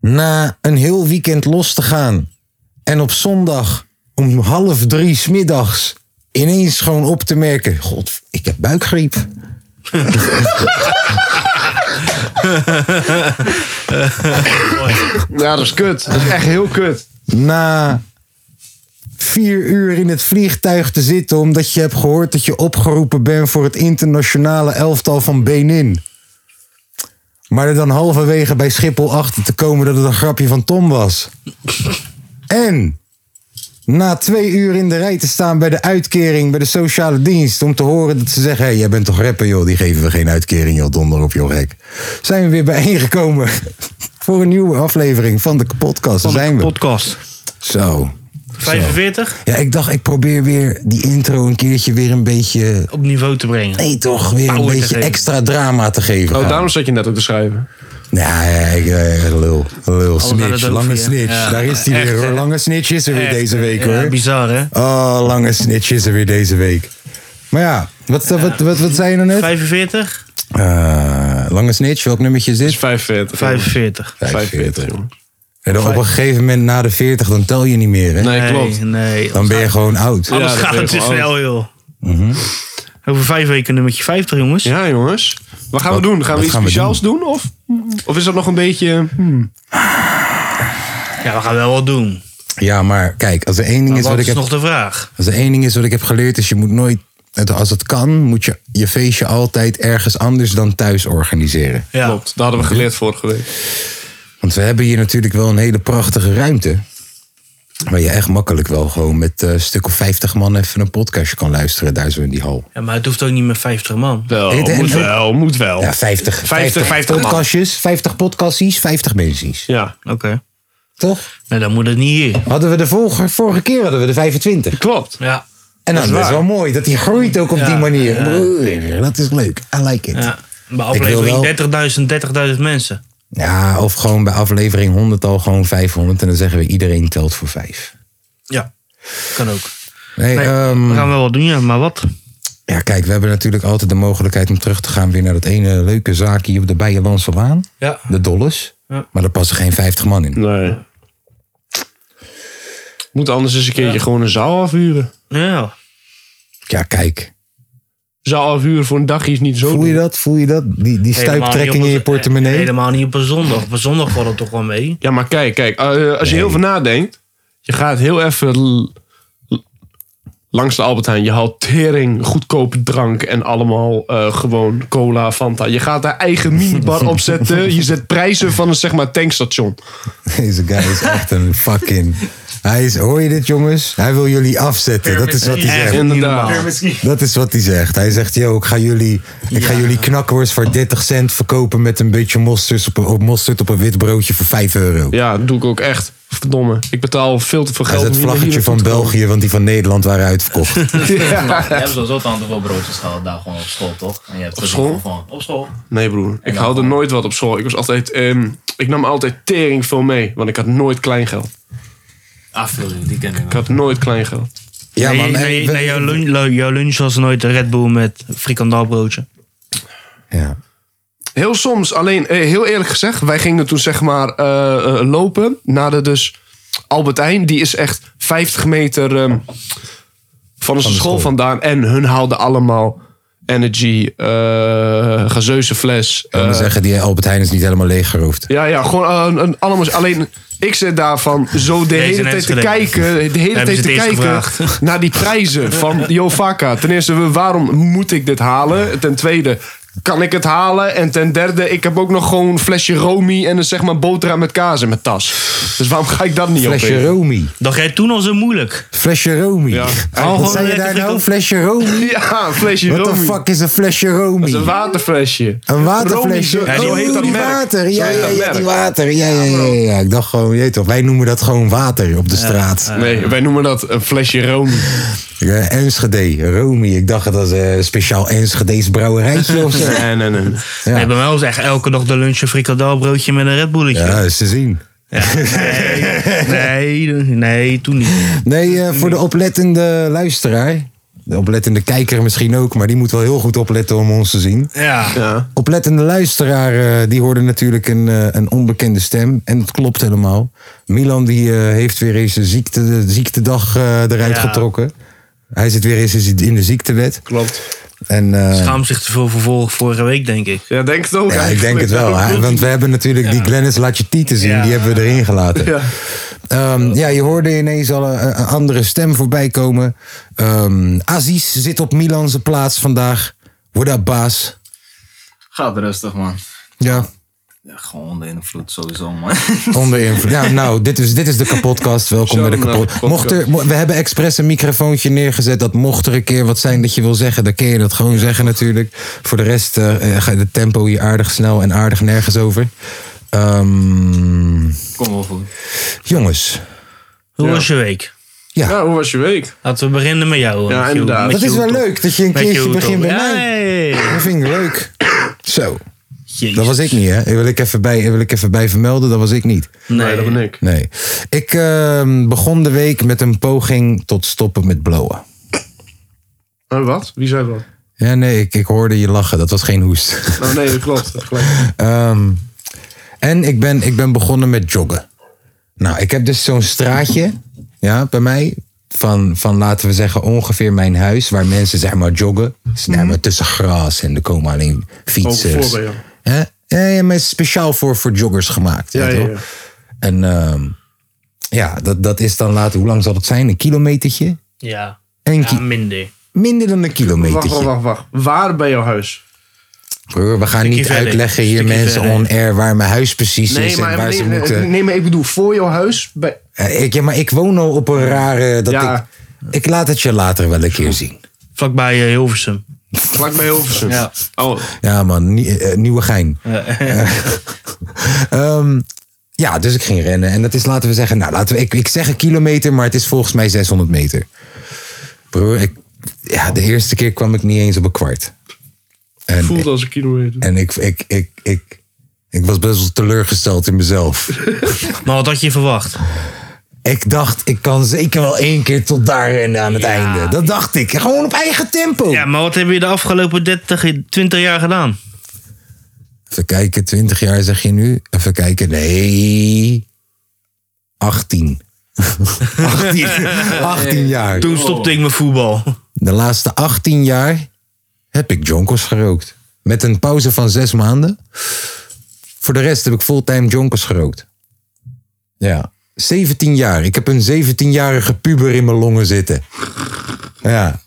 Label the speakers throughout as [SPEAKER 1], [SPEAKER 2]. [SPEAKER 1] Na een heel weekend los te gaan en op zondag om half drie smiddags ineens gewoon op te merken: God, ik heb buikgriep.
[SPEAKER 2] Ja, dat is kut. Dat is echt heel kut.
[SPEAKER 1] Na vier uur in het vliegtuig te zitten omdat je hebt gehoord dat je opgeroepen bent voor het internationale elftal van Benin. Maar er dan halverwege bij Schiphol achter te komen dat het een grapje van Tom was. En na twee uur in de rij te staan bij de uitkering bij de sociale dienst. Om te horen dat ze zeggen: Hé, hey, jij bent toch rapper, joh? Die geven we geen uitkering, joh. Donder op, joh, gek. Zijn we weer bijeengekomen voor een nieuwe aflevering van de podcast. Daar zijn we.
[SPEAKER 3] podcast.
[SPEAKER 1] Zo.
[SPEAKER 3] 45
[SPEAKER 1] Ja, ik dacht, ik probeer weer die intro een keertje weer een beetje.
[SPEAKER 3] op niveau te brengen.
[SPEAKER 1] Nee, toch? Weer een
[SPEAKER 3] Power te
[SPEAKER 1] beetje
[SPEAKER 3] geven.
[SPEAKER 1] extra drama te geven.
[SPEAKER 2] Oh, daarom zat je net ook te schrijven.
[SPEAKER 1] Nee, ik, eh, lul. Lul.
[SPEAKER 3] naar
[SPEAKER 1] Snitch.
[SPEAKER 3] de
[SPEAKER 1] Lange
[SPEAKER 3] doofie, hè?
[SPEAKER 1] snitch.
[SPEAKER 3] Ja.
[SPEAKER 1] Daar is die
[SPEAKER 3] Echt,
[SPEAKER 1] weer hoor.
[SPEAKER 3] hè?
[SPEAKER 1] Lange snitch is er weer
[SPEAKER 3] Echt,
[SPEAKER 1] deze week
[SPEAKER 3] ja,
[SPEAKER 1] hoor.
[SPEAKER 3] Bizar, hè?
[SPEAKER 1] Oh, lange snitch is er weer deze week. Maar ja, wat, Wat, wat, wat zei je nou net?
[SPEAKER 3] 45?
[SPEAKER 1] Eh, lange snitch, welk nummertje is
[SPEAKER 2] Het is
[SPEAKER 1] dit?
[SPEAKER 2] 45.
[SPEAKER 3] 45.
[SPEAKER 2] 45, jongen.
[SPEAKER 1] En dan op een gegeven moment na de 40, dan tel je niet meer. Hè?
[SPEAKER 2] Nee,
[SPEAKER 3] Nee,
[SPEAKER 2] klopt.
[SPEAKER 3] Nee,
[SPEAKER 1] Dan ben je gewoon oud.
[SPEAKER 2] Ja,
[SPEAKER 3] anders
[SPEAKER 2] dat
[SPEAKER 3] gaat
[SPEAKER 2] ben
[SPEAKER 3] het
[SPEAKER 2] je
[SPEAKER 3] te
[SPEAKER 2] gewoon
[SPEAKER 3] snel, joh.
[SPEAKER 1] Mhm.
[SPEAKER 3] Over vijf weken nummertje 50, jongens.
[SPEAKER 2] Ja, jongens. Wat gaan
[SPEAKER 1] Wat-
[SPEAKER 2] we doen? Gaan
[SPEAKER 1] wat
[SPEAKER 2] we iets
[SPEAKER 1] gaan we
[SPEAKER 2] speciaals doen? of, of is dat nog een beetje...
[SPEAKER 3] Hmm. Ja, we gaan wel wat doen.
[SPEAKER 1] Ja, maar kijk, als er één ding
[SPEAKER 3] Maar
[SPEAKER 1] is wat
[SPEAKER 3] Nou, wat
[SPEAKER 1] ik
[SPEAKER 3] is
[SPEAKER 1] heb
[SPEAKER 3] nog de vraag?
[SPEAKER 1] Als er één ding is wat ik heb geleerd, is je moet nooit. het- Als het kan, moet je je feestje altijd ergens anders dan thuis organiseren.
[SPEAKER 3] Ja.
[SPEAKER 2] Klopt, dat hadden we geleerd vorige week.
[SPEAKER 1] Want we hebben hier natuurlijk wel een hele prachtige ruimte. Waar je echt makkelijk wel gewoon met eh, een stuk of 50 man even een podcastje kan luisteren. Daar zo in die hal.
[SPEAKER 3] Ja, maar het hoeft ook niet meer 50 man.
[SPEAKER 2] Wel,
[SPEAKER 1] Dit en-
[SPEAKER 2] moet wel, moet wel.
[SPEAKER 1] Ja, 50.
[SPEAKER 2] 50, 50 man.
[SPEAKER 1] podcastjes, 50 podcasties, 50 mensies.
[SPEAKER 2] Ja,
[SPEAKER 3] Oké.
[SPEAKER 1] Toch?
[SPEAKER 3] Nee, dan moet het niet hier.
[SPEAKER 1] Hadden we de vorige, vorige keer hadden we de 25.
[SPEAKER 2] klopt.
[SPEAKER 3] Ja.
[SPEAKER 1] En dat is,
[SPEAKER 2] waar.
[SPEAKER 1] wel mooi, dat die groeit ook op
[SPEAKER 3] Ja,
[SPEAKER 1] die manier. Dat is leuk. I like it.
[SPEAKER 3] ja. Bij
[SPEAKER 1] wil wel-
[SPEAKER 3] aflevering 30.000, 30.000 mensen.
[SPEAKER 1] Ja, of gewoon bij aflevering 100 al gewoon 500 en dan zeggen we iedereen telt voor 5.
[SPEAKER 3] Ja. Kan ook.
[SPEAKER 1] Nee,
[SPEAKER 3] Nee,
[SPEAKER 1] ehm,
[SPEAKER 3] we gaan wel wat doen, ja. Maar wat?
[SPEAKER 1] ja, kijk, we hebben natuurlijk altijd de mogelijkheid om terug te gaan weer naar dat ene leuke zaak hier op de Bijenlandse Laan.
[SPEAKER 3] Ja.
[SPEAKER 1] De Dolles.
[SPEAKER 3] Ja.
[SPEAKER 1] Maar daar passen geen 50 man in.
[SPEAKER 2] Nee. Moet anders eens een keertje gewoon een zaal afhuren.
[SPEAKER 3] Ja.
[SPEAKER 1] Ja, kijk.
[SPEAKER 2] Zaal afhuren voor een dagje is niet zo...
[SPEAKER 1] Voel je dat? Voel je dat? Die, die
[SPEAKER 3] Helemaal niet
[SPEAKER 1] stuiptrekking
[SPEAKER 3] op
[SPEAKER 1] in je
[SPEAKER 3] een- eh,
[SPEAKER 1] portemonnee?
[SPEAKER 3] Helemaal niet op een zondag. Op een zondag valt het toch wel mee.
[SPEAKER 2] Ja, maar kijk, kijk. eh, als je heel veel nadenkt. Je gaat heel even l- l- langs de Albert Heijn. Je haalt tering, goedkope drank en allemaal eh, gewoon cola, Fanta. Je gaat daar eigen minibar opzetten. Je zet prijzen van een zeg maar tankstation.
[SPEAKER 1] Deze guy is echt een fucking... Hij is, hoor je dit jongens? Hij wil jullie afzetten. Dat is wat hij
[SPEAKER 3] Echt
[SPEAKER 1] zegt.
[SPEAKER 3] niet
[SPEAKER 2] Inderdaad.
[SPEAKER 3] normaal.
[SPEAKER 1] Dat is wat hij zegt. Hij zegt, yo, ik ga jullie, ik ga jullie knakworst voor 30 cent verkopen met een beetje mosterd op, een- op, mosterd op een wit broodje voor 5 euro.
[SPEAKER 2] Ja, dat doe ik ook echt. Verdomme. Ik betaal veel te veel
[SPEAKER 1] Hij
[SPEAKER 2] geld.
[SPEAKER 1] is
[SPEAKER 2] om
[SPEAKER 1] het
[SPEAKER 2] hier naar
[SPEAKER 1] vlaggetje
[SPEAKER 2] hier
[SPEAKER 1] van
[SPEAKER 2] naartoe
[SPEAKER 1] België, want die van Nederland waren uitverkocht.
[SPEAKER 2] te komen. Ja.
[SPEAKER 4] Je hebt sowieso het aantal broodjes gehaald daar gewoon op school, toch? En je hebt
[SPEAKER 2] Op school?
[SPEAKER 4] Van, op school.
[SPEAKER 2] Nee broer, ik
[SPEAKER 4] dan
[SPEAKER 2] haalde
[SPEAKER 4] gewoon-
[SPEAKER 2] nooit wat op school. Ik, was altijd, ehm, ik nam altijd tering veel mee. Want ik had nooit kleingeld.
[SPEAKER 4] Afvulling, die ken ik
[SPEAKER 2] Ik had nooit kleingeld.
[SPEAKER 1] Ja,
[SPEAKER 3] nee,
[SPEAKER 1] man.
[SPEAKER 3] nee,
[SPEAKER 1] eh, we-
[SPEAKER 3] nee, jouw, lunch, lo- jouw lunch was nooit een Red Bull met frikandelbroodje.
[SPEAKER 1] Ja.
[SPEAKER 2] Heel soms, alleen eh, heel eerlijk gezegd, wij gingen toen zeg maar eh, eh, lopen naar de dus Albert Heijn. Die is echt 50 meter ehm, van onze school,
[SPEAKER 1] school.
[SPEAKER 2] vandaan. En hun haalden allemaal energy, eh gazeuze fles.
[SPEAKER 1] Ik wil maar
[SPEAKER 2] eh,
[SPEAKER 1] zeggen, die Albert Heijn is niet helemaal leeggeroofd.
[SPEAKER 2] ja, ja, gewoon eh, een- een- allemaal. Alleen Ik zit daarvan zo de
[SPEAKER 3] Deze
[SPEAKER 2] hele tijd te
[SPEAKER 3] Enschede.
[SPEAKER 2] kijken, de hele
[SPEAKER 3] Hebben
[SPEAKER 2] tijd
[SPEAKER 3] ze
[SPEAKER 2] te
[SPEAKER 3] het
[SPEAKER 2] kijken
[SPEAKER 3] eerst gevraagd?
[SPEAKER 2] naar die prijzen van Jovaka. Ten eerste, waarom moet ik dit halen? Ten tweede, kan ik het halen? En ten derde, ik heb ook nog gewoon een flesje Romy en een zeg maar boterham met kaas in mijn tas. Dus waarom ga ik dat niet op?
[SPEAKER 1] Flesje Romy.
[SPEAKER 3] Dat jij toen al zo moeilijk.
[SPEAKER 1] Flesje Romy.
[SPEAKER 2] Ja.
[SPEAKER 3] gewoon
[SPEAKER 1] Wat zei je
[SPEAKER 3] lekker
[SPEAKER 1] daar
[SPEAKER 3] frikken.
[SPEAKER 1] nou? Flesje Romy?
[SPEAKER 2] Oh, Ja, een flesje
[SPEAKER 1] Wat de
[SPEAKER 2] Romy.
[SPEAKER 1] fuck is een flesje
[SPEAKER 2] Dat is een
[SPEAKER 1] Romy?
[SPEAKER 2] waterflesje.
[SPEAKER 1] Een waterflesje.
[SPEAKER 2] Romy, zo
[SPEAKER 1] Oh,
[SPEAKER 2] heet dat
[SPEAKER 1] die
[SPEAKER 2] merk.
[SPEAKER 1] water. Ja,
[SPEAKER 2] heet
[SPEAKER 1] ja,
[SPEAKER 2] dat
[SPEAKER 1] ja,
[SPEAKER 2] merk.
[SPEAKER 1] die water. Ja, ja, ja, ja, ja. Ik dacht gewoon, je weet toch, wij noemen dat gewoon water op de straat.
[SPEAKER 2] Nee, wij noemen dat een flesje Romy.
[SPEAKER 1] Eh, Enschede, Romy. Ik dacht dat was eh, een speciaal Enschedees brouwerijtje of zo.
[SPEAKER 2] Nee, nee, nee.
[SPEAKER 1] Ja.
[SPEAKER 3] Nee, bij mij was echt elke dag de lunch een frikandelbroodje met een Red Bulletje.
[SPEAKER 1] Ja, is te zien.
[SPEAKER 3] Nee, nee, toen niet.
[SPEAKER 1] Nee, eh, voor de oplettende luisteraar. De oplettende kijker misschien ook, maar die moet wel heel goed opletten om ons te zien.
[SPEAKER 3] Ja.
[SPEAKER 2] Ja.
[SPEAKER 1] Oplettende luisteraar, eh, die hoorde natuurlijk een, eh, een onbekende stem. En dat klopt helemaal. Milan die, eh, heeft weer eens een ziekte, ziektedag eh, eruit
[SPEAKER 3] Ja.
[SPEAKER 1] getrokken. Hij zit weer eens in de ziektewet.
[SPEAKER 2] Klopt.
[SPEAKER 1] En, eh,
[SPEAKER 3] Schaam zich te veel voor vor- vorige week, denk ik.
[SPEAKER 2] Ja, denk het ook.
[SPEAKER 1] ja, ik denk
[SPEAKER 2] eigenlijk.
[SPEAKER 1] het wel. hè, want we hebben natuurlijk die Glennis Laat je te zien.
[SPEAKER 3] Ja.
[SPEAKER 1] Die hebben we erin gelaten.
[SPEAKER 2] Ja.
[SPEAKER 1] Ehm, ja, je hoorde ineens al een, een andere stem voorbij komen. Ehm, Aziz zit op Milanse plaats vandaag. What up, baas?
[SPEAKER 4] Gaat rustig, man.
[SPEAKER 1] Ja.
[SPEAKER 4] Ja, gewoon onder invloed sowieso, man.
[SPEAKER 1] Onder invloed. Ja, nou, dit is, dit is de kapotcast. Welkom
[SPEAKER 2] Zo,
[SPEAKER 1] bij de
[SPEAKER 2] nou,
[SPEAKER 1] kapot.
[SPEAKER 2] podcast.
[SPEAKER 1] Mocht er, mo- we hebben expres een microfoontje neergezet. Dat mocht er een keer wat zijn dat je wil zeggen, dan kun je dat gewoon zeggen natuurlijk. Voor de rest eh, eh, gaat het tempo hier aardig snel en aardig nergens over. Ehm,
[SPEAKER 4] Kom wel goed.
[SPEAKER 1] jongens,
[SPEAKER 3] Hoe was je week?
[SPEAKER 2] Ja, hoe was je week?
[SPEAKER 3] Laten we beginnen met jou.
[SPEAKER 2] Ja,
[SPEAKER 3] met je-
[SPEAKER 2] inderdaad.
[SPEAKER 3] met
[SPEAKER 1] dat
[SPEAKER 3] je
[SPEAKER 1] is wel
[SPEAKER 3] hoed op.
[SPEAKER 1] leuk dat je een
[SPEAKER 3] Met je
[SPEAKER 1] keertje
[SPEAKER 3] hoed op.
[SPEAKER 1] begint bij
[SPEAKER 3] Ja,
[SPEAKER 1] mij.
[SPEAKER 3] ja, ja, ja.
[SPEAKER 1] Dat vind ik leuk. Zo.
[SPEAKER 3] Jezus.
[SPEAKER 1] Dat was ik niet, hè? Wil ik even bij, wil ik even bij vermelden, dat was ik niet.
[SPEAKER 2] Nee,
[SPEAKER 3] Nee,
[SPEAKER 2] dat ben ik.
[SPEAKER 1] Nee. Ik ehm, begon de week met een poging tot stoppen met blowen.
[SPEAKER 2] Eh, wat? Wie zei dat?
[SPEAKER 1] Ja, nee, ik, ik hoorde je lachen. Dat was geen hoest.
[SPEAKER 2] Nou, nee, dat klopt. Dat klopt.
[SPEAKER 1] Ehm, en ik ben, ik ben begonnen met joggen. Nou, ik heb dus zo'n straatje ja, bij mij. Van, van laten we zeggen ongeveer mijn huis. Waar mensen zeg maar joggen. Is
[SPEAKER 2] Mhm.
[SPEAKER 1] nou maar tussen gras en er komen alleen
[SPEAKER 2] Ook
[SPEAKER 1] fietsers.
[SPEAKER 2] voor bij jou.
[SPEAKER 1] Hè? Ja, ja, maar het is speciaal voor, voor joggers gemaakt.
[SPEAKER 2] Ja,
[SPEAKER 1] weet je
[SPEAKER 2] ja,
[SPEAKER 1] wel.
[SPEAKER 2] ja.
[SPEAKER 1] En ehm, ja, dat, dat is dan later, hoe lang zal het zijn? Een kilometertje?
[SPEAKER 3] Ja.
[SPEAKER 1] Eén
[SPEAKER 3] ja,
[SPEAKER 1] ki-
[SPEAKER 3] minder.
[SPEAKER 1] minder dan een
[SPEAKER 2] Wacht, wacht,
[SPEAKER 1] kilometertje.
[SPEAKER 2] wacht, wacht. Waar bij jouw huis?
[SPEAKER 1] Broer, we gaan niet
[SPEAKER 3] verder.
[SPEAKER 1] uitleggen hier
[SPEAKER 3] Stukje
[SPEAKER 1] mensen
[SPEAKER 3] verder.
[SPEAKER 1] on air waar mijn huis precies is en waar ze
[SPEAKER 2] nee,
[SPEAKER 1] moeten.
[SPEAKER 2] nee, maar ik bedoel, voor jouw huis? Bij...
[SPEAKER 1] Eh, ik, ja, maar ik woon al op een rare. Dat
[SPEAKER 2] Ja.
[SPEAKER 1] ik, ik laat het je later wel een keer zien.
[SPEAKER 3] Vlakbij eh, Hilversum.
[SPEAKER 2] Vlak bij Hilversum.
[SPEAKER 4] Ja.
[SPEAKER 2] Oh,
[SPEAKER 1] Ja, man, nie, eh, nieuwe gein. Ehm, ja, dus ik ging rennen. En dat is, laten we zeggen, nou, laten we, ik, ik zeg een kilometer, maar het is volgens mij 600 meter. Broer, ik, ja, de eerste keer kwam ik niet eens op een kwart. En,
[SPEAKER 2] voelt als een kilometer.
[SPEAKER 1] en ik, ik, ik, ik, ik was best wel teleurgesteld in mezelf.
[SPEAKER 3] Maar wat had je verwacht?
[SPEAKER 1] Ik dacht, ik kan zeker wel één keer tot daar rennen aan het
[SPEAKER 3] Ja.
[SPEAKER 1] einde. Dat dacht ik. Gewoon op eigen tempo.
[SPEAKER 3] Ja, maar wat heb je de afgelopen 30, 20 jaar gedaan?
[SPEAKER 1] Even kijken, 20 jaar zeg je nu. Even kijken, nee. 18. 18, 18 jaar.
[SPEAKER 3] Toen stopte ik met voetbal.
[SPEAKER 1] De laatste 18 jaar heb ik jonkers gerookt. Met een pauze van zes maanden. Voor de rest heb ik fulltime jonkers gerookt. Ja. 17 jaar. Ik heb een 17-jarige puber in mijn longen zitten. Ja.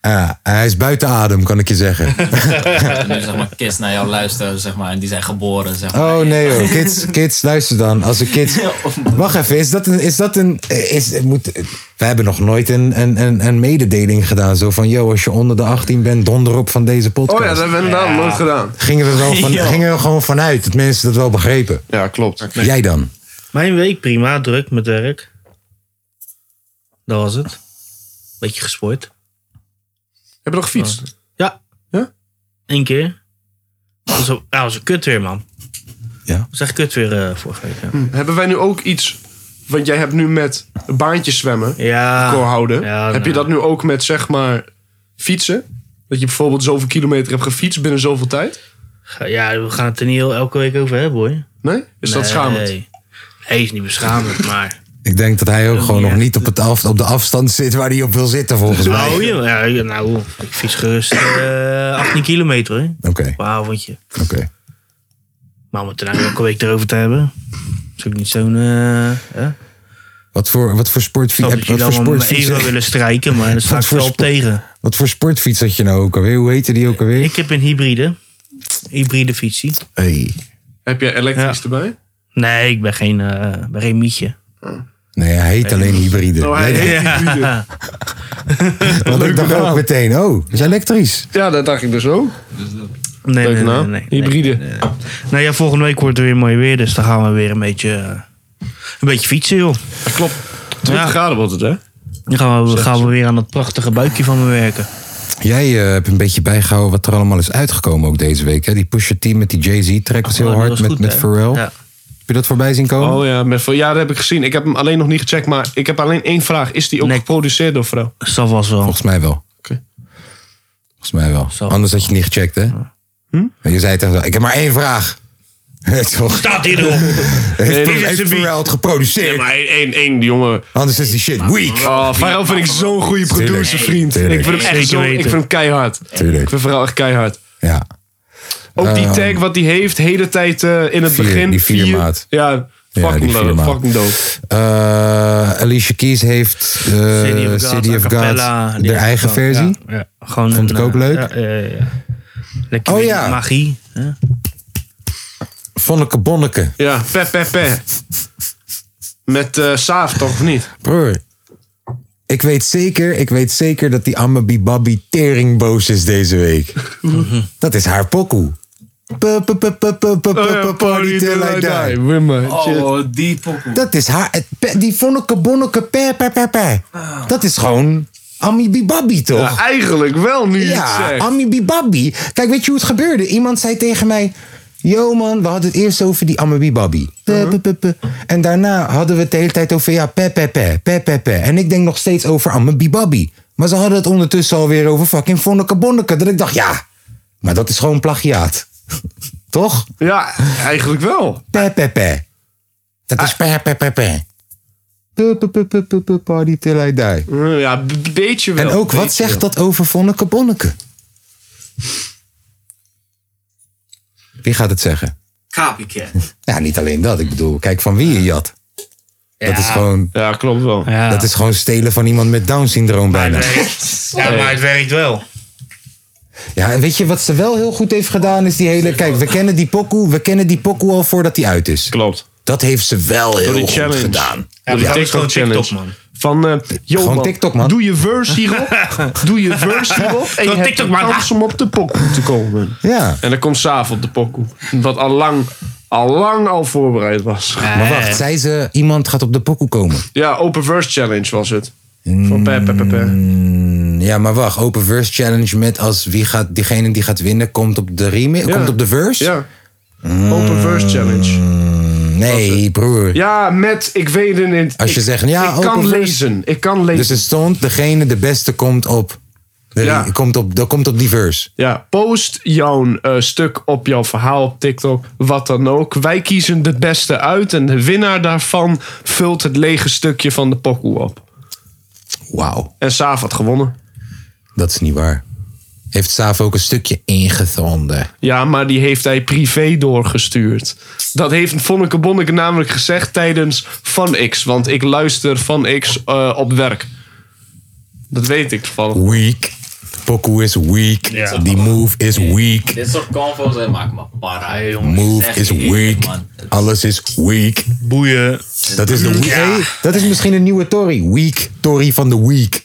[SPEAKER 1] Ja, hij is buiten adem, kan ik je zeggen.
[SPEAKER 4] En nu zeg maar kids naar jou luisteren, zeg maar. En die zijn geboren, zeg maar.
[SPEAKER 1] Oh nee hoor, kids, kids, luister dan. Als een kids...
[SPEAKER 2] oh,
[SPEAKER 1] Wacht even, is dat een... Is dat een is, moet, we hebben nog nooit een, een, een, een mededeling gedaan. Zo van, yo, als je onder de 18 bent, donder op van deze podcast.
[SPEAKER 2] Oh ja, dat hebben we inderdaad nooit gedaan.
[SPEAKER 1] gingen we, wel van,
[SPEAKER 4] Ja.
[SPEAKER 1] gingen we gewoon vanuit dat mensen dat wel begrepen.
[SPEAKER 2] Ja, klopt.
[SPEAKER 1] Jij dan?
[SPEAKER 3] Mijn week prima, druk met werk. Dat was het. Beetje gesport.
[SPEAKER 2] Heb je nog gefietst?
[SPEAKER 3] Ja.
[SPEAKER 2] Ja?
[SPEAKER 3] Eén keer. Dat was, een- ja, dat was een kut weer, man.
[SPEAKER 1] Ja.
[SPEAKER 3] Dat was echt kut weer eh, vorige week. Ja.
[SPEAKER 2] Hebben wij nu ook iets... Want jij hebt nu met baantjes zwemmen,
[SPEAKER 3] Ja.
[SPEAKER 2] record houden.
[SPEAKER 3] Ja,
[SPEAKER 2] Heb
[SPEAKER 3] nou.
[SPEAKER 2] je dat nu ook met, zeg maar, fietsen? Dat je bijvoorbeeld zoveel kilometer hebt gefietst binnen zoveel tijd?
[SPEAKER 3] Ga- Ja, we gaan het er niet heel elke week over hebben, hoor.
[SPEAKER 2] Nee? Is dat
[SPEAKER 3] Nee.
[SPEAKER 2] schamend?
[SPEAKER 3] Nee, is niet beschamend, maar...
[SPEAKER 1] Ik denk dat hij ook gewoon nog niet op, het af, op de afstand zit waar hij op wil zitten, volgens mij.
[SPEAKER 3] Oh, ja, ja, ja, nou, ik fiets gerust eh 18 kilometer, hoor.
[SPEAKER 1] Oké,
[SPEAKER 3] Op een avondje.
[SPEAKER 1] oké.
[SPEAKER 3] Maar om het er nou elke week erover te hebben, is ook niet zo'n... eh, hè?
[SPEAKER 1] Wat voor, wat voor sportfiets
[SPEAKER 3] Snap
[SPEAKER 1] heb
[SPEAKER 3] dat
[SPEAKER 1] je?
[SPEAKER 3] jullie
[SPEAKER 1] Wat voor
[SPEAKER 3] allemaal met
[SPEAKER 1] sportfiets,
[SPEAKER 3] Evo willen strijken, maar daar sta
[SPEAKER 1] Wat
[SPEAKER 3] ik
[SPEAKER 1] voor
[SPEAKER 3] wel op
[SPEAKER 1] sport-
[SPEAKER 3] tegen.
[SPEAKER 1] wat voor sportfiets had je nou ook alweer? Hoe heette die ook alweer?
[SPEAKER 3] Ik heb een hybride. Hybride fietsie.
[SPEAKER 1] Hey.
[SPEAKER 2] Heb je elektrisch
[SPEAKER 3] Ja.
[SPEAKER 2] erbij?
[SPEAKER 3] Nee, ik ben geen, eh, ben geen mietje.
[SPEAKER 1] Nee, hij heet alleen hybride.
[SPEAKER 2] Oh, hij
[SPEAKER 1] Nee,
[SPEAKER 2] heet hybride.
[SPEAKER 1] Want ik dacht
[SPEAKER 2] naam.
[SPEAKER 1] ook meteen, oh, dat is elektrisch.
[SPEAKER 2] Ja, dat dacht ik dus ook.
[SPEAKER 3] Nee,
[SPEAKER 2] Leuke
[SPEAKER 3] nee, nee,
[SPEAKER 2] naam.
[SPEAKER 3] nee, nee.
[SPEAKER 2] Hybride.
[SPEAKER 3] Nou ja, volgende week wordt het weer mooi weer, dus dan gaan we weer een beetje, eh, een beetje fietsen, joh.
[SPEAKER 2] Dat klopt. 20
[SPEAKER 3] Ja.
[SPEAKER 2] graden wordt het, hè?
[SPEAKER 3] Dan
[SPEAKER 2] Oh,
[SPEAKER 3] gaan we, gaan we weer aan dat prachtige buikje van me werken.
[SPEAKER 1] Jij eh, hebt een beetje bijgehouden wat er allemaal is uitgekomen ook deze week. Hè? Die Pusha T met die Jay-Z track was heel
[SPEAKER 3] Oh, dat
[SPEAKER 1] hard
[SPEAKER 3] was
[SPEAKER 1] met,
[SPEAKER 3] goed,
[SPEAKER 1] met
[SPEAKER 3] hè?
[SPEAKER 1] Pharrell.
[SPEAKER 3] Ja.
[SPEAKER 1] Heb je dat voorbij zien komen?
[SPEAKER 2] Oh ja, met, ja, dat heb ik gezien. Ik heb hem alleen nog niet gecheckt, maar ik heb alleen één vraag. Is die ook
[SPEAKER 3] Nee.
[SPEAKER 2] geproduceerd door vrouw?
[SPEAKER 3] Dus dat was wel.
[SPEAKER 1] Volgens mij wel.
[SPEAKER 2] Oké.
[SPEAKER 1] Volgens mij wel.
[SPEAKER 3] Zo.
[SPEAKER 1] Anders had je het niet gecheckt, hè? Je zei tegen ik heb maar één vraag. Hm? Toch?
[SPEAKER 3] Staat hier erop.
[SPEAKER 1] Heeft
[SPEAKER 2] dit is
[SPEAKER 1] heeft
[SPEAKER 2] een
[SPEAKER 1] Pharrell het geproduceerd?
[SPEAKER 2] maar één, één, die jongen.
[SPEAKER 1] Anders is die shit weak.
[SPEAKER 2] Oh, Pharrell vind ik zo'n goede
[SPEAKER 1] Tuurlijk,
[SPEAKER 2] producer, vriend.
[SPEAKER 1] tuurlijk.
[SPEAKER 2] Ik vind hem echt
[SPEAKER 3] Zeker
[SPEAKER 2] zo, ik
[SPEAKER 3] weten.
[SPEAKER 2] vind hem keihard.
[SPEAKER 1] Tuurlijk.
[SPEAKER 2] Ik vind Pharrell echt keihard.
[SPEAKER 1] Ja.
[SPEAKER 2] Ook die
[SPEAKER 1] Ehm,
[SPEAKER 2] tag wat hij heeft, hele tijd eh, in het
[SPEAKER 1] vier,
[SPEAKER 2] begin.
[SPEAKER 1] die vier maat.
[SPEAKER 2] Ja,
[SPEAKER 1] Ja, die
[SPEAKER 2] fucking
[SPEAKER 1] vier
[SPEAKER 2] low,
[SPEAKER 1] maat.
[SPEAKER 2] fucking dope.
[SPEAKER 1] Eh, Alicia Keys heeft eh,
[SPEAKER 3] City of God,
[SPEAKER 1] City of God,
[SPEAKER 3] Acapella, die
[SPEAKER 1] de
[SPEAKER 3] heb ik
[SPEAKER 1] eigen
[SPEAKER 3] gewoon,
[SPEAKER 1] versie.
[SPEAKER 3] Ja, ja. Gewoon
[SPEAKER 1] Vond
[SPEAKER 3] een,
[SPEAKER 1] ik ook
[SPEAKER 3] eh,
[SPEAKER 1] leuk.
[SPEAKER 3] Ja, ja, ja. Lekker
[SPEAKER 1] Oh
[SPEAKER 3] weer
[SPEAKER 1] ja.
[SPEAKER 3] magie. hè?
[SPEAKER 1] Vonneke Bonneke.
[SPEAKER 2] Ja, pe, pe, pe. Met eh Saaf toch, of niet?
[SPEAKER 1] Broer. Ik weet zeker, ik weet zeker dat die Amabi Babi teringboos is deze week. dat is haar pokoe. Pu- pu- pu- pu- pu- pu-
[SPEAKER 3] Oh
[SPEAKER 1] pu- Oh Party till I die.
[SPEAKER 4] Oh, die pokoe.
[SPEAKER 1] Dat is haar, het pe- die vonneke bonneke pe pe pe pe.
[SPEAKER 3] Oh.
[SPEAKER 1] Dat is gewoon Amabi Babi toch?
[SPEAKER 2] Ja, eigenlijk wel nu je het
[SPEAKER 1] Ja,
[SPEAKER 2] zegt.
[SPEAKER 1] Amibibabi. Kijk, weet je hoe het gebeurde? Iemand zei tegen mij... Yo man, we hadden het eerst over die Amibibabi.
[SPEAKER 2] Uh-huh.
[SPEAKER 1] Pe, pe, pe, pe. En daarna hadden we het de hele tijd over... Ja, pe, pe, pe, pe, pe, pe. En ik denk nog steeds over Amibibabi. Maar ze hadden het ondertussen alweer over fucking Vonneke Bonneke. Dat ik dacht, ja, maar dat is gewoon plagiaat. Toch?
[SPEAKER 2] Ja, eigenlijk wel. Ah.
[SPEAKER 1] Pe, pe, pe. Dat is pe, pe, pe, pe. Pe, pe, pe, pe, pe, pe, Party till I die.
[SPEAKER 2] Eh, Ja, een b- beetje wel.
[SPEAKER 1] En ook, wat
[SPEAKER 2] Beetje
[SPEAKER 1] zegt
[SPEAKER 2] wel.
[SPEAKER 1] dat over Vonneke Bonneke? Wie gaat het zeggen?
[SPEAKER 4] Kapieke.
[SPEAKER 1] Ja, niet alleen dat. Ik bedoel, kijk van wie je jat. Dat, is gewoon,
[SPEAKER 2] Ja, klopt wel.
[SPEAKER 3] Ja.
[SPEAKER 1] dat is gewoon stelen van iemand met Down-syndroom bijna.
[SPEAKER 3] Ja, maar het werkt wel.
[SPEAKER 1] Ja, en weet je wat ze wel heel goed heeft gedaan? Is die hele... Kijk, we kennen die pokoe, we kennen die pokoe al voordat die uit is.
[SPEAKER 2] Klopt.
[SPEAKER 1] Dat heeft ze wel heel
[SPEAKER 2] Door die
[SPEAKER 1] goed
[SPEAKER 2] challenge.
[SPEAKER 1] gedaan.
[SPEAKER 2] Door die
[SPEAKER 3] maar dat is gewoon
[SPEAKER 2] TikTok-challenge.
[SPEAKER 3] TikTok, man.
[SPEAKER 2] Van, eh yo,
[SPEAKER 1] Gewoon
[SPEAKER 2] man,
[SPEAKER 1] TikTok, man.
[SPEAKER 2] Doe je verse hierop. doe je verse hierop. En je
[SPEAKER 3] Gewoon
[SPEAKER 2] hebt
[SPEAKER 3] TikTok,
[SPEAKER 2] een
[SPEAKER 3] man.
[SPEAKER 2] kans om op de pokoe te komen.
[SPEAKER 1] Ja,
[SPEAKER 2] En dan komt Saaf op de pokoe. Wat al lang, al lang al voorbereid was.
[SPEAKER 3] Eh.
[SPEAKER 1] maar wacht. Zei ze, iemand gaat op de pokoe komen.
[SPEAKER 2] Ja, open verse challenge was het. Van pe, pe, pe, pe.
[SPEAKER 1] Mm, Ja, maar wacht. Open verse challenge met als wie gaat, diegene die gaat winnen komt op de remix, komt op de verse? Mm,
[SPEAKER 2] Ja. Open verse challenge.
[SPEAKER 1] Nee, broer.
[SPEAKER 2] Ja, met ik weet het niet.
[SPEAKER 1] Als je
[SPEAKER 2] Ik-
[SPEAKER 1] zegt, ja,
[SPEAKER 2] ik kan
[SPEAKER 1] open verse.
[SPEAKER 2] lezen. Ik kan lezen.
[SPEAKER 1] Dus er stond, degene de beste komt op, de
[SPEAKER 2] Ja.
[SPEAKER 1] re- komt op, dat komt op die verse.
[SPEAKER 2] ja, post jouw eh, stuk op jouw verhaal op TikTok, wat dan ook. Wij kiezen de beste uit en de winnaar daarvan vult het lege stukje van de pokoe op.
[SPEAKER 1] Wauw,
[SPEAKER 2] En Saaf had gewonnen.
[SPEAKER 1] dat is niet waar. Heeft Saaf ook een stukje ingezonden.
[SPEAKER 2] Ja, maar die heeft hij privé doorgestuurd. Dat heeft Vonneke Bonneke namelijk gezegd tijdens Van X. Want ik luister Van X eh, op werk. Dat weet ik toevallig.
[SPEAKER 1] Weak. Poku is weak.
[SPEAKER 3] Ja.
[SPEAKER 1] Die move is weak.
[SPEAKER 4] Dit soort convo's hè, maken me para, hè, jongen.
[SPEAKER 1] Move
[SPEAKER 4] Echt
[SPEAKER 1] is
[SPEAKER 4] niet eerlijk,
[SPEAKER 1] weak.
[SPEAKER 4] man. Dat
[SPEAKER 1] Alles is weak.
[SPEAKER 3] Boeien.
[SPEAKER 1] Dat is, de weak. Hey, dat is misschien een nieuwe Tory. Weak. Tory van de weak.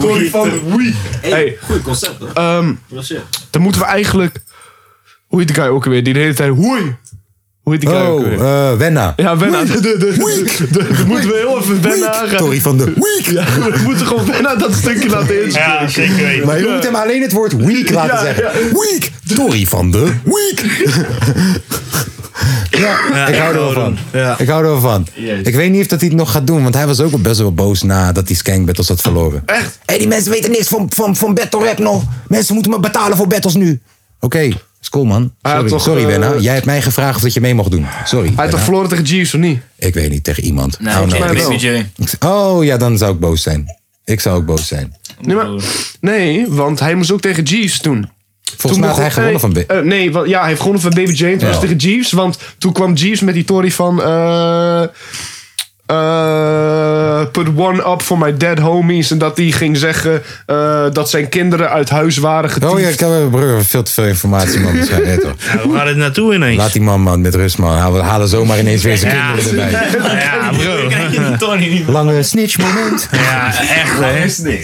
[SPEAKER 2] Sorry, Van Wie.
[SPEAKER 4] is-
[SPEAKER 2] Hey,
[SPEAKER 4] Hey, goed concept, hoor. Dat is shit.
[SPEAKER 2] Ehm, Dan moeten we eigenlijk. Hoe heet die guy ook weer? Die de hele tijd. Hoei! Hoe heet die guy ook
[SPEAKER 1] Oh,
[SPEAKER 2] weer?
[SPEAKER 1] eh Wenna.
[SPEAKER 2] ja, Benna. De, de, de, de- de- de- moeten we heel even Benna
[SPEAKER 1] Weak.
[SPEAKER 2] gaan-
[SPEAKER 1] Tory van de weak.
[SPEAKER 2] Ja, we moeten gewoon Benna dat stukje laten inspreken.
[SPEAKER 3] Ja, zeker weten.
[SPEAKER 1] Maar je moet hem alleen het woord weak laten
[SPEAKER 2] Ja,
[SPEAKER 1] zeggen. Weak. Tory van de weak. Ja, ik hou er wel van.
[SPEAKER 3] Ja.
[SPEAKER 1] Ik hou er wel van.
[SPEAKER 4] Jezus.
[SPEAKER 1] Ik weet niet of dat hij het nog gaat doen, want hij was ook al best wel boos nadat die Skank Battles had verloren.
[SPEAKER 2] Echt?
[SPEAKER 1] Hé, die mensen weten niks van, van, van battle rap nog. Mensen moeten me betalen voor battles Dus nu. Oké, is cool man.
[SPEAKER 2] Hij had
[SPEAKER 1] Sorry,
[SPEAKER 2] toch,
[SPEAKER 1] sorry
[SPEAKER 2] eh,
[SPEAKER 1] Wenna. Jij hebt mij gevraagd of dat je mee mocht doen. Sorry.
[SPEAKER 2] Hij had toch
[SPEAKER 1] Wenna.
[SPEAKER 2] verloren tegen Jeeves of niet?
[SPEAKER 1] Ik weet niet, tegen iemand.
[SPEAKER 4] Nee,
[SPEAKER 1] I don't
[SPEAKER 4] ik
[SPEAKER 1] know.
[SPEAKER 2] mij
[SPEAKER 4] ken
[SPEAKER 2] wel.
[SPEAKER 4] Baby J.
[SPEAKER 1] Ik zeg, Oh ja, dan zou ik boos zijn. Ik zou ook boos zijn.
[SPEAKER 2] Nee, maar, nee, want hij moest ook tegen Jeeves doen.
[SPEAKER 1] Volgens mij had
[SPEAKER 2] begon-
[SPEAKER 1] hij gewonnen van... Ba-
[SPEAKER 2] eh, eh, nee, wa- ja, hij heeft gewonnen van Baby Jane. Toen
[SPEAKER 1] Ja.
[SPEAKER 2] was het tegen Jeeves. Want toen kwam Jeeves met die tory van... eh, eh, put one up for my dead homies. En dat die ging zeggen eh, dat zijn kinderen uit huis waren getiefd.
[SPEAKER 1] Oh ja, ik heb broer, veel te veel informatie, man. Dat zijn- nee, toch.
[SPEAKER 3] Nou, waar het naartoe ineens?
[SPEAKER 1] Laat die man, man, met rust, man. Haal- We halen zomaar ineens weer zijn
[SPEAKER 3] Ja.
[SPEAKER 1] kinderen erbij.
[SPEAKER 3] ja, bro.
[SPEAKER 4] Kijk je die Tony niet
[SPEAKER 1] Lange snitch moment.
[SPEAKER 3] Ja, echt hè.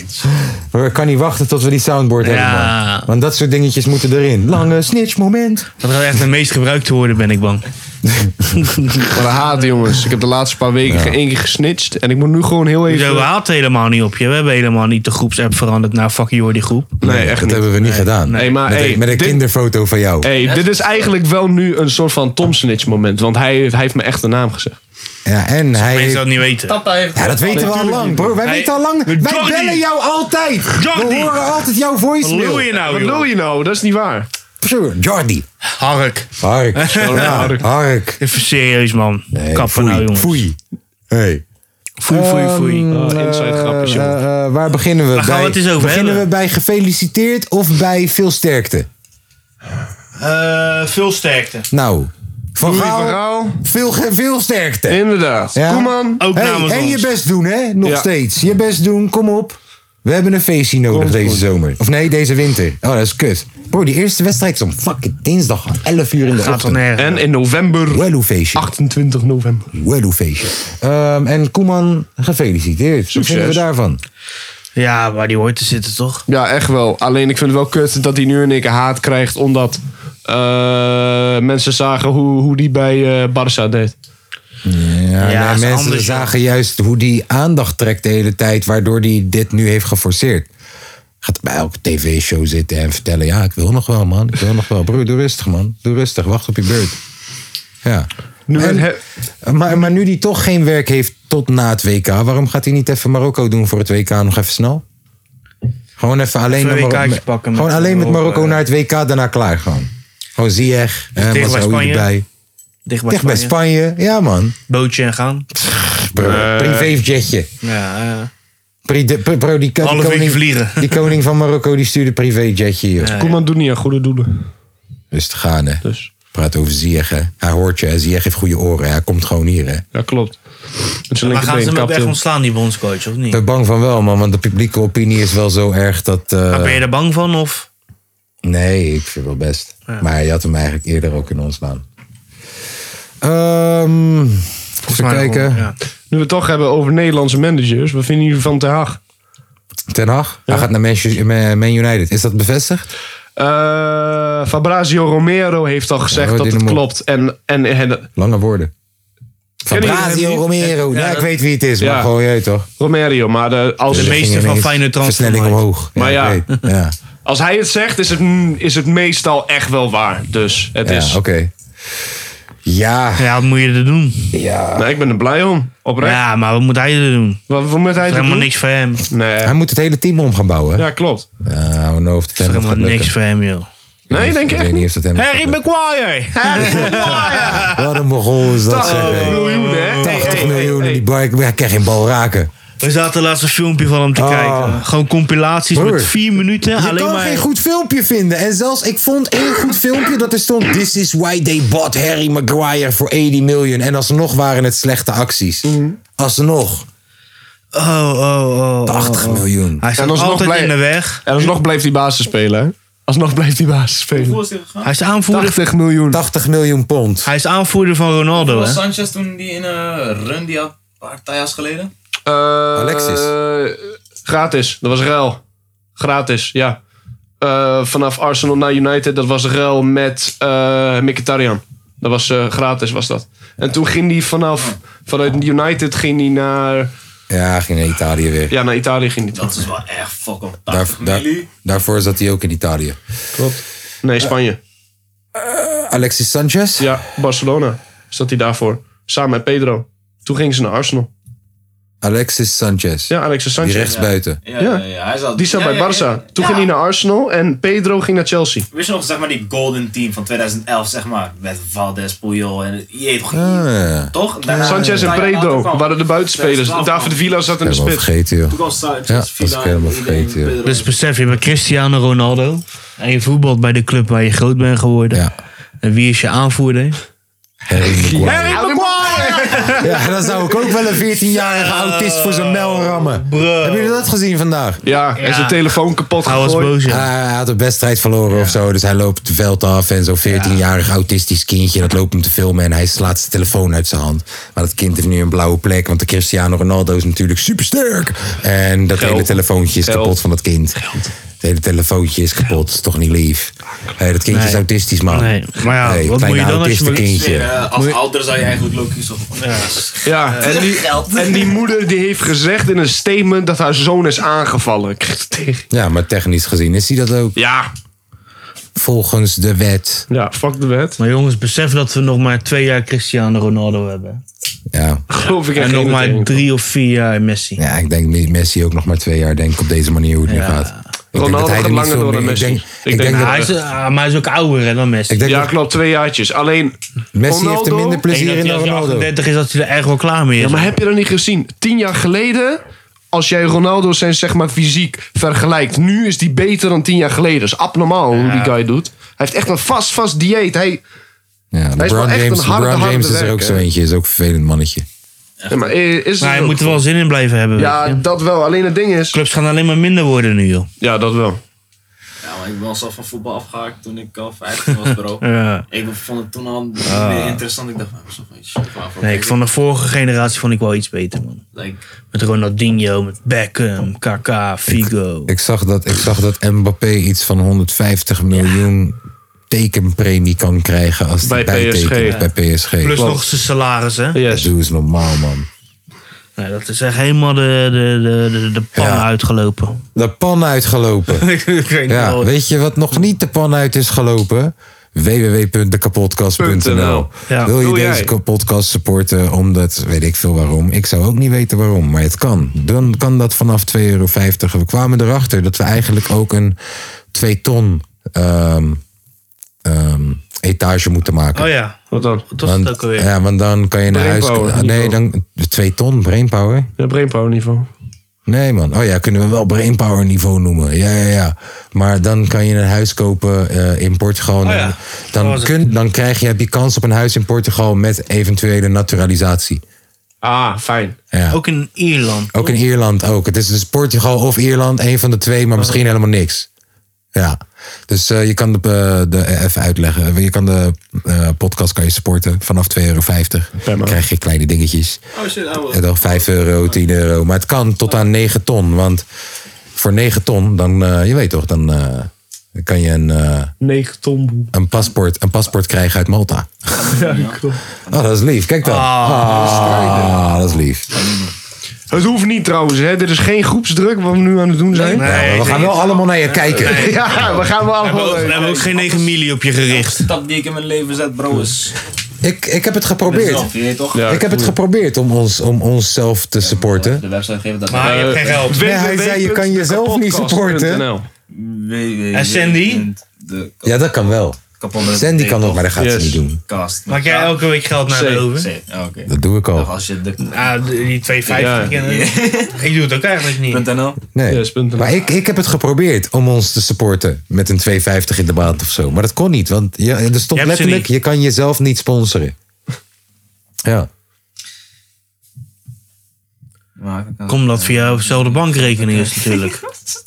[SPEAKER 1] We kan niet wachten tot we die soundboard hebben,
[SPEAKER 3] Ja.
[SPEAKER 1] man. Want dat soort dingetjes moeten erin. Lange snitch moment.
[SPEAKER 3] Dat gaat echt de meest gebruikte worden, ben ik bang.
[SPEAKER 2] Wat een haat, jongens. Dus Ik heb de laatste paar weken geen één keer gesnitcht. En ik moet nu gewoon heel even...
[SPEAKER 3] Zo haalt het helemaal niet op je. We hebben helemaal niet de groepsapp veranderd naar fuck Jordi groep.
[SPEAKER 2] Nee, echt
[SPEAKER 1] Dat
[SPEAKER 2] niet.
[SPEAKER 1] hebben we niet gedaan.
[SPEAKER 2] Nee, maar,
[SPEAKER 1] met,
[SPEAKER 2] hey,
[SPEAKER 1] een, met een
[SPEAKER 2] dit-
[SPEAKER 1] kinderfoto van jou.
[SPEAKER 2] Hey, dit is eigenlijk wel nu een soort van Tom Snitch moment. Want hij, hij heeft me echt de naam gezegd.
[SPEAKER 1] Ja, en hij...
[SPEAKER 3] Mensen dat niet weten.
[SPEAKER 4] Papa heeft...
[SPEAKER 1] Ja, dat weten we al lang, broer. Wij
[SPEAKER 3] Nee,
[SPEAKER 1] weten al lang.
[SPEAKER 3] we
[SPEAKER 1] Wij
[SPEAKER 3] doen
[SPEAKER 1] bellen
[SPEAKER 3] niet.
[SPEAKER 1] jou altijd. We
[SPEAKER 3] Jordi.
[SPEAKER 1] horen altijd jouw
[SPEAKER 3] Wat
[SPEAKER 1] voicemail.
[SPEAKER 3] lul je
[SPEAKER 2] Wat
[SPEAKER 3] nou, joh?
[SPEAKER 2] wil je nou? Dat is niet waar.
[SPEAKER 1] Sure, Jordi.
[SPEAKER 3] Hark.
[SPEAKER 1] Hark.
[SPEAKER 2] Ja,
[SPEAKER 1] Ja,
[SPEAKER 2] Hark.
[SPEAKER 1] Hark.
[SPEAKER 3] Even serieus, man.
[SPEAKER 1] Nee,
[SPEAKER 3] Kappen
[SPEAKER 1] foei,
[SPEAKER 3] nou, jongens.
[SPEAKER 1] Foei. Hey. Ehm,
[SPEAKER 3] Foei, foei, foei.
[SPEAKER 2] Oh, inside grapjes,
[SPEAKER 1] Eh,
[SPEAKER 2] jongen.
[SPEAKER 1] eh, waar beginnen we
[SPEAKER 3] Waar gaan
[SPEAKER 1] bij?
[SPEAKER 3] we het eens over
[SPEAKER 1] beginnen
[SPEAKER 3] hebben?
[SPEAKER 1] we bij gefeliciteerd of bij veel sterkte?
[SPEAKER 3] Eh, veel sterkte.
[SPEAKER 1] Nou, van
[SPEAKER 2] Louis van
[SPEAKER 1] Gaal,
[SPEAKER 2] Gaal.
[SPEAKER 1] veel, ge- veel sterkte.
[SPEAKER 2] Inderdaad.
[SPEAKER 1] Ja.
[SPEAKER 2] Koeman.
[SPEAKER 3] Ook
[SPEAKER 1] Hey,
[SPEAKER 3] namens
[SPEAKER 1] en
[SPEAKER 3] ons.
[SPEAKER 1] je best doen, hè? Nog
[SPEAKER 2] Ja.
[SPEAKER 1] steeds. Je best doen, kom op. We hebben een feestje nodig
[SPEAKER 2] Komt
[SPEAKER 1] deze
[SPEAKER 2] goed.
[SPEAKER 1] zomer. Of nee, deze winter. Oh, dat is kut. Bro, die eerste wedstrijd is om fucking dinsdag om 11 uur in de
[SPEAKER 3] Gaat dan
[SPEAKER 1] ochtend.
[SPEAKER 3] nergens.
[SPEAKER 2] En in november.
[SPEAKER 1] Wello feestje.
[SPEAKER 2] 28 november.
[SPEAKER 1] Wello feestje. Ehm, en Koeman, gefeliciteerd. Wat vinden we daarvan?
[SPEAKER 3] Ja, maar die hoort te zitten, toch?
[SPEAKER 2] Ja, echt wel. Alleen ik vind het wel kut dat hij nu in één keer haat krijgt. Omdat eh, mensen zagen hoe, hoe die bij eh Barça deed.
[SPEAKER 1] Ja,
[SPEAKER 3] Ja,
[SPEAKER 1] nee,
[SPEAKER 3] is
[SPEAKER 1] mensen
[SPEAKER 3] anders, joh.
[SPEAKER 1] zagen juist hoe die aandacht trekt de hele tijd, waardoor die dit nu heeft geforceerd. Gaat bij elke tv-show zitten en vertellen: Ja, ik wil nog wel, man. Ik wil nog wel. Broer, doe rustig, man. Doe rustig. Wacht op je beurt. Ja.
[SPEAKER 2] Nu
[SPEAKER 1] En-
[SPEAKER 2] het-
[SPEAKER 1] maar, maar nu die toch geen werk heeft tot na het WK, waarom gaat hij niet even Marokko doen voor het WK nog even snel? Gewoon even alleen,
[SPEAKER 3] Even een
[SPEAKER 1] naar Marok-
[SPEAKER 3] WK'tje pakken met eh,
[SPEAKER 1] gewoon alleen met
[SPEAKER 3] Marokko,
[SPEAKER 1] Marokko
[SPEAKER 3] ja.
[SPEAKER 1] naar het WK, daarna klaar gewoon. Gewoon Ziyech, eh,
[SPEAKER 3] tegen bij
[SPEAKER 1] Mazraoui
[SPEAKER 3] Spanje?
[SPEAKER 1] erbij.
[SPEAKER 3] Dicht bij,
[SPEAKER 1] Dicht bij
[SPEAKER 3] Spanje.
[SPEAKER 1] Spanje, ja man.
[SPEAKER 3] Bootje en gaan.
[SPEAKER 1] Bro,
[SPEAKER 2] Eh.
[SPEAKER 1] privéjetje.
[SPEAKER 3] Ja, eh. ja.
[SPEAKER 1] Pri- de- pri- Bro, die, die
[SPEAKER 3] Half uurtje
[SPEAKER 1] koning,
[SPEAKER 3] vliegen.
[SPEAKER 1] die koning van Marokko die stuurde privéjetje hier.
[SPEAKER 2] Koeman doet niet aan goede doelen.
[SPEAKER 1] Dus te gaan, hè.
[SPEAKER 2] Dus.
[SPEAKER 1] Praat over Ziyech, hè. Hij hoort je, hè. Ziyech heeft goede oren. Hij komt gewoon hier, hè.
[SPEAKER 2] Ja, klopt. Met zijn
[SPEAKER 3] Maar gaan ze
[SPEAKER 2] linkerbeen
[SPEAKER 3] hem ook
[SPEAKER 2] kapt
[SPEAKER 3] echt
[SPEAKER 2] hij.
[SPEAKER 3] ontslaan, die bondscoach, of
[SPEAKER 1] Ik
[SPEAKER 3] niet?
[SPEAKER 1] ben bang van wel, man. Want de publieke opinie is wel zo erg dat... eh,
[SPEAKER 3] Maar ben je er bang van, of?
[SPEAKER 1] Nee, ik vind wel best. Maar je had hem eigenlijk eerder ook in ons staan. Ehm even
[SPEAKER 3] Maar
[SPEAKER 1] kijken.
[SPEAKER 3] gewoon, ja.
[SPEAKER 2] Nu we het toch hebben over Nederlandse managers. Wat vinden jullie van Ten Hag?
[SPEAKER 1] Ten Hag, hij gaat naar Manchester- Man Man United. Is dat bevestigd?
[SPEAKER 2] Eh, Fabrizio Romero heeft al gezegd
[SPEAKER 1] hoor,
[SPEAKER 2] dat het
[SPEAKER 1] Dinamo.
[SPEAKER 2] klopt. En, en, en
[SPEAKER 1] Lange woorden.
[SPEAKER 2] jullie hem
[SPEAKER 1] Fabrizio
[SPEAKER 2] niet?
[SPEAKER 1] Romero. Ja, ik weet wie het is, maar
[SPEAKER 2] Ja.
[SPEAKER 1] gewoon jij toch?
[SPEAKER 2] Romero, maar de, als,
[SPEAKER 3] De meeste
[SPEAKER 1] Ging
[SPEAKER 3] van
[SPEAKER 1] ineens
[SPEAKER 3] Feyenoord transfer
[SPEAKER 1] Versnelling
[SPEAKER 3] markt.
[SPEAKER 1] omhoog.
[SPEAKER 2] Maar ja.
[SPEAKER 1] ik weet. ja.
[SPEAKER 2] als hij het zegt, is het, mm, is het meestal echt wel waar. Dus het
[SPEAKER 1] ja
[SPEAKER 2] is.
[SPEAKER 1] oké. Ja,
[SPEAKER 3] Ja, wat moet je er doen?
[SPEAKER 1] ja.
[SPEAKER 2] Nou, ik ben er blij om. Oprecht.
[SPEAKER 3] Ja, maar wat moet hij er doen?
[SPEAKER 2] Wat, wat moet hij
[SPEAKER 3] Er is
[SPEAKER 2] te
[SPEAKER 3] helemaal
[SPEAKER 2] doen?
[SPEAKER 3] niks voor hem. Er is
[SPEAKER 2] Nee.
[SPEAKER 1] Hij moet het hele team om gaan bouwen. Ja.
[SPEAKER 2] Ja, klopt.
[SPEAKER 1] hou nou of het hem gaat
[SPEAKER 3] helemaal
[SPEAKER 1] lukken.
[SPEAKER 3] niks voor hem, joh.
[SPEAKER 2] Nee,
[SPEAKER 1] Ik
[SPEAKER 2] denk ik
[SPEAKER 1] weet
[SPEAKER 2] echt
[SPEAKER 1] niet
[SPEAKER 2] niet.
[SPEAKER 1] of dat hem
[SPEAKER 3] Harry Maguire!
[SPEAKER 1] Wat een mogol is dat, zeg.
[SPEAKER 2] Oh,
[SPEAKER 1] hey.
[SPEAKER 2] miljoen, hè?
[SPEAKER 1] 80
[SPEAKER 2] Hey, hey,
[SPEAKER 1] miljoen
[SPEAKER 2] hey,
[SPEAKER 1] in die
[SPEAKER 2] hey.
[SPEAKER 1] bike. Hij kan geen bal raken.
[SPEAKER 3] We zaten laatst een filmpje van hem te
[SPEAKER 1] Ah.
[SPEAKER 3] kijken. Gewoon compilaties
[SPEAKER 1] Broer.
[SPEAKER 3] met vier minuten.
[SPEAKER 1] Je
[SPEAKER 3] alleen
[SPEAKER 1] kan
[SPEAKER 3] maar...
[SPEAKER 1] geen goed filmpje vinden. En zelfs, ik vond één goed filmpje dat er stond... This is why they bought Harry Maguire voor 80 miljoen. En alsnog waren het slechte acties. Alsnog.
[SPEAKER 3] Oh, oh, oh, oh.
[SPEAKER 1] 80 miljoen.
[SPEAKER 3] Hij staat
[SPEAKER 2] En alsnog
[SPEAKER 3] altijd
[SPEAKER 2] blij-
[SPEAKER 3] in de weg.
[SPEAKER 2] En alsnog blijft hij basis spelen. hè? Alsnog blijft hij basis spelen.
[SPEAKER 4] Hoe is die gegaan?
[SPEAKER 3] Hij is aanvoerder,
[SPEAKER 2] 80 miljoen.
[SPEAKER 1] 80 miljoen pond.
[SPEAKER 3] hij is aanvoerder van Ronaldo,
[SPEAKER 4] Was
[SPEAKER 3] hè?
[SPEAKER 4] Sanchez toen die in een run die had een paar jaar geleden?
[SPEAKER 2] Eh,
[SPEAKER 1] Alexis.
[SPEAKER 2] gratis. Dat was ruil. Gratis, ja. Eh, vanaf Arsenal naar United, dat was ruil met eh Mkhitaryan. Dat was eh, gratis, was dat. En toen ging hij vanaf, vanuit United ging hij naar,
[SPEAKER 1] Ja, ging naar Italië weer.
[SPEAKER 2] ja, naar Italië. Ging hij.
[SPEAKER 4] Dat is wel echt fuck op
[SPEAKER 1] Daar,
[SPEAKER 4] 80
[SPEAKER 1] daar-
[SPEAKER 4] miljoen.
[SPEAKER 1] daarvoor zat hij ook in Italië.
[SPEAKER 2] Nee, Spanje.
[SPEAKER 1] Eh, Alexis Sanchez?
[SPEAKER 2] Ja, Barcelona zat hij daarvoor. Samen met Pedro. Toen gingen ze naar Arsenal.
[SPEAKER 1] Alexis Sanchez.
[SPEAKER 2] Ja, Alexis
[SPEAKER 1] Die
[SPEAKER 2] Sanchez.
[SPEAKER 1] rechtsbuiten.
[SPEAKER 4] Ja, ja. ja, hij zat,
[SPEAKER 2] Die zat
[SPEAKER 4] ja,
[SPEAKER 2] bij
[SPEAKER 4] ja,
[SPEAKER 2] Barça.
[SPEAKER 4] ja.
[SPEAKER 2] Toen
[SPEAKER 4] Ja.
[SPEAKER 2] ging hij naar Arsenal en Pedro ging naar Chelsea.
[SPEAKER 4] Wist je nog, zeg maar, die golden team van 2011, zeg maar. Met Valdes, Puyol en... Je hebt toch...
[SPEAKER 1] Ah, ja.
[SPEAKER 4] Toch? Daarna-
[SPEAKER 2] Sanchez en
[SPEAKER 4] Daar-
[SPEAKER 2] Bredo
[SPEAKER 4] daar-
[SPEAKER 2] waren de buitenspelers.
[SPEAKER 4] daar-
[SPEAKER 2] David Villa zat in de
[SPEAKER 1] Helemaal
[SPEAKER 2] spits.
[SPEAKER 1] vergeten, joh.
[SPEAKER 4] Toen kwam Sanchez,
[SPEAKER 1] Ja, dat
[SPEAKER 4] Villa,
[SPEAKER 1] is helemaal
[SPEAKER 4] iedereen,
[SPEAKER 1] vergeten, joh.
[SPEAKER 4] Pedro.
[SPEAKER 3] Dus besef, je bent Cristiano Ronaldo. En je voetbalt bij de club waar je groot bent geworden.
[SPEAKER 1] Ja.
[SPEAKER 3] En wie is je aanvoerder?
[SPEAKER 1] Harry Maguire.
[SPEAKER 2] Maguire!
[SPEAKER 1] Ja, dan zou ik ook wel een 14-jarige autist voor zijn mel rammen. Hebben jullie dat gezien vandaag?
[SPEAKER 2] Ja, en zijn telefoon kapot
[SPEAKER 3] Hij was
[SPEAKER 2] gegooid.
[SPEAKER 3] boos, ja.
[SPEAKER 1] Ah, hij had een wedstrijd verloren of zo, dus hij loopt het veld af. En zo'n 14-jarig autistisch kindje, dat loopt hem te filmen. En hij slaat zijn telefoon uit zijn hand. Maar dat kind heeft nu een blauwe plek, want de Cristiano Ronaldo is natuurlijk supersterk. En dat
[SPEAKER 2] Geld.
[SPEAKER 1] hele telefoontje is
[SPEAKER 2] Geld.
[SPEAKER 1] kapot van dat kind. Het hele telefoontje is kapot, is toch niet lief? Hé, dat kindje
[SPEAKER 3] Nee.
[SPEAKER 1] is autistisch, man.
[SPEAKER 3] Nee, maar ja,
[SPEAKER 1] Hé,
[SPEAKER 3] wat
[SPEAKER 1] kleine
[SPEAKER 3] moet je dan als je
[SPEAKER 1] autiste
[SPEAKER 3] maar-
[SPEAKER 1] nou, kindje.
[SPEAKER 4] Eh, als ouder zou je eigenlijk Loki's op.
[SPEAKER 2] Ja, en die,
[SPEAKER 4] Geld.
[SPEAKER 2] en die moeder die heeft gezegd in een statement dat haar zoon is aangevallen. Ik kreeg het tegen.
[SPEAKER 1] Ja, maar technisch gezien is hij dat ook
[SPEAKER 2] Ja,
[SPEAKER 1] volgens de wet.
[SPEAKER 2] ja, fuck de wet.
[SPEAKER 3] Maar jongens, besef dat we nog maar twee jaar Cristiano Ronaldo hebben.
[SPEAKER 1] Ja.
[SPEAKER 2] Geloof ik echt
[SPEAKER 3] En nog
[SPEAKER 2] geen
[SPEAKER 3] maar
[SPEAKER 2] meteen.
[SPEAKER 3] drie of vier jaar Messi.
[SPEAKER 1] Ja, ik denk Messi ook nog maar twee jaar, denk ik, op deze manier hoe het nu gaat. Ik denk
[SPEAKER 2] Ronaldo
[SPEAKER 1] dat hij
[SPEAKER 2] gaat
[SPEAKER 1] er niet
[SPEAKER 2] langer
[SPEAKER 1] zo
[SPEAKER 2] door dan
[SPEAKER 1] mee- ik
[SPEAKER 2] Messi.
[SPEAKER 1] denk,
[SPEAKER 2] Ik
[SPEAKER 1] ik
[SPEAKER 2] denk
[SPEAKER 1] denk
[SPEAKER 2] dat
[SPEAKER 1] dat
[SPEAKER 3] Hij is, ah, maar hij is ook ouder hè, dan Messi.
[SPEAKER 1] ik denk
[SPEAKER 2] Ja,
[SPEAKER 1] dat
[SPEAKER 2] klopt, twee jaartjes. Alleen,
[SPEAKER 1] Messi heeft er
[SPEAKER 2] Ronaldo-
[SPEAKER 1] minder
[SPEAKER 3] Ik denk
[SPEAKER 1] plezier
[SPEAKER 3] dat
[SPEAKER 1] in
[SPEAKER 3] hij
[SPEAKER 1] dan
[SPEAKER 3] als hij
[SPEAKER 1] Ronaldo.
[SPEAKER 3] 38 is, dat hij er echt wel klaar mee is.
[SPEAKER 2] ja, maar heb je dat niet gezien? Tien jaar geleden, als jij Ronaldo zijn zeg maar, fysiek vergelijkt, nu is die beter dan tien jaar geleden. Dat is abnormaal hoe die guy doet. Hij heeft echt een vast, vast dieet. Hij,
[SPEAKER 1] Ja,
[SPEAKER 2] wel
[SPEAKER 1] LeBron
[SPEAKER 2] echt een
[SPEAKER 1] James,
[SPEAKER 2] harde,
[SPEAKER 1] LeBron
[SPEAKER 2] harde
[SPEAKER 1] James is er
[SPEAKER 2] werker.
[SPEAKER 1] ook zo eentje, is ook een vervelend mannetje.
[SPEAKER 2] ja, maar, eh, is
[SPEAKER 3] Maar
[SPEAKER 2] het
[SPEAKER 3] hij
[SPEAKER 2] ook
[SPEAKER 3] moet er wel zin in blijven hebben.
[SPEAKER 2] Ja,
[SPEAKER 3] weet je.
[SPEAKER 2] dat wel. Alleen het ding is.
[SPEAKER 3] Clubs gaan alleen maar minder worden nu, joh.
[SPEAKER 2] Ja, dat wel.
[SPEAKER 4] Ja, maar ik ben al zelf van voetbal afgehaakt toen ik al 15 was, bro.
[SPEAKER 3] Ja. Ah.
[SPEAKER 4] Ik vond het toen al niet meer interessant. Ik dacht, "Ah, van, zo van, shit, maar voor
[SPEAKER 3] Nee, ik vond de vorige generatie vond ik wel iets beter, man.
[SPEAKER 4] Like,
[SPEAKER 3] Met Ronaldinho, met Beckham, Kaká, Figo.
[SPEAKER 1] Ik zag dat, ik zag dat Mbappé iets van 150 miljoen tekenpremie kan krijgen als hij
[SPEAKER 2] Bij PSG.
[SPEAKER 1] bijtekent bij PSG.
[SPEAKER 3] Plus
[SPEAKER 1] Dat
[SPEAKER 3] nog zijn salaris, hè?
[SPEAKER 2] Yes.
[SPEAKER 1] doe eens normaal, man.
[SPEAKER 3] Nee, dat is echt helemaal de, de, de, de, de pan
[SPEAKER 1] Ja.
[SPEAKER 3] uitgelopen.
[SPEAKER 1] De pan uitgelopen.
[SPEAKER 3] ik weet niet
[SPEAKER 1] Ja,
[SPEAKER 3] wel.
[SPEAKER 1] weet je wat nog niet de pan uit is gelopen? www.dekapodcast.nl
[SPEAKER 3] Ja.
[SPEAKER 1] Wil je
[SPEAKER 2] Doe
[SPEAKER 1] deze
[SPEAKER 2] jij.
[SPEAKER 1] ka- podcast supporten omdat, weet ik veel waarom. Ik zou ook niet weten waarom, maar het kan. Dan kan dat vanaf 2,50 euro. We kwamen erachter dat we eigenlijk ook een 2 ton ehm, ehm, etage moeten maken.
[SPEAKER 3] Oh ja,
[SPEAKER 2] Wat dan?
[SPEAKER 3] wat was het
[SPEAKER 1] Want-
[SPEAKER 3] ook alweer?
[SPEAKER 1] ja, want dan kan je naar huis...
[SPEAKER 2] Brainpower,
[SPEAKER 1] Ah, Nee, dan 2 ton, brainpower.
[SPEAKER 2] Ja, brainpower niveau.
[SPEAKER 1] Nee man, oh ja, kunnen we wel brainpower niveau noemen. Ja, ja, ja. Maar dan kan je een huis kopen eh, in Portugal.
[SPEAKER 3] Oh ja.
[SPEAKER 1] Dan-
[SPEAKER 3] Dat
[SPEAKER 1] Dan,
[SPEAKER 3] was het.
[SPEAKER 1] kun, dan krijg je, heb je kans op een huis in Portugal met eventuele naturalisatie.
[SPEAKER 2] Ah, fijn.
[SPEAKER 1] Ja. Ook,
[SPEAKER 3] Ook in Ierland.
[SPEAKER 1] in Ierland ook. Het is dus Portugal of Ierland, één van de twee, maar misschien helemaal niks. Ja, dus eh, je kan de, eh, de eh, even uitleggen. Je kan de eh, podcast kan je supporten vanaf 2,50 euro. Dan krijg je kleine dingetjes.
[SPEAKER 4] oh shit, ouwe.
[SPEAKER 1] Ja, dan 5 euro, 10 euro. Maar het kan tot aan 9 ton. Want voor 9 ton, dan, eh, je weet toch, dan eh, kan je een, eh,
[SPEAKER 2] 9 ton boe.
[SPEAKER 1] een, paspoort, een paspoort krijgen uit Malta. Oh, dat is lief. Kijk dan.
[SPEAKER 3] Ah.
[SPEAKER 1] Ah, dat is lief.
[SPEAKER 2] Het hoeft niet trouwens, hè. Dit is geen groepsdruk wat we nu aan het doen zijn.
[SPEAKER 1] Ja, maar we gaan wel allemaal naar je kijken.
[SPEAKER 2] Ja, we gaan wel allemaal...
[SPEAKER 3] We hebben ook geen 9 milie op je gericht.
[SPEAKER 4] stap die ik in mijn leven zet, bro, is
[SPEAKER 1] Ik, ik heb het geprobeerd.
[SPEAKER 4] zelf, je weet toch?
[SPEAKER 2] Ja.
[SPEAKER 1] Ik heb het geprobeerd om, ons, om onszelf te supporten.
[SPEAKER 4] De website geeft dat. Eh,
[SPEAKER 3] Maar je hebt geen geld.
[SPEAKER 1] Nee, hij zei, je kan jezelf niet supporten.
[SPEAKER 4] www.
[SPEAKER 3] En Sandy?
[SPEAKER 4] De
[SPEAKER 1] Ja, dat kan wel.
[SPEAKER 4] kapotte-
[SPEAKER 1] Sandy kan ook, maar dat gaat ze
[SPEAKER 2] Yes.
[SPEAKER 1] niet doen.
[SPEAKER 4] Cast.
[SPEAKER 3] Maak jij elke week geld naar de
[SPEAKER 2] Zeker.
[SPEAKER 3] over?
[SPEAKER 4] Zee, oh, Oké.
[SPEAKER 1] Dat doe ik
[SPEAKER 4] Of
[SPEAKER 1] al.
[SPEAKER 4] als je de...
[SPEAKER 3] Ah, die 2,50
[SPEAKER 2] Ja.
[SPEAKER 3] kennen. Ik doe het ook eigenlijk niet.
[SPEAKER 4] .nl?
[SPEAKER 1] Nee.
[SPEAKER 2] Yes, punt.
[SPEAKER 1] Maar ik, ik heb het geprobeerd om ons te supporten met een 2,50 in de maand of zo. Maar dat kon niet, want ja, er stond
[SPEAKER 3] ze
[SPEAKER 1] letterlijk:
[SPEAKER 3] niet.
[SPEAKER 1] je kan jezelf niet sponsoren. Ja.
[SPEAKER 4] Maar ik kan-
[SPEAKER 3] Kom dat via dezelfde bankrekening is natuurlijk.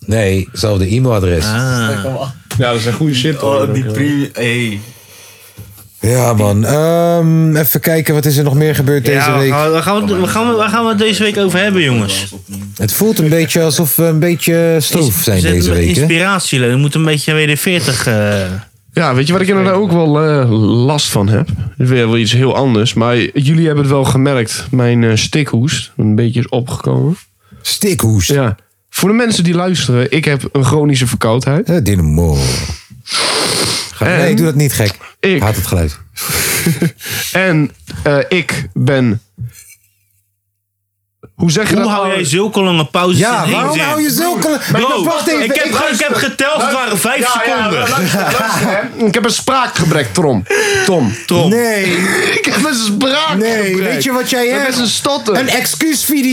[SPEAKER 1] Nee, zelfde e-mailadres.
[SPEAKER 3] Ah.
[SPEAKER 2] Ja, dat is een goede shit, hoor.
[SPEAKER 4] Oh, die premium. Hey.
[SPEAKER 1] Ja, man. Ehm, even kijken, wat is er nog meer gebeurd deze
[SPEAKER 3] Ja,
[SPEAKER 1] week?
[SPEAKER 3] waar gaan we- waar gaan, we, waar, gaan we, waar gaan we het deze week over hebben, jongens?
[SPEAKER 1] Het voelt een beetje alsof we een beetje stroef zijn
[SPEAKER 3] Zet
[SPEAKER 1] deze
[SPEAKER 3] hem-
[SPEAKER 1] week. Hè?
[SPEAKER 3] Inspiratie, we moeten een beetje WD-40... eh,
[SPEAKER 2] Ja, weet je wat ik er ook wel eh, last van heb? Weer wel iets heel anders. Maar jullie hebben het wel gemerkt. Mijn eh, stikhoest een beetje is opgekomen.
[SPEAKER 1] Stikhoest.
[SPEAKER 2] Ja. Voor de mensen die luisteren. Ik heb een chronische verkoudheid.
[SPEAKER 1] Eh, Dynamo. Ga-
[SPEAKER 2] En-
[SPEAKER 1] Nee, doe dat niet gek.
[SPEAKER 2] Ik
[SPEAKER 1] Haat het geluid.
[SPEAKER 2] En eh, ik ben Hoe zeg je
[SPEAKER 3] Hoe
[SPEAKER 2] dat?
[SPEAKER 3] hou
[SPEAKER 2] nou?
[SPEAKER 3] jij zulke lange pauzes in
[SPEAKER 1] Ja,
[SPEAKER 3] games
[SPEAKER 1] waarom
[SPEAKER 3] in?
[SPEAKER 1] hou je zulke...
[SPEAKER 2] Oh,
[SPEAKER 3] Bro,
[SPEAKER 1] wacht even.
[SPEAKER 3] ik heb,
[SPEAKER 1] ik-
[SPEAKER 3] ik heb geteld, het waren vijf
[SPEAKER 2] Ja, ja,
[SPEAKER 3] seconden.
[SPEAKER 2] luister, luister, hè. Ik heb een spraakgebrek, Tom. Tom.
[SPEAKER 3] Tom.
[SPEAKER 1] Nee,
[SPEAKER 2] Ik heb een spraakgebrek.
[SPEAKER 1] nee. Weet je wat jij
[SPEAKER 2] Ik heb
[SPEAKER 1] hebt?
[SPEAKER 2] best een stotter.
[SPEAKER 1] Een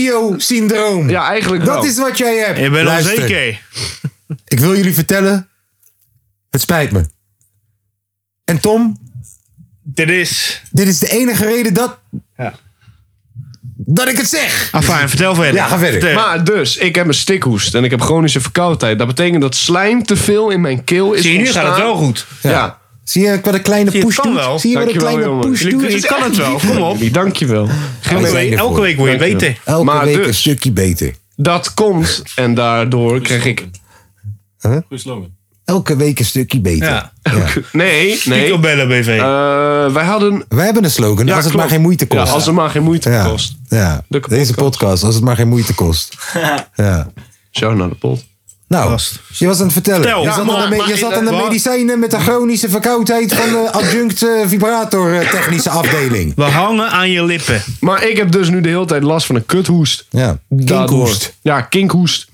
[SPEAKER 1] excuusvideo-syndroom.
[SPEAKER 2] ja, eigenlijk wel.
[SPEAKER 1] Dat is wat jij hebt.
[SPEAKER 3] Je bent Ah,
[SPEAKER 1] Luister,
[SPEAKER 3] onzeker.
[SPEAKER 1] Ik wil jullie vertellen. Het spijt me. En Tom,
[SPEAKER 3] Dit is...
[SPEAKER 1] dit is de enige reden dat.
[SPEAKER 3] Ja.
[SPEAKER 1] Dat ik het zeg.
[SPEAKER 3] Afijn, vertel verder.
[SPEAKER 1] Ja, ga verder.
[SPEAKER 3] Vertel.
[SPEAKER 2] Maar dus, ik heb een stikhoest en ik heb chronische verkoudheid. Dat betekent dat slijm te veel in mijn keel is
[SPEAKER 3] Zie je, nu gaat het
[SPEAKER 2] ontstaan.
[SPEAKER 3] wel goed.
[SPEAKER 2] Ja,
[SPEAKER 1] Zie je wat een kleine
[SPEAKER 3] Zie je,
[SPEAKER 1] push
[SPEAKER 3] het kan
[SPEAKER 1] doet?
[SPEAKER 3] wel.
[SPEAKER 1] Zie je wat een
[SPEAKER 2] Dankjewel,
[SPEAKER 1] kleine
[SPEAKER 2] jongen.
[SPEAKER 1] push
[SPEAKER 3] Dus Jullie-
[SPEAKER 1] doet?
[SPEAKER 3] Je kan het wel, kom op.
[SPEAKER 2] jullie, dankjewel.
[SPEAKER 1] Wij
[SPEAKER 3] Elke
[SPEAKER 1] zijn
[SPEAKER 3] week,
[SPEAKER 1] ervoor.
[SPEAKER 3] elke week word je
[SPEAKER 2] Dankjewel.
[SPEAKER 3] beter.
[SPEAKER 1] Elke
[SPEAKER 2] Maar
[SPEAKER 1] week een
[SPEAKER 2] dus.
[SPEAKER 1] stukje beter.
[SPEAKER 2] Dat komt en daardoor krijg ik...
[SPEAKER 4] Goeie slogan.
[SPEAKER 1] Elke week een stukje beter.
[SPEAKER 3] Ja.
[SPEAKER 2] Nee, nee.
[SPEAKER 3] Picobello BV.
[SPEAKER 2] Eh, wij hadden...
[SPEAKER 1] Wij hebben een slogan. als het
[SPEAKER 2] klopt.
[SPEAKER 1] maar geen moeite kost.
[SPEAKER 2] Ja, als het maar geen moeite
[SPEAKER 1] Ja.
[SPEAKER 2] kost.
[SPEAKER 1] Ja.
[SPEAKER 2] De
[SPEAKER 1] Deze
[SPEAKER 2] podcast.
[SPEAKER 1] podcast. Als het maar geen moeite kost. ja.
[SPEAKER 2] Zo naar de pot.
[SPEAKER 1] Nou,
[SPEAKER 3] Gast.
[SPEAKER 1] je was aan het vertellen.
[SPEAKER 3] Vertel.
[SPEAKER 1] je
[SPEAKER 3] Ja,
[SPEAKER 1] zat,
[SPEAKER 3] maar-
[SPEAKER 1] aan, de, me-
[SPEAKER 3] maar
[SPEAKER 1] je zat
[SPEAKER 3] in-
[SPEAKER 1] aan de
[SPEAKER 3] wat?
[SPEAKER 1] medicijnen met de chronische verkoudheid van de adjunct eh, vibrator eh, technische afdeling.
[SPEAKER 3] We hangen aan je lippen.
[SPEAKER 2] Maar ik heb dus nu de hele tijd last van een kuthoest.
[SPEAKER 1] Ja,
[SPEAKER 2] Daardoor-
[SPEAKER 1] kinkhoest.
[SPEAKER 2] Ja, kinkhoest.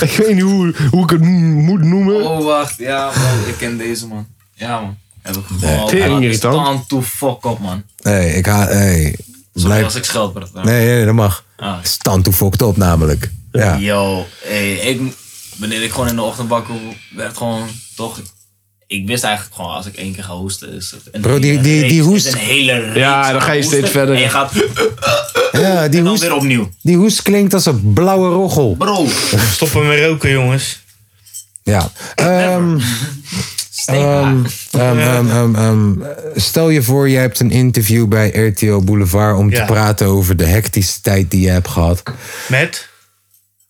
[SPEAKER 2] ik weet niet hoe, hoe ik het moet noemen.
[SPEAKER 4] Oh, wacht. Ja, man. Ik ken deze, man. Ja, man. Heb ik gewoon...
[SPEAKER 2] Tering
[SPEAKER 4] Ja,
[SPEAKER 2] irritant.
[SPEAKER 4] stand to fuck up, man.
[SPEAKER 1] Nee, ik ha... Hey,
[SPEAKER 4] Sorry
[SPEAKER 1] blijf...
[SPEAKER 4] als ik scheld ben.
[SPEAKER 1] Nee, nee, dat mag.
[SPEAKER 4] Ah.
[SPEAKER 1] Stand toe fokt op namelijk. Ja.
[SPEAKER 4] Yo, hey, ik, wanneer ik gewoon in de ochtend wakker werd, gewoon toch. Ik wist eigenlijk gewoon als ik één keer ga hoesten. Is het een
[SPEAKER 1] Bro, die-
[SPEAKER 4] hele
[SPEAKER 1] die- die
[SPEAKER 4] reeks- is
[SPEAKER 1] hoest-
[SPEAKER 4] Een hele reeks
[SPEAKER 2] Ja, dan ga je
[SPEAKER 4] aan
[SPEAKER 2] steeds
[SPEAKER 4] hoesten.
[SPEAKER 2] verder.
[SPEAKER 4] En je gaat
[SPEAKER 1] Ja, die
[SPEAKER 4] en dan
[SPEAKER 1] hoest,
[SPEAKER 4] weer opnieuw.
[SPEAKER 1] die hoest klinkt als een blauwe roggel.
[SPEAKER 4] Bro,
[SPEAKER 3] Stoppen met roken, jongens.
[SPEAKER 1] Ja. Ehm,
[SPEAKER 4] steekhaar.
[SPEAKER 1] ehm, ehm, ehm, ehm, ehm, Stel je voor, je hebt een interview bij RTO Boulevard om
[SPEAKER 3] Ja.
[SPEAKER 1] te praten over de hectische tijd die je hebt gehad.
[SPEAKER 3] Met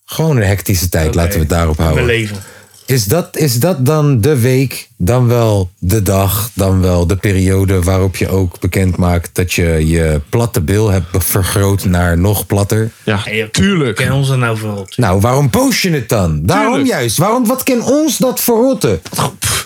[SPEAKER 1] Gewoon een hectische tijd, laten we het daarop houden.
[SPEAKER 3] mijn leven.
[SPEAKER 1] Is dat, is dat dan de week, dan wel de dag, dan wel de periode waarop je ook bekend maakt dat je je platte bil hebt vergroot naar nog platter?
[SPEAKER 2] Ja,
[SPEAKER 3] Hey, joh,
[SPEAKER 2] tuurlijk.
[SPEAKER 3] Ken ons er nou vooral op.
[SPEAKER 1] Nou, waarom post je het dan? Daarom
[SPEAKER 2] Tuurlijk.
[SPEAKER 1] juist. Waarom, wat kan ons dat verrotten?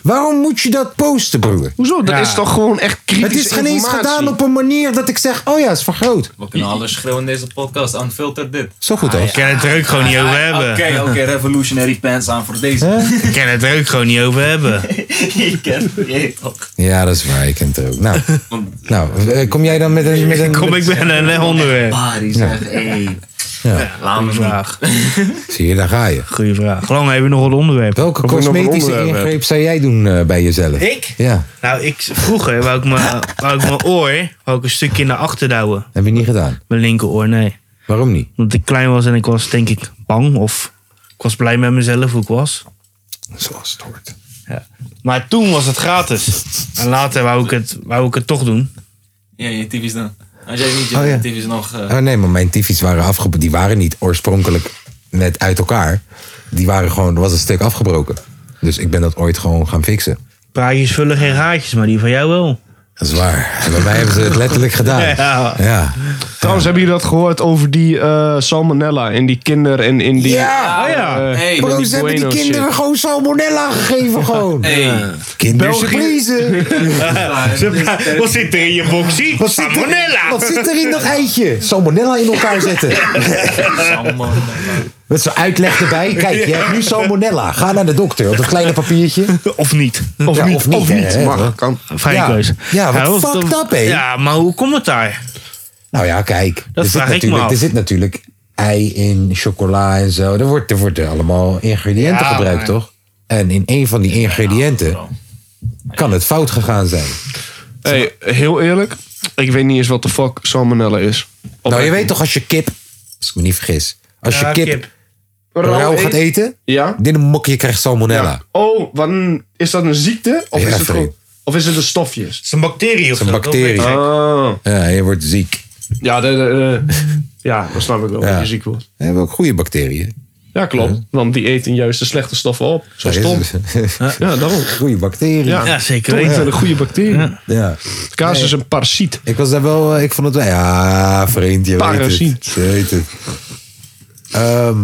[SPEAKER 1] Waarom moet je dat posten, broer?
[SPEAKER 2] Hoezo? Dat is toch gewoon echt kritisch
[SPEAKER 1] Het is geen eens gedaan op een manier dat ik zeg, oh ja, het is vergroot.
[SPEAKER 4] We kunnen alles schreeuwen in deze podcast. Unfiltered dit. Ah,
[SPEAKER 1] Zo goed als.
[SPEAKER 3] Ik kan het er ook gewoon niet over hebben.
[SPEAKER 4] Oké, oké, revolutionary pants aan voor deze.
[SPEAKER 3] Ik kan het er ook gewoon niet over hebben.
[SPEAKER 4] je kent je weet toch.
[SPEAKER 1] Ja, dat is waar. Ik kent het ook. Nou, nou eh, kom jij dan met een... Met een
[SPEAKER 3] Kom, ik ben een een onderwerp.
[SPEAKER 4] Bari zegt, hey.
[SPEAKER 1] Ja.
[SPEAKER 4] Laat me vragen.
[SPEAKER 3] Vraag.
[SPEAKER 1] Zie je, daar ga je.
[SPEAKER 3] Goeie vraag. Hoe lang hebben we nog wat onderwerp?
[SPEAKER 1] Welke
[SPEAKER 2] nog een
[SPEAKER 1] cosmetische
[SPEAKER 2] onderwerp heb.
[SPEAKER 1] ingreep zou jij doen eh, bij jezelf?
[SPEAKER 3] Ik?
[SPEAKER 1] Ja,
[SPEAKER 3] Nou, ik, vroeger wou ik mijn- wou ik mijn oor wou ik een stukje naar achter duwen.
[SPEAKER 1] heb je niet gedaan.
[SPEAKER 3] Mijn linkeroor, nee.
[SPEAKER 1] Waarom niet?
[SPEAKER 3] Omdat ik klein was en ik was denk ik bang. Of ik was blij met mezelf hoe ik was.
[SPEAKER 1] Zoals het hoort.
[SPEAKER 3] Maar toen was het gratis. En later wou ik het, wou ik het toch doen.
[SPEAKER 4] Ja, je typisch dan. Als jij niet je
[SPEAKER 1] Oh, ja.
[SPEAKER 4] typisch nog... eh,
[SPEAKER 1] Oh nee, maar mijn tyfies waren afgebroken. Die waren niet oorspronkelijk net uit elkaar. Die waren gewoon, er was een stuk afgebroken. Dus ik ben dat ooit gewoon gaan fixen.
[SPEAKER 3] Praatjes vullen geen gaatjes, maar die van jou wel.
[SPEAKER 1] Dat is waar. En bij mij hebben ze het letterlijk gedaan.
[SPEAKER 3] Ja.
[SPEAKER 1] Ja.
[SPEAKER 2] Trouwens, hebben jullie dat gehoord over die eh, salmonella en die kinder en in die...
[SPEAKER 1] Ja!
[SPEAKER 2] Ah, ja.
[SPEAKER 4] Hey,
[SPEAKER 1] Bro,
[SPEAKER 2] die
[SPEAKER 1] ze hebben die
[SPEAKER 2] Bueno
[SPEAKER 1] kinderen
[SPEAKER 2] shit.
[SPEAKER 1] gewoon salmonella gegeven gewoon.
[SPEAKER 4] hey.
[SPEAKER 1] Kindersurprise.
[SPEAKER 3] Wat zit er in je boxie?
[SPEAKER 1] Wat zit, er, wat zit er in dat eitje? Salmonella in elkaar zetten. Met zo'n uitleg erbij. Kijk, je hebt nu salmonella. Ga naar de dokter op dat kleine papiertje.
[SPEAKER 3] Of niet. Of
[SPEAKER 1] Ja,
[SPEAKER 3] niet.
[SPEAKER 1] of niet,
[SPEAKER 3] Of
[SPEAKER 1] hè,
[SPEAKER 3] niet.
[SPEAKER 1] hè.
[SPEAKER 2] Mag, kan.
[SPEAKER 3] Vrije
[SPEAKER 1] Ja.
[SPEAKER 3] keuze.
[SPEAKER 1] Ja, wat
[SPEAKER 3] dat was
[SPEAKER 1] fucked
[SPEAKER 3] toch-
[SPEAKER 1] up, hè?
[SPEAKER 3] Ja, maar hoe komt het daar?
[SPEAKER 1] Nou ja, kijk.
[SPEAKER 3] Dat
[SPEAKER 1] er zit
[SPEAKER 3] vraag ik me
[SPEAKER 1] natuurlijk,
[SPEAKER 3] af.
[SPEAKER 1] Er zit natuurlijk ei in, chocola en zo. Er wordt, er wordt allemaal ingrediënten
[SPEAKER 3] Ja,
[SPEAKER 1] gebruikt,
[SPEAKER 3] maar- nou,
[SPEAKER 1] toch? En in een van die ingrediënten kan het fout gegaan zijn.
[SPEAKER 2] Hey, heel eerlijk. Ik weet niet eens wat de fuck salmonella is.
[SPEAKER 1] nou, je weet toch als je kip, als ik me niet vergis, als je
[SPEAKER 3] Ja,
[SPEAKER 1] kip,
[SPEAKER 2] Rauw
[SPEAKER 1] rauw gaat
[SPEAKER 2] eet-
[SPEAKER 1] eten,
[SPEAKER 2] Ja?
[SPEAKER 1] dit een mokje krijgt salmonella.
[SPEAKER 2] Ja. Oh, wat een- is dat een ziekte? Of
[SPEAKER 1] Ja,
[SPEAKER 2] is het
[SPEAKER 1] vreemd.
[SPEAKER 2] gewoon- Of is het een stofje?
[SPEAKER 3] Het is een bacterie of
[SPEAKER 1] is een
[SPEAKER 3] zo,
[SPEAKER 1] bacterie.
[SPEAKER 3] toch?
[SPEAKER 2] Ah.
[SPEAKER 1] Ja, je wordt ziek.
[SPEAKER 2] Ja, de, de- de- ja, dat snap ik wel.
[SPEAKER 1] Ja.
[SPEAKER 2] Dat je ziek wordt.
[SPEAKER 1] We hebben ook goede bacteriën.
[SPEAKER 2] Ja, klopt. Want die eten juist de slechte stoffen op. Zo
[SPEAKER 1] Daar is
[SPEAKER 2] stom.
[SPEAKER 1] het.
[SPEAKER 2] Ja, daarom.
[SPEAKER 1] goede bacteriën.
[SPEAKER 2] Ja,
[SPEAKER 3] Ja, zeker
[SPEAKER 2] Toch
[SPEAKER 3] weten.
[SPEAKER 2] zijn een goede bacterie.
[SPEAKER 1] Ja.
[SPEAKER 2] Kaas is een parasiet.
[SPEAKER 1] Ik was daar wel, eh, ik vond het wel, ja, vreemd, je weet
[SPEAKER 2] Parasiet.
[SPEAKER 1] het. Je weet het. Ehm,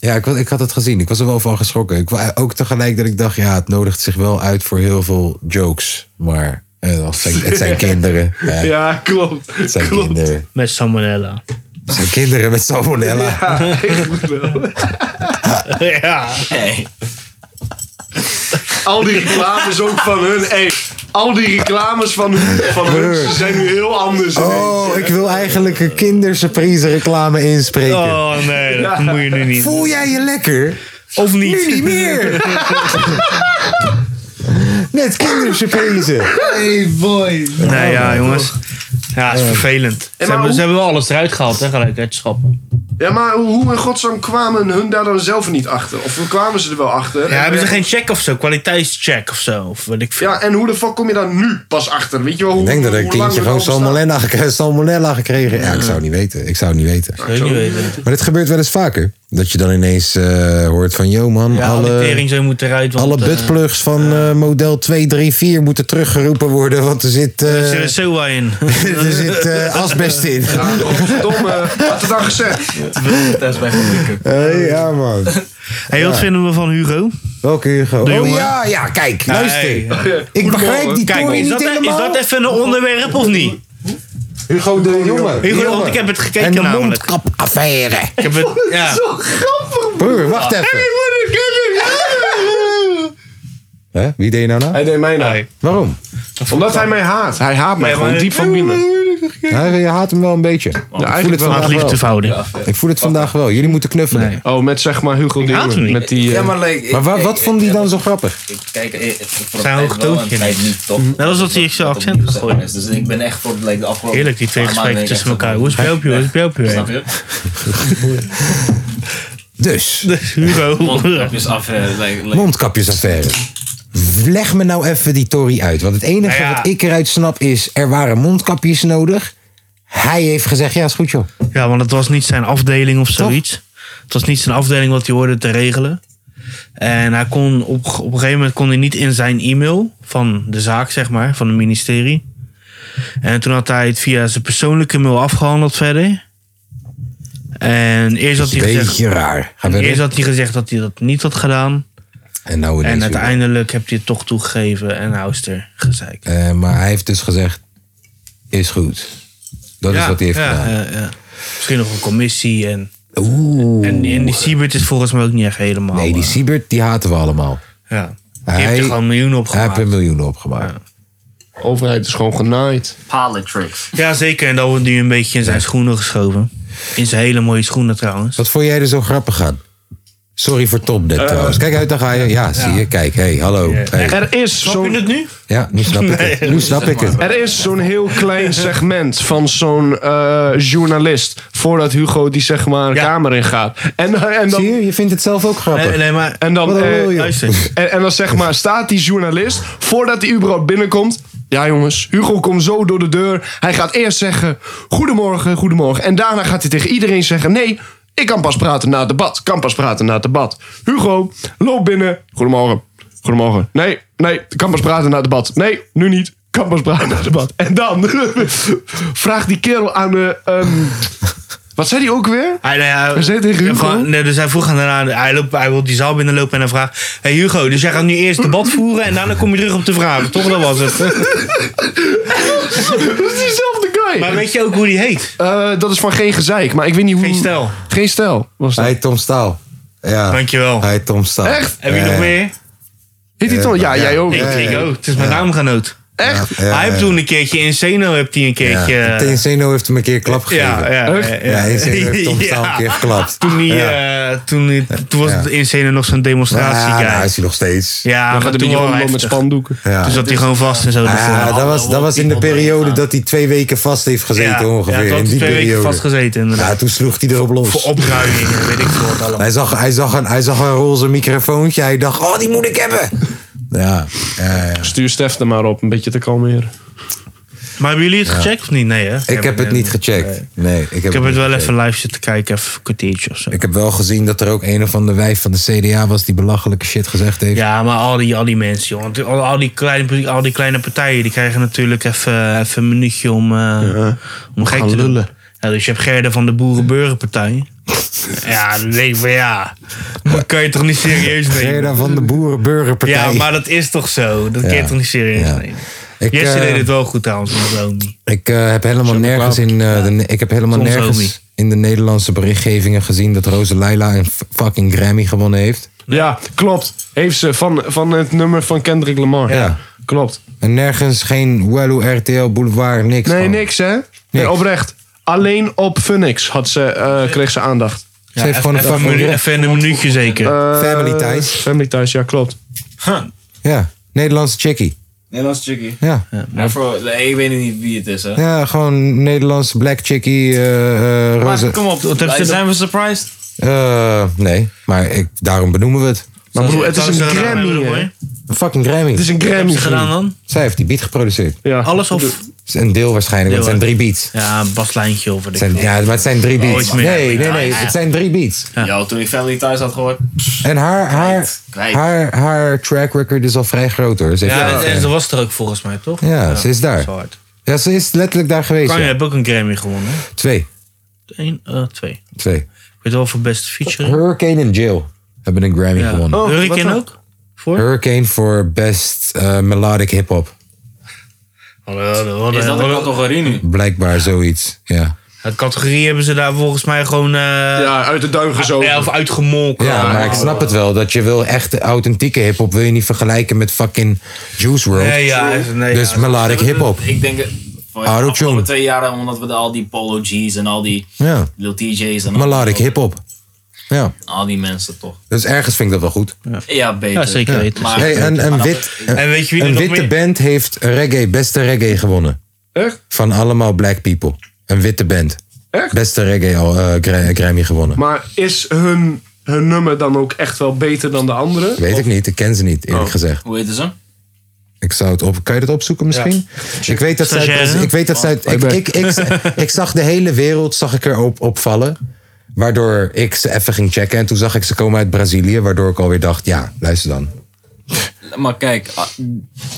[SPEAKER 1] ja, ik, wa- ik had het gezien. Ik was er wel van geschrokken. Ik, wa- ook tegelijk dat ik dacht, ja, het nodigt zich wel uit voor heel veel jokes. Maar Eh, dat zijn- Het zijn kinderen. Ja,
[SPEAKER 2] Ja, klopt.
[SPEAKER 1] het zijn
[SPEAKER 2] klopt.
[SPEAKER 1] kinderen.
[SPEAKER 3] Met salmonella.
[SPEAKER 1] Het zijn kinderen met salmonella.
[SPEAKER 2] Ja, echt wel.
[SPEAKER 3] ja.
[SPEAKER 4] Hey.
[SPEAKER 2] Al die reclames ook van hun. Hey, al die reclames van, van hun ze zijn nu heel anders.
[SPEAKER 1] Oh, ik wil eigenlijk een kindersurprise reclame inspreken.
[SPEAKER 3] Oh nee, dat moet je nu niet.
[SPEAKER 1] Voel jij je lekker?
[SPEAKER 3] Of
[SPEAKER 1] Nu niet
[SPEAKER 3] niet.
[SPEAKER 1] meer! Net kindersurprise.
[SPEAKER 5] Hey boy.
[SPEAKER 3] Nee,
[SPEAKER 1] Oh,
[SPEAKER 3] ja, jongens. Ja, is vervelend. Ze hebben,
[SPEAKER 2] hoe-
[SPEAKER 3] ze hebben wel alles eruit gehaald, hè, gelijk uit de schappen.
[SPEAKER 2] Ja, maar hoe- hoe in godsnaam kwamen hun daar dan zelf niet achter? Of hoe kwamen ze er wel achter?
[SPEAKER 3] Ja, hebben ze geen check of zo? Kwaliteitscheck of zo? Of wat ik veel.
[SPEAKER 2] Ja, en hoe de fuck kom je daar nu pas achter? Weet je wel, hoe,
[SPEAKER 1] Ik denk dat
[SPEAKER 2] hoe
[SPEAKER 1] ik een
[SPEAKER 2] lang
[SPEAKER 1] tientje
[SPEAKER 2] het
[SPEAKER 1] gewoon
[SPEAKER 2] al bestaat?
[SPEAKER 1] salmonella gekregen, salmonella gekregen. Ja, ik zou het niet weten. Ik zou het niet weten.
[SPEAKER 3] Ik weet niet weten.
[SPEAKER 1] Maar dit gebeurt wel eens vaker. Dat je dan ineens eh, hoort van... Yo man,
[SPEAKER 3] Ja, alle
[SPEAKER 1] alle,
[SPEAKER 3] tering zo moet eruit. Want,
[SPEAKER 1] alle
[SPEAKER 3] eh,
[SPEAKER 1] buttplugs van eh, model 234 moeten teruggeroepen worden. Want er zit, eh,
[SPEAKER 3] Er zit Dus er zo in.
[SPEAKER 1] er zit eh, asbest in.
[SPEAKER 2] Ja, godverdomme. Had het dan gezegd?
[SPEAKER 4] Dat is bij gelukkig.
[SPEAKER 1] Hey, ja man.
[SPEAKER 3] hey, wat vinden we van Hugo?
[SPEAKER 1] Welke Hugo?
[SPEAKER 3] De
[SPEAKER 1] Oh
[SPEAKER 3] jongen.
[SPEAKER 1] ja, ja, kijk, luister.
[SPEAKER 3] Hey,
[SPEAKER 1] Ik begrijp
[SPEAKER 2] Goedemorgen.
[SPEAKER 1] die
[SPEAKER 3] Kijk,
[SPEAKER 1] toren
[SPEAKER 3] is
[SPEAKER 1] niet
[SPEAKER 3] dat, e- is
[SPEAKER 1] helemaal.
[SPEAKER 3] dat even een onderwerp of niet?
[SPEAKER 1] Hugo de Jonge.
[SPEAKER 3] Hugo, want ik heb het gekeken
[SPEAKER 1] En de
[SPEAKER 3] namelijk.
[SPEAKER 1] mondkapaffaire.
[SPEAKER 3] Ik heb het, ja.
[SPEAKER 1] Broer, wacht even. Hè? Wie deed je nou na?
[SPEAKER 2] Hij deed mij na.
[SPEAKER 1] Waarom?
[SPEAKER 2] Omdat hij mij haat. Hij haat mij gewoon diep van binnen.
[SPEAKER 1] Hij, je haat hem wel een beetje. ik voel het
[SPEAKER 2] eigenlijk wel.
[SPEAKER 1] vandaag wel.
[SPEAKER 3] Haatliefdeverhouding.
[SPEAKER 1] Ik voel het vandaag wel. Jullie moeten knuffelen.
[SPEAKER 3] Nee.
[SPEAKER 2] Oh, met zeg maar Hugo de
[SPEAKER 3] haat hem
[SPEAKER 2] Jonge.
[SPEAKER 3] niet.
[SPEAKER 2] Met die, eh,
[SPEAKER 4] Ja, maar like, ik-
[SPEAKER 1] Maar wa-
[SPEAKER 4] ik-
[SPEAKER 1] wat
[SPEAKER 4] ik-
[SPEAKER 1] vond hij
[SPEAKER 4] ik-
[SPEAKER 1] dan zo grappig?
[SPEAKER 4] Ik kijk,
[SPEAKER 3] eh,
[SPEAKER 4] ik, ik, voor
[SPEAKER 3] Zijn
[SPEAKER 4] een
[SPEAKER 3] hoog
[SPEAKER 4] tijd wel,
[SPEAKER 3] toontje
[SPEAKER 4] een tijd niet, toch?
[SPEAKER 3] Net als Hm. Nou, dat hij echt zijn
[SPEAKER 4] Dat
[SPEAKER 3] accent
[SPEAKER 4] opnieuw, zeg
[SPEAKER 3] gegooid.
[SPEAKER 4] maar, is. Dus ik ben echt voor like, de afgelopen...
[SPEAKER 3] Heerlijk, die twee
[SPEAKER 4] paar maanden
[SPEAKER 3] gesprekken
[SPEAKER 4] ben ik
[SPEAKER 3] tussen elkaar.
[SPEAKER 4] echt
[SPEAKER 3] Hoe is het bij jou, Hoe is het bij jou, Pio?
[SPEAKER 4] zo- Snap je?
[SPEAKER 3] eh,
[SPEAKER 1] Dus,
[SPEAKER 3] Dus Hugo.
[SPEAKER 4] Mondkapjes af, eh, like, like,
[SPEAKER 1] mondkapjesaffaire. Leg me nou even die Tory uit. Want het enige
[SPEAKER 3] Nou ja.
[SPEAKER 1] wat ik eruit snap is... er waren mondkapjes nodig. Hij heeft gezegd, ja, is goed joh.
[SPEAKER 3] Ja, want het was niet zijn afdeling of zoiets. Het was niet zijn afdeling wat hij hoorde te regelen. En hij kon op, op een gegeven moment kon hij niet in zijn e-mail van de zaak, zeg maar, van het ministerie. En toen had hij het via zijn persoonlijke mail afgehandeld verder. En eerst had hij gezegd,
[SPEAKER 1] Beetje raar. Ga verder.
[SPEAKER 3] eerst had hij gezegd dat hij dat niet had gedaan.
[SPEAKER 1] En nou ineens
[SPEAKER 3] En
[SPEAKER 1] weer.
[SPEAKER 3] uiteindelijk heb hij het toch toegegeven en Houster gezeik.
[SPEAKER 1] Eh, maar hij heeft dus gezegd, is goed. Dat is wat hij heeft
[SPEAKER 3] ja, Eh,
[SPEAKER 1] gedaan.
[SPEAKER 3] ja, ja. Misschien nog een commissie. En,
[SPEAKER 1] Oeh.
[SPEAKER 3] en, en die Siebert is volgens mij ook niet echt helemaal...
[SPEAKER 1] nee, die
[SPEAKER 3] eh,
[SPEAKER 1] Siebert, die haten we allemaal.
[SPEAKER 3] Ja. Die
[SPEAKER 1] Hij-
[SPEAKER 3] heeft er gewoon miljoenen op
[SPEAKER 1] Hij heeft er
[SPEAKER 3] gemaakt.
[SPEAKER 1] miljoenen opgemaakt.
[SPEAKER 2] overheid is gewoon genaaid.
[SPEAKER 4] pallet tricks.
[SPEAKER 3] Ja, zeker. En dat wordt nu een beetje in zijn schoenen geschoven. In zijn hele mooie schoenen trouwens.
[SPEAKER 1] Wat vond jij er zo grappig aan? Sorry voor Tom net trouwens. Kijk uit, daar ga je. eh, Ja, zie je. Kijk, hey, hallo. Hey.
[SPEAKER 2] Er is
[SPEAKER 3] Snap je
[SPEAKER 2] zo'n
[SPEAKER 3] het nu?
[SPEAKER 1] Ja, nu snap ik het. Nu snap ik het.
[SPEAKER 2] er is zo'n heel klein segment van zo'n eh, journalist. Voordat Hugo die zeg maar een
[SPEAKER 3] Ja.
[SPEAKER 2] kamer ingaat. En, en,
[SPEAKER 1] Zie
[SPEAKER 2] dan,
[SPEAKER 1] je, je vindt het zelf ook
[SPEAKER 3] Nee,
[SPEAKER 1] grappig.
[SPEAKER 3] nee, maar...
[SPEAKER 2] en, dan,
[SPEAKER 1] Wat een
[SPEAKER 2] eh,
[SPEAKER 1] lul, joh.
[SPEAKER 3] Luister.
[SPEAKER 2] en, en dan zeg maar staat die journalist. Voordat hij überhaupt binnenkomt. Ja jongens, Hugo komt zo door de deur. Hij gaat eerst zeggen goedemorgen, goedemorgen. En daarna gaat hij tegen iedereen zeggen nee... Ik kan pas praten na het debat. Kan pas praten na het debat. Hugo, loop binnen. Goedemorgen. Goedemorgen. Nee, nee, ik kan pas praten na het debat. Nee, nu niet. Kan pas praten na het debat. En dan vraagt die kerel aan de. ehm, wat zei die ook weer?
[SPEAKER 3] Hij, nou ja,
[SPEAKER 2] We zitten tegen
[SPEAKER 3] ja,
[SPEAKER 2] Hugo.
[SPEAKER 3] gewoon- nee, dus hij vroeg aan daarna, hij, loopt, hij wil die zaal binnenlopen en hij vraagt... Hé hey Hugo, dus jij gaat nu eerst debat voeren en daarna kom je terug op de vragen. Toch, dat was het.
[SPEAKER 2] Dat is diezelfde guy.
[SPEAKER 3] Maar weet je ook hoe die heet?
[SPEAKER 2] Eh, dat is van geen gezeik, maar ik weet niet hoe.
[SPEAKER 3] Geen stijl.
[SPEAKER 2] Geen stijl was dat.
[SPEAKER 1] Hey, Tom Staal. Ja.
[SPEAKER 3] Dankjewel.
[SPEAKER 1] Hey, Tom Eh, Staal.
[SPEAKER 2] Echt?
[SPEAKER 3] Heb je
[SPEAKER 1] Ja,
[SPEAKER 3] nog
[SPEAKER 1] ja.
[SPEAKER 3] meer?
[SPEAKER 2] Heet die
[SPEAKER 1] Eh,
[SPEAKER 2] toch? Ja, jij ook.
[SPEAKER 3] Ik, ik ook. Het is mijn naamgenoot.
[SPEAKER 2] Echt?
[SPEAKER 1] Ja,
[SPEAKER 3] hij heeft
[SPEAKER 1] ja.
[SPEAKER 3] toen een keertje in Zeno heeft hij een
[SPEAKER 1] Ja.
[SPEAKER 3] keertje... eh,
[SPEAKER 1] Tenceno heeft hem een keer een klap gegeven.
[SPEAKER 3] ja, ja,
[SPEAKER 2] Echt?
[SPEAKER 3] ja,
[SPEAKER 1] Ja, Tenceno heeft Tom Staal
[SPEAKER 3] Ja.
[SPEAKER 1] een keer geklapt.
[SPEAKER 3] Toen, die, eh, toen, die- toen was
[SPEAKER 1] Ja.
[SPEAKER 3] het in Zeno nog zo'n
[SPEAKER 1] Ja,
[SPEAKER 3] demonstratie.
[SPEAKER 1] nou,
[SPEAKER 3] guy.
[SPEAKER 1] hij is hij nog steeds.
[SPEAKER 3] Ja,
[SPEAKER 2] Dan
[SPEAKER 3] maar
[SPEAKER 2] gaat
[SPEAKER 3] toen
[SPEAKER 2] hij
[SPEAKER 3] wel
[SPEAKER 2] gewoon met
[SPEAKER 3] heftig.
[SPEAKER 2] spandoeken.
[SPEAKER 1] Ja.
[SPEAKER 3] Toen zat hij gewoon vast en zo. Dus, oh,
[SPEAKER 1] Ah,
[SPEAKER 3] ervoor.
[SPEAKER 1] dat, was, dat was in de periode dat hij twee weken vast heeft gezeten
[SPEAKER 3] eh, Ja,
[SPEAKER 1] ongeveer.
[SPEAKER 3] ja, toen
[SPEAKER 1] in
[SPEAKER 3] had
[SPEAKER 1] die
[SPEAKER 3] hij twee weken
[SPEAKER 1] periode.
[SPEAKER 3] vastgezeten inderdaad.
[SPEAKER 1] Ja, toen sloeg hij erop los.
[SPEAKER 3] Voor opruiming en weet ik veel wat allemaal.
[SPEAKER 1] Hij zag, hij, zag een, hij zag een roze microfoontje. Hij dacht, oh, die moet ik hebben. Ja, ja, ja.
[SPEAKER 2] Stuur Stef er maar op, een beetje te kalmeren.
[SPEAKER 3] Maar hebben jullie het gecheckt of niet? Nee hè?
[SPEAKER 1] ik heb het niet gecheckt. Nee, ik heb,
[SPEAKER 3] Ik heb het
[SPEAKER 1] niet
[SPEAKER 3] wel
[SPEAKER 1] gecheckt.
[SPEAKER 3] even live zitten kijken, even een kwartiertje of zo.
[SPEAKER 1] Ik heb wel gezien dat er ook een of ander wijf van de CDA was die belachelijke shit gezegd heeft.
[SPEAKER 3] Ja, maar al die, al die mensen, joh. Want Al, al, die kleine, al die kleine partijen, die krijgen natuurlijk even, even een minuutje om, eh, om gek te lullen. Ja, dus je hebt Gerda van de Boerenburgerpartij. ja, dan denk ik van ja, dat kan je toch niet serieus nemen?
[SPEAKER 1] Gerda van de Boerenburgerpartij.
[SPEAKER 3] Ja, maar dat is toch zo? Dat kun je
[SPEAKER 1] Ja.
[SPEAKER 3] toch niet serieus
[SPEAKER 1] Ja.
[SPEAKER 3] nemen?
[SPEAKER 1] Ik,
[SPEAKER 3] Jesse
[SPEAKER 1] eh,
[SPEAKER 3] deed het wel goed trouwens, met Romy.
[SPEAKER 1] Ik eh, heb helemaal
[SPEAKER 2] Chocolade.
[SPEAKER 1] nergens in eh, de, ne- ik heb helemaal
[SPEAKER 3] Soms homie.
[SPEAKER 1] nergens in de Nederlandse berichtgevingen gezien dat Roze Laila een f- fucking Grammy gewonnen heeft.
[SPEAKER 2] Ja, klopt. Heeft ze van, van het nummer van Kendrick Lamar.
[SPEAKER 1] Ja.
[SPEAKER 2] Klopt.
[SPEAKER 1] En nergens geen Wellu RTL Boulevard, niks.
[SPEAKER 2] Nee,
[SPEAKER 1] van.
[SPEAKER 2] niks hè? Nee, oprecht. Alleen op Phoenix had ze, eh, kreeg ze aandacht.
[SPEAKER 1] Ze heeft gewoon een
[SPEAKER 3] even, een
[SPEAKER 1] fucking
[SPEAKER 3] menu- even een minuutje zeker.
[SPEAKER 2] Eh,
[SPEAKER 1] Family Ties.
[SPEAKER 2] Family Ties, ja, klopt.
[SPEAKER 1] Ja, Nederlandse chickie.
[SPEAKER 4] Nederlands chickie.
[SPEAKER 1] Ja.
[SPEAKER 4] Maar voor, nee, ik weet niet wie het is, hè.
[SPEAKER 1] ja, gewoon Nederlandse black chickie. eh, eh,
[SPEAKER 4] Maar
[SPEAKER 1] Roze.
[SPEAKER 4] kom op,
[SPEAKER 3] Wat hebben ze
[SPEAKER 4] zijn we surprised?
[SPEAKER 1] Eh, nee, maar ik, daarom benoemen we het.
[SPEAKER 2] Maar broer, het is
[SPEAKER 3] Zou
[SPEAKER 2] een
[SPEAKER 3] ze dat gedaan
[SPEAKER 2] Grammy.
[SPEAKER 3] hebben,
[SPEAKER 2] hè?
[SPEAKER 3] hoor?
[SPEAKER 2] Het
[SPEAKER 1] Een fucking Grammy.
[SPEAKER 2] is een Grammy.
[SPEAKER 3] Hebben ze gedaan dan?
[SPEAKER 1] Zij heeft die beat geproduceerd.
[SPEAKER 2] Ja.
[SPEAKER 3] Alles of
[SPEAKER 1] Een deel waarschijnlijk, want het zijn drie beats.
[SPEAKER 3] ja, een baslijntje of wat
[SPEAKER 1] Het
[SPEAKER 3] ik
[SPEAKER 1] zijn,
[SPEAKER 3] wil.
[SPEAKER 1] ja, maar het zijn drie
[SPEAKER 3] Oh,
[SPEAKER 1] beats.
[SPEAKER 3] iets meer.
[SPEAKER 1] Nee, nee,
[SPEAKER 3] Ja,
[SPEAKER 1] nee,
[SPEAKER 3] ja, ja.
[SPEAKER 1] het zijn drie beats.
[SPEAKER 4] Ja, toen ik Family Ties had gehoord.
[SPEAKER 1] En haar, haar,
[SPEAKER 4] Kwijt, kwijt.
[SPEAKER 1] haar, haar track record is al vrij groot hoor. Ze heeft-
[SPEAKER 3] Ja,
[SPEAKER 1] ja,
[SPEAKER 3] en, en ze was er ook volgens mij, toch?
[SPEAKER 1] Ja, ze is daar.
[SPEAKER 3] dat hard.
[SPEAKER 1] ze is letterlijk daar geweest.
[SPEAKER 3] Kanye
[SPEAKER 1] ja.
[SPEAKER 3] heeft ook een Grammy gewonnen.
[SPEAKER 1] Twee.
[SPEAKER 3] Eén, eh, twee.
[SPEAKER 1] Twee.
[SPEAKER 3] Ik weet wel voor beste feature.
[SPEAKER 1] Hurricane en Jill hebben een Grammy
[SPEAKER 3] Ja.
[SPEAKER 1] gewonnen.
[SPEAKER 2] Oh, wat
[SPEAKER 3] Hurricane
[SPEAKER 2] dan?
[SPEAKER 3] ook? Voor?
[SPEAKER 1] Hurricane voor best eh, melodic hip-hop.
[SPEAKER 3] Hallo, hallo, hallo,
[SPEAKER 4] Is dat een
[SPEAKER 3] hallo.
[SPEAKER 4] categorie nu?
[SPEAKER 1] Blijkbaar zoiets. Ja,
[SPEAKER 3] De categorie hebben ze daar volgens mij gewoon eh,
[SPEAKER 2] Ja, uit de duim gezogen.
[SPEAKER 3] ja, of uitgemolken.
[SPEAKER 1] ja maar ik snap het wel. Dat je wil echt authentieke hip-hop. Wil je niet vergelijken met fucking Juice WRLD.
[SPEAKER 3] Nee, ja, is- nee,
[SPEAKER 1] dus
[SPEAKER 3] ja.
[SPEAKER 1] melodic hip-hop.
[SPEAKER 4] Ik denk, eh, voor de
[SPEAKER 1] Auto-tune.
[SPEAKER 4] afgelopen twee jaren, omdat we de- al die Polo G's en al die
[SPEAKER 1] Ja,
[SPEAKER 4] Lil TJ's en al-
[SPEAKER 1] melodic hip-hop. Ja,
[SPEAKER 4] al die mensen toch.
[SPEAKER 1] dus ergens vind ik dat wel goed.
[SPEAKER 4] Ja, beter.
[SPEAKER 3] Ja, zeker weten.
[SPEAKER 4] Maar-
[SPEAKER 1] Hey, een, een,
[SPEAKER 4] maar
[SPEAKER 1] wit,
[SPEAKER 4] dat-
[SPEAKER 3] En weet je wie er
[SPEAKER 1] een
[SPEAKER 3] nog
[SPEAKER 1] witte
[SPEAKER 3] meer...
[SPEAKER 1] band heeft reggae, beste reggae gewonnen.
[SPEAKER 2] Echt?
[SPEAKER 1] Van allemaal black people. Een witte band.
[SPEAKER 2] Echt?
[SPEAKER 1] Beste reggae al, eh, Gra- Grammy gewonnen.
[SPEAKER 2] Maar is hun, hun nummer dan ook echt wel beter dan de andere?
[SPEAKER 3] Oh.
[SPEAKER 1] Weet ik niet, ik ken ze niet eerlijk gezegd.
[SPEAKER 4] Hoe heet ze?
[SPEAKER 1] Ik zou het op. Kan je dat opzoeken misschien? Ik weet dat zij.
[SPEAKER 3] Stagiaire? Oh.
[SPEAKER 1] Ik weet dat zij. Ik, ik, ik, ik zag de hele wereld zag ik erop opvallen. Waardoor ik ze even ging checken. En toen zag ik ze komen uit Brazilië. Waardoor ik alweer dacht: ja, luister dan.
[SPEAKER 4] Maar kijk, ah,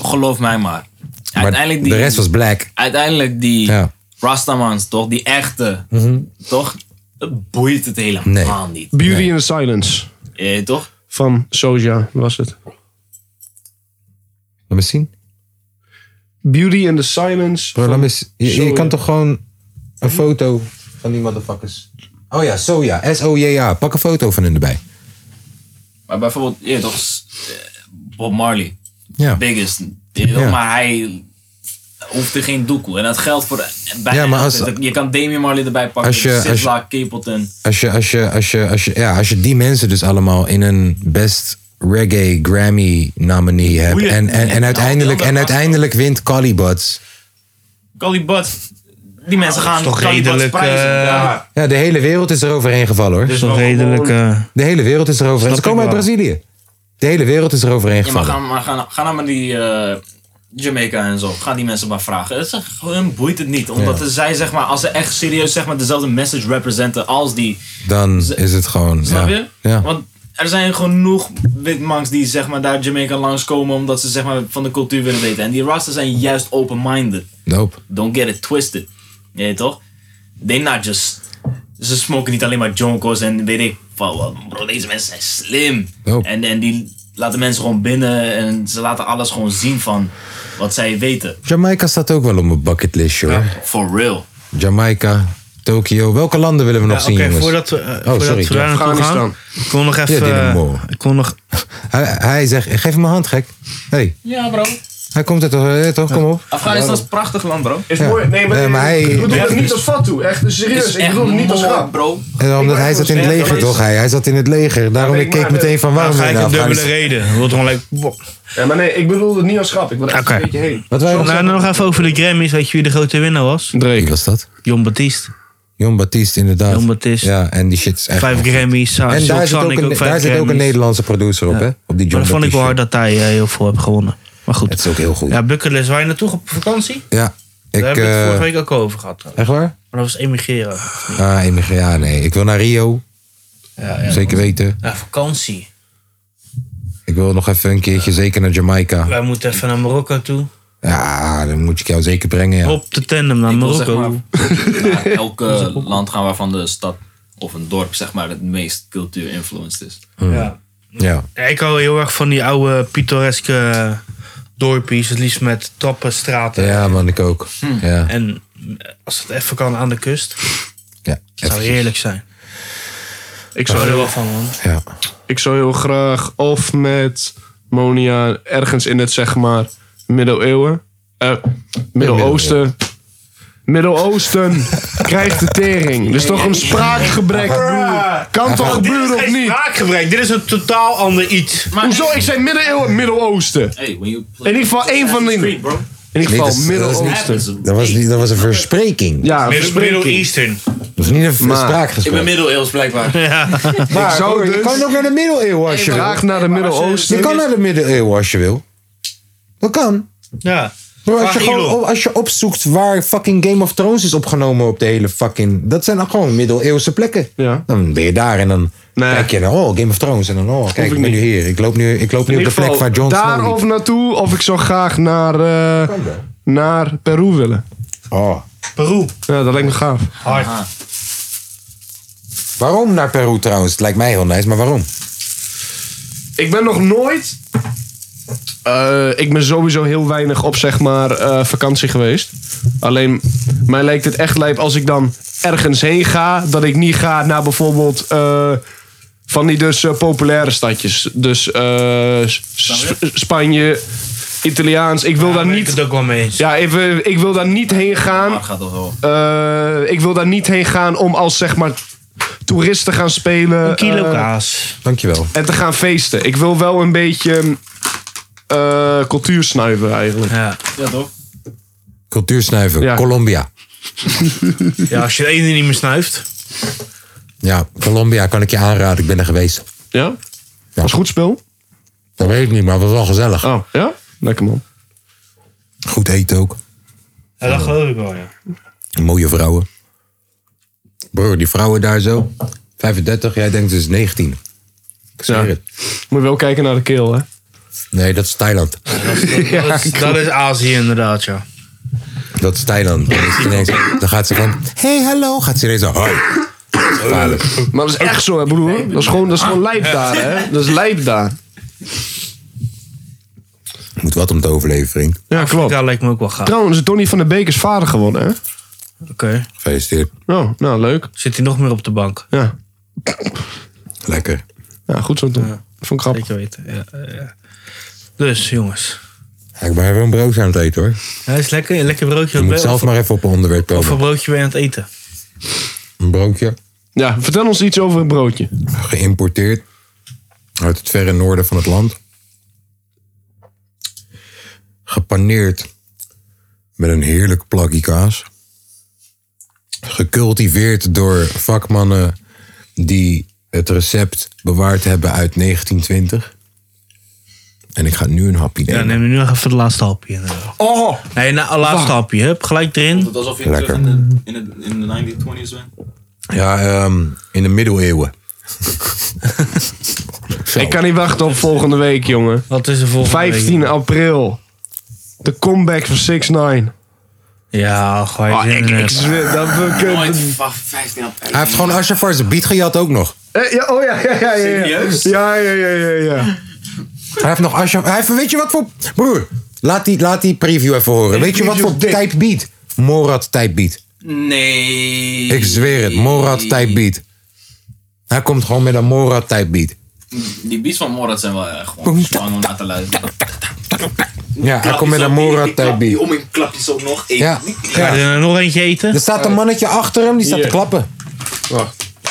[SPEAKER 4] geloof mij maar.
[SPEAKER 1] Maar
[SPEAKER 4] Uiteindelijk die,
[SPEAKER 1] de rest was black.
[SPEAKER 4] uiteindelijk die
[SPEAKER 1] Ja.
[SPEAKER 4] Rastamans, toch? Die echte,
[SPEAKER 1] Mhm.
[SPEAKER 4] toch? Dat boeit het helemaal niet.
[SPEAKER 2] Beauty in the Silence
[SPEAKER 4] Eh, toch?
[SPEAKER 2] van Soja was het.
[SPEAKER 1] Laat me zien.
[SPEAKER 2] Beauty in the Silence.
[SPEAKER 1] Bro, laat
[SPEAKER 2] van
[SPEAKER 1] me eens- je, je
[SPEAKER 2] Soja.
[SPEAKER 1] kan toch gewoon een foto van die motherfuckers. Oh ja, Soja. S-O-J-A. Pak een foto van hun erbij.
[SPEAKER 4] Maar bijvoorbeeld, je toch? s- eh, Bob Marley,
[SPEAKER 1] Ja.
[SPEAKER 4] biggest. je toch?
[SPEAKER 1] Ja.
[SPEAKER 4] Maar hij hoefde geen doekoe. En dat geldt voor bijna
[SPEAKER 1] Ja, maar als-
[SPEAKER 4] altijd. Je kan Damian Marley erbij pakken.
[SPEAKER 1] Als je- als je-
[SPEAKER 4] Sidla, Capleton.
[SPEAKER 1] Als je, als, je, als, je, als, je, ja, als je die mensen dus allemaal in een best reggae Grammy nominee hebt.
[SPEAKER 4] Boeien.
[SPEAKER 1] En, en, en, uiteindelijk, en uiteindelijk wint Collie Buds.
[SPEAKER 4] Golly Bud. Die mensen gaan
[SPEAKER 3] toch
[SPEAKER 4] Golly Buds
[SPEAKER 3] redelijk,
[SPEAKER 4] prijzen.
[SPEAKER 3] eh,
[SPEAKER 4] ja.
[SPEAKER 1] Ja, de hele wereld is er overheen gevallen hoor.
[SPEAKER 3] Dat is wel redelijk... eh,
[SPEAKER 1] De hele wereld is er overheen. Ze
[SPEAKER 3] Snap
[SPEAKER 1] komen
[SPEAKER 3] ik
[SPEAKER 1] uit Brazilië. De hele wereld is er overheen
[SPEAKER 4] Ja, maar ga
[SPEAKER 1] gevallen.
[SPEAKER 4] maar, ga, ga nou maar die eh, Jamaica en zo. Ga die mensen maar vragen. Het is, echt- hun boeit het niet. Omdat
[SPEAKER 1] Ja.
[SPEAKER 4] zij, zeg maar, als ze echt serieus zeg maar, dezelfde message representen als die.
[SPEAKER 1] Dan is het gewoon.
[SPEAKER 4] Snap
[SPEAKER 1] Ja.
[SPEAKER 4] je?
[SPEAKER 1] Ja.
[SPEAKER 4] Want er zijn genoeg witmanks die zeg maar, daar Jamaica langskomen omdat ze zeg maar, van de cultuur willen weten. En die Rasta zijn juist open-minded.
[SPEAKER 1] Dope.
[SPEAKER 4] Don't get it twisted. Je weet toch? They not just... Ze smoken niet alleen maar jonkos en weet ik van wat. Bro, deze mensen zijn slim.
[SPEAKER 1] Oh.
[SPEAKER 4] En, en die laten mensen gewoon binnen en ze laten alles gewoon zien van wat zij weten.
[SPEAKER 1] Jamaica staat ook wel op mijn bucketlistje hoor.
[SPEAKER 4] For real.
[SPEAKER 1] Jamaica, Tokio. Welke landen willen we nog
[SPEAKER 3] Ja,
[SPEAKER 1] zien
[SPEAKER 3] Oké,
[SPEAKER 1] jongens? Oh,
[SPEAKER 3] voordat we, eh,
[SPEAKER 1] sorry.
[SPEAKER 3] voordat we daar naartoe gaan.
[SPEAKER 2] Afghanistan.
[SPEAKER 3] Ik wil nog even...
[SPEAKER 1] Dynamo.
[SPEAKER 3] eh, ik wil nog...
[SPEAKER 1] Hij, hij zegt, geef hem een hand gek. Hey,
[SPEAKER 4] Ja, bro.
[SPEAKER 1] hij komt er toch, eh, toch? Kom op.
[SPEAKER 4] Afghanistan is een prachtig land, bro.
[SPEAKER 2] Is
[SPEAKER 1] Ja.
[SPEAKER 2] mooi. Nee, maar,
[SPEAKER 1] Nee, maar hij-
[SPEAKER 2] ik bedoel het
[SPEAKER 4] Ja.
[SPEAKER 2] niet als fat toe. Echt serieus. Ik
[SPEAKER 4] echt
[SPEAKER 2] bedoel het niet als
[SPEAKER 4] mooi,
[SPEAKER 2] grap.
[SPEAKER 4] bro.
[SPEAKER 1] En omdat
[SPEAKER 2] Ik
[SPEAKER 1] hij
[SPEAKER 2] ben
[SPEAKER 1] zat in het
[SPEAKER 2] gewoon
[SPEAKER 1] leger,
[SPEAKER 2] sterk
[SPEAKER 1] toch? Hij, hij zat in het leger. Daarom
[SPEAKER 2] Ja,
[SPEAKER 1] ik
[SPEAKER 2] ik
[SPEAKER 1] keek
[SPEAKER 2] maar-
[SPEAKER 1] meteen van
[SPEAKER 3] Dan
[SPEAKER 1] waarom
[SPEAKER 3] ga
[SPEAKER 1] ben je
[SPEAKER 3] ik een
[SPEAKER 1] naar
[SPEAKER 3] dubbele
[SPEAKER 1] Afghanistan?
[SPEAKER 3] reden. Wordt gewoon lekker... Wow.
[SPEAKER 2] Ja, maar nee, ik bedoel het niet als grap. Ik wil er echt
[SPEAKER 3] Oké.
[SPEAKER 2] een beetje heen.
[SPEAKER 1] Wat wij nog
[SPEAKER 3] Nou, nog even over de Grammys. Weet je wie de grote winnaar was?
[SPEAKER 1] Wie
[SPEAKER 2] Drake.
[SPEAKER 1] was dat?
[SPEAKER 3] Jon Baptiste.
[SPEAKER 1] Jon Baptiste, inderdaad.
[SPEAKER 3] Jon Baptiste.
[SPEAKER 1] Ja, en die shit is echt...
[SPEAKER 3] Vijf Grammys. Sa-
[SPEAKER 1] En
[SPEAKER 3] Silk
[SPEAKER 1] daar zit ook
[SPEAKER 3] Sonic
[SPEAKER 1] een,
[SPEAKER 3] vijf
[SPEAKER 1] daar zit ook een
[SPEAKER 3] Grammys.
[SPEAKER 1] Nederlandse producer op, hè? Op die Jon
[SPEAKER 3] Maar dat vond ik wel hard
[SPEAKER 1] Baptiste.
[SPEAKER 3] dat hij eh, heel veel heeft gewonnen. Maar goed.
[SPEAKER 1] Het is ook heel goed.
[SPEAKER 3] Ja, bucketlist. Waar je naartoe op vakantie?
[SPEAKER 1] Ja, ik...
[SPEAKER 3] Daar heb ik het
[SPEAKER 1] eh,
[SPEAKER 3] vorige week ook al over gehad. trouwens.
[SPEAKER 1] Echt waar?
[SPEAKER 3] Maar dat was emigreren.
[SPEAKER 1] Ah, emigre- ja, nee. Ik wil naar Rio. Zeker weten.
[SPEAKER 3] Ja, vakantie.
[SPEAKER 1] Ik wil nog even een keertje zeker naar Jamaica.
[SPEAKER 3] Wij moeten even naar Marokko toe.
[SPEAKER 1] Ja, dan moet ik jou zeker brengen, ja.
[SPEAKER 3] Op de tandem naar
[SPEAKER 4] Ik wil zeg
[SPEAKER 3] Marokko.
[SPEAKER 4] maar naar elk eh, land gaan waarvan de stad of een dorp zeg maar het meest cultuur-influenced is.
[SPEAKER 3] ja.
[SPEAKER 1] Hmm. Ja.
[SPEAKER 3] Ja, ik hou heel erg van die oude pittoreske dorpjes, het liefst met trappen, straten.
[SPEAKER 1] Ja, man, ik ook. Ja.
[SPEAKER 3] En eh, als het even kan aan de kust,
[SPEAKER 1] Ja.
[SPEAKER 3] het zou heerlijk zijn.
[SPEAKER 2] Ik
[SPEAKER 3] Ik
[SPEAKER 2] zou,
[SPEAKER 3] hou er wel
[SPEAKER 2] heel,
[SPEAKER 3] van, man.
[SPEAKER 1] ja.
[SPEAKER 2] ik zou heel graag of met Monia ergens in het zeg maar middeleeuwen. eh, Midden-Oosten. Midden-Oosten krijgt de tering. Dus toch een spraakgebrek. broer. Kan toch gebeuren of niet?
[SPEAKER 3] spraakgebrek, dit is een totaal ander iets.
[SPEAKER 4] Maar
[SPEAKER 2] Hoezo? Ik zei middeleeuwen, Midden-Oosten.
[SPEAKER 4] Hey, when you play
[SPEAKER 2] In ieder geval één van de.
[SPEAKER 4] Street, bro.
[SPEAKER 2] In ieder
[SPEAKER 1] Nee,
[SPEAKER 2] geval
[SPEAKER 1] dat is- dat is niet-
[SPEAKER 2] Midden-Oosten.
[SPEAKER 4] Happens.
[SPEAKER 1] Dat, was, niet- dat was een verspreking.
[SPEAKER 2] Ja,
[SPEAKER 3] Middle
[SPEAKER 2] verspreking.
[SPEAKER 3] Eastern.
[SPEAKER 1] Dat is niet een
[SPEAKER 2] Maar-
[SPEAKER 4] Ik ben
[SPEAKER 1] spraakgesprek.
[SPEAKER 4] middeleeuws blijkbaar.
[SPEAKER 1] Maar,
[SPEAKER 2] Ik zou
[SPEAKER 1] hoor, je
[SPEAKER 2] dus-
[SPEAKER 1] kan ook naar de middeleeuwen als je wil.
[SPEAKER 2] Graag naar de oh,
[SPEAKER 1] Je
[SPEAKER 2] Midden-Oosten.
[SPEAKER 1] kan naar de middeleeuwen als je wil. Dat kan.
[SPEAKER 3] Ja.
[SPEAKER 1] Bro, als,
[SPEAKER 3] Vraag
[SPEAKER 1] je gewoon,
[SPEAKER 3] Elon.
[SPEAKER 1] op- als je opzoekt waar fucking Game of Thrones is opgenomen op de hele fucking... Dat zijn dan gewoon middeleeuwse plekken.
[SPEAKER 2] Ja.
[SPEAKER 1] Dan ben je daar en dan
[SPEAKER 2] Nee.
[SPEAKER 1] kijk je naar... Oh, Game of Thrones. En dan, oh, kijk,
[SPEAKER 2] ik
[SPEAKER 1] ik ben nu
[SPEAKER 2] niet.
[SPEAKER 1] hier. Ik loop nu, ik loop nu
[SPEAKER 2] In
[SPEAKER 1] op de
[SPEAKER 2] ieder
[SPEAKER 1] plek
[SPEAKER 2] geval
[SPEAKER 1] waar Jon Snow
[SPEAKER 2] daar
[SPEAKER 1] liep.
[SPEAKER 2] of naartoe, of ik zou graag naar, eh, naar Peru willen.
[SPEAKER 1] Oh.
[SPEAKER 3] Peru.
[SPEAKER 2] Ja, dat lijkt me gaaf.
[SPEAKER 3] Hard.
[SPEAKER 1] Waarom naar Peru trouwens? Het lijkt mij heel nice, maar waarom?
[SPEAKER 2] Ik ben nog nooit. eh, ik ben sowieso heel weinig op zeg maar eh, vakantie geweest. Alleen mij lijkt het echt lijp als ik dan ergens heen ga. Dat ik niet ga naar bijvoorbeeld. eh, van die dus eh, populaire stadjes. Dus eh, S- S- Spanje, Italiaans. Ik wil daar
[SPEAKER 3] ben ik
[SPEAKER 2] niet.
[SPEAKER 3] het ook wel mee eens.
[SPEAKER 2] Ja, even, ik wil daar niet heen gaan.
[SPEAKER 4] Maar gaat toch wel.
[SPEAKER 2] Eh, ik wil daar niet heen gaan om als zeg maar toerist te gaan spelen.
[SPEAKER 3] Een kilo
[SPEAKER 2] eh,
[SPEAKER 3] kaas.
[SPEAKER 1] Dankjewel.
[SPEAKER 2] en te gaan feesten. Ik wil wel een beetje eh cultuur snuiven eigenlijk.
[SPEAKER 3] Ja.
[SPEAKER 4] Ja, toch?
[SPEAKER 1] Cultuursnuiven.
[SPEAKER 2] Ja.
[SPEAKER 1] Colombia.
[SPEAKER 3] ja, als je de ene niet meer snuift.
[SPEAKER 1] Ja, Colombia kan ik je aanraden. Ik ben er geweest.
[SPEAKER 2] Ja? Dat is goed spel.
[SPEAKER 1] Dat weet ik niet, maar het was wel gezellig.
[SPEAKER 2] Oh, ja? Lekker man.
[SPEAKER 1] Goed eten ook.
[SPEAKER 3] Ja, dat geloof ik wel, ja.
[SPEAKER 1] Mooie vrouwen. Broer, die vrouwen daar zo. 35, jij denkt dus 19. Ik
[SPEAKER 2] Ja.
[SPEAKER 1] zweer het.
[SPEAKER 2] Moet je wel kijken naar de keel, hè?
[SPEAKER 1] Nee, dat is Thailand.
[SPEAKER 3] Dat is, dat is Azië inderdaad, ja.
[SPEAKER 1] Dat is Thailand. Dan, is het ineens, dan gaat ze van, hey, hallo. Gaat ze ineens zo, hoi. Gevaarlijk.
[SPEAKER 2] Maar dat is echt zo, hè, broer. Dat is gewoon, dat is gewoon lijp daar, hè? Dat is lijp daar.
[SPEAKER 1] Moet wat om te overleven, vriend.
[SPEAKER 2] Ja, klopt.
[SPEAKER 3] Dat lijkt me ook wel gaaf.
[SPEAKER 2] Trouwens, Donny van der Beek is vader geworden, hè?
[SPEAKER 3] Oké.
[SPEAKER 1] Gefeliciteerd.
[SPEAKER 2] Nou, nou, leuk.
[SPEAKER 3] Zit hij nog meer op de bank?
[SPEAKER 2] Ja.
[SPEAKER 1] Lekker.
[SPEAKER 2] Ja, goed zo. Tom. Vond ik grappig.
[SPEAKER 3] Weet je weten. Ja, eh, ja. Dus, jongens.
[SPEAKER 1] Ja, ik ben even een broodje aan het eten, hoor.
[SPEAKER 3] Hij is lekker. Een lekker broodje.
[SPEAKER 1] Je
[SPEAKER 3] Wat ben-
[SPEAKER 1] moet zelf maar even op een onderwerp
[SPEAKER 3] Of een
[SPEAKER 1] komen.
[SPEAKER 3] broodje ben je aan het eten?
[SPEAKER 1] Een broodje.
[SPEAKER 2] Ja, vertel ons iets over een broodje.
[SPEAKER 1] geïmporteerd uit het verre noorden van het land. Gepaneerd met een heerlijk plakje kaas. Gecultiveerd door vakmannen die het recept bewaard hebben uit 1920. En ik ga nu een hapje
[SPEAKER 3] Ja,
[SPEAKER 1] nemen.
[SPEAKER 3] neem nu nog even het laatste hapje. eh. inderdaad.
[SPEAKER 2] Oh!
[SPEAKER 3] Nee, nou, het laatste hapje. Hup, gelijk erin.
[SPEAKER 4] Dat alsof je terug
[SPEAKER 1] Lekker.
[SPEAKER 4] in de, in de, in de 1920s bent.
[SPEAKER 1] Ja, ehm, in de middeleeuwen.
[SPEAKER 2] Ik kan niet wachten op volgende week, jongen.
[SPEAKER 3] Wat is er volgende week?
[SPEAKER 2] 15 april. De comeback van 6 9
[SPEAKER 3] Ja, ga je
[SPEAKER 2] Oh,
[SPEAKER 3] zin
[SPEAKER 2] ik,
[SPEAKER 3] in eh,
[SPEAKER 2] ik
[SPEAKER 3] hebben.
[SPEAKER 2] zweer dat we
[SPEAKER 4] Nooit
[SPEAKER 2] kunnen...
[SPEAKER 4] fuck, 15 april.
[SPEAKER 1] Hij heeft gewoon Asherfar zijn beat gejat ook nog.
[SPEAKER 2] Eh, ja, oh ja, ja, ja, ja. Ja,
[SPEAKER 4] Serieus?
[SPEAKER 2] ja, ja, ja, ja. ja.
[SPEAKER 1] Hij heeft nog Ashraf. Hij heeft, weet je wat voor. Broer, laat die, laat die preview even horen. Weet je wat voor type beat? Morad type beat.
[SPEAKER 4] Nee.
[SPEAKER 1] Ik zweer het, Morad type beat. Hij komt gewoon met een Morad type beat.
[SPEAKER 4] Die beats van Morat zijn wel echt gewoon spannend om naar te luisteren.
[SPEAKER 1] Ja, hij komt met een Morad type beat.
[SPEAKER 4] Om in klapjes ook nog. Ik-
[SPEAKER 1] Ja,
[SPEAKER 3] Ga je
[SPEAKER 1] ja.
[SPEAKER 3] er nog eentje eten?
[SPEAKER 1] Er staat een mannetje achter hem, die staat te klappen.
[SPEAKER 3] Ga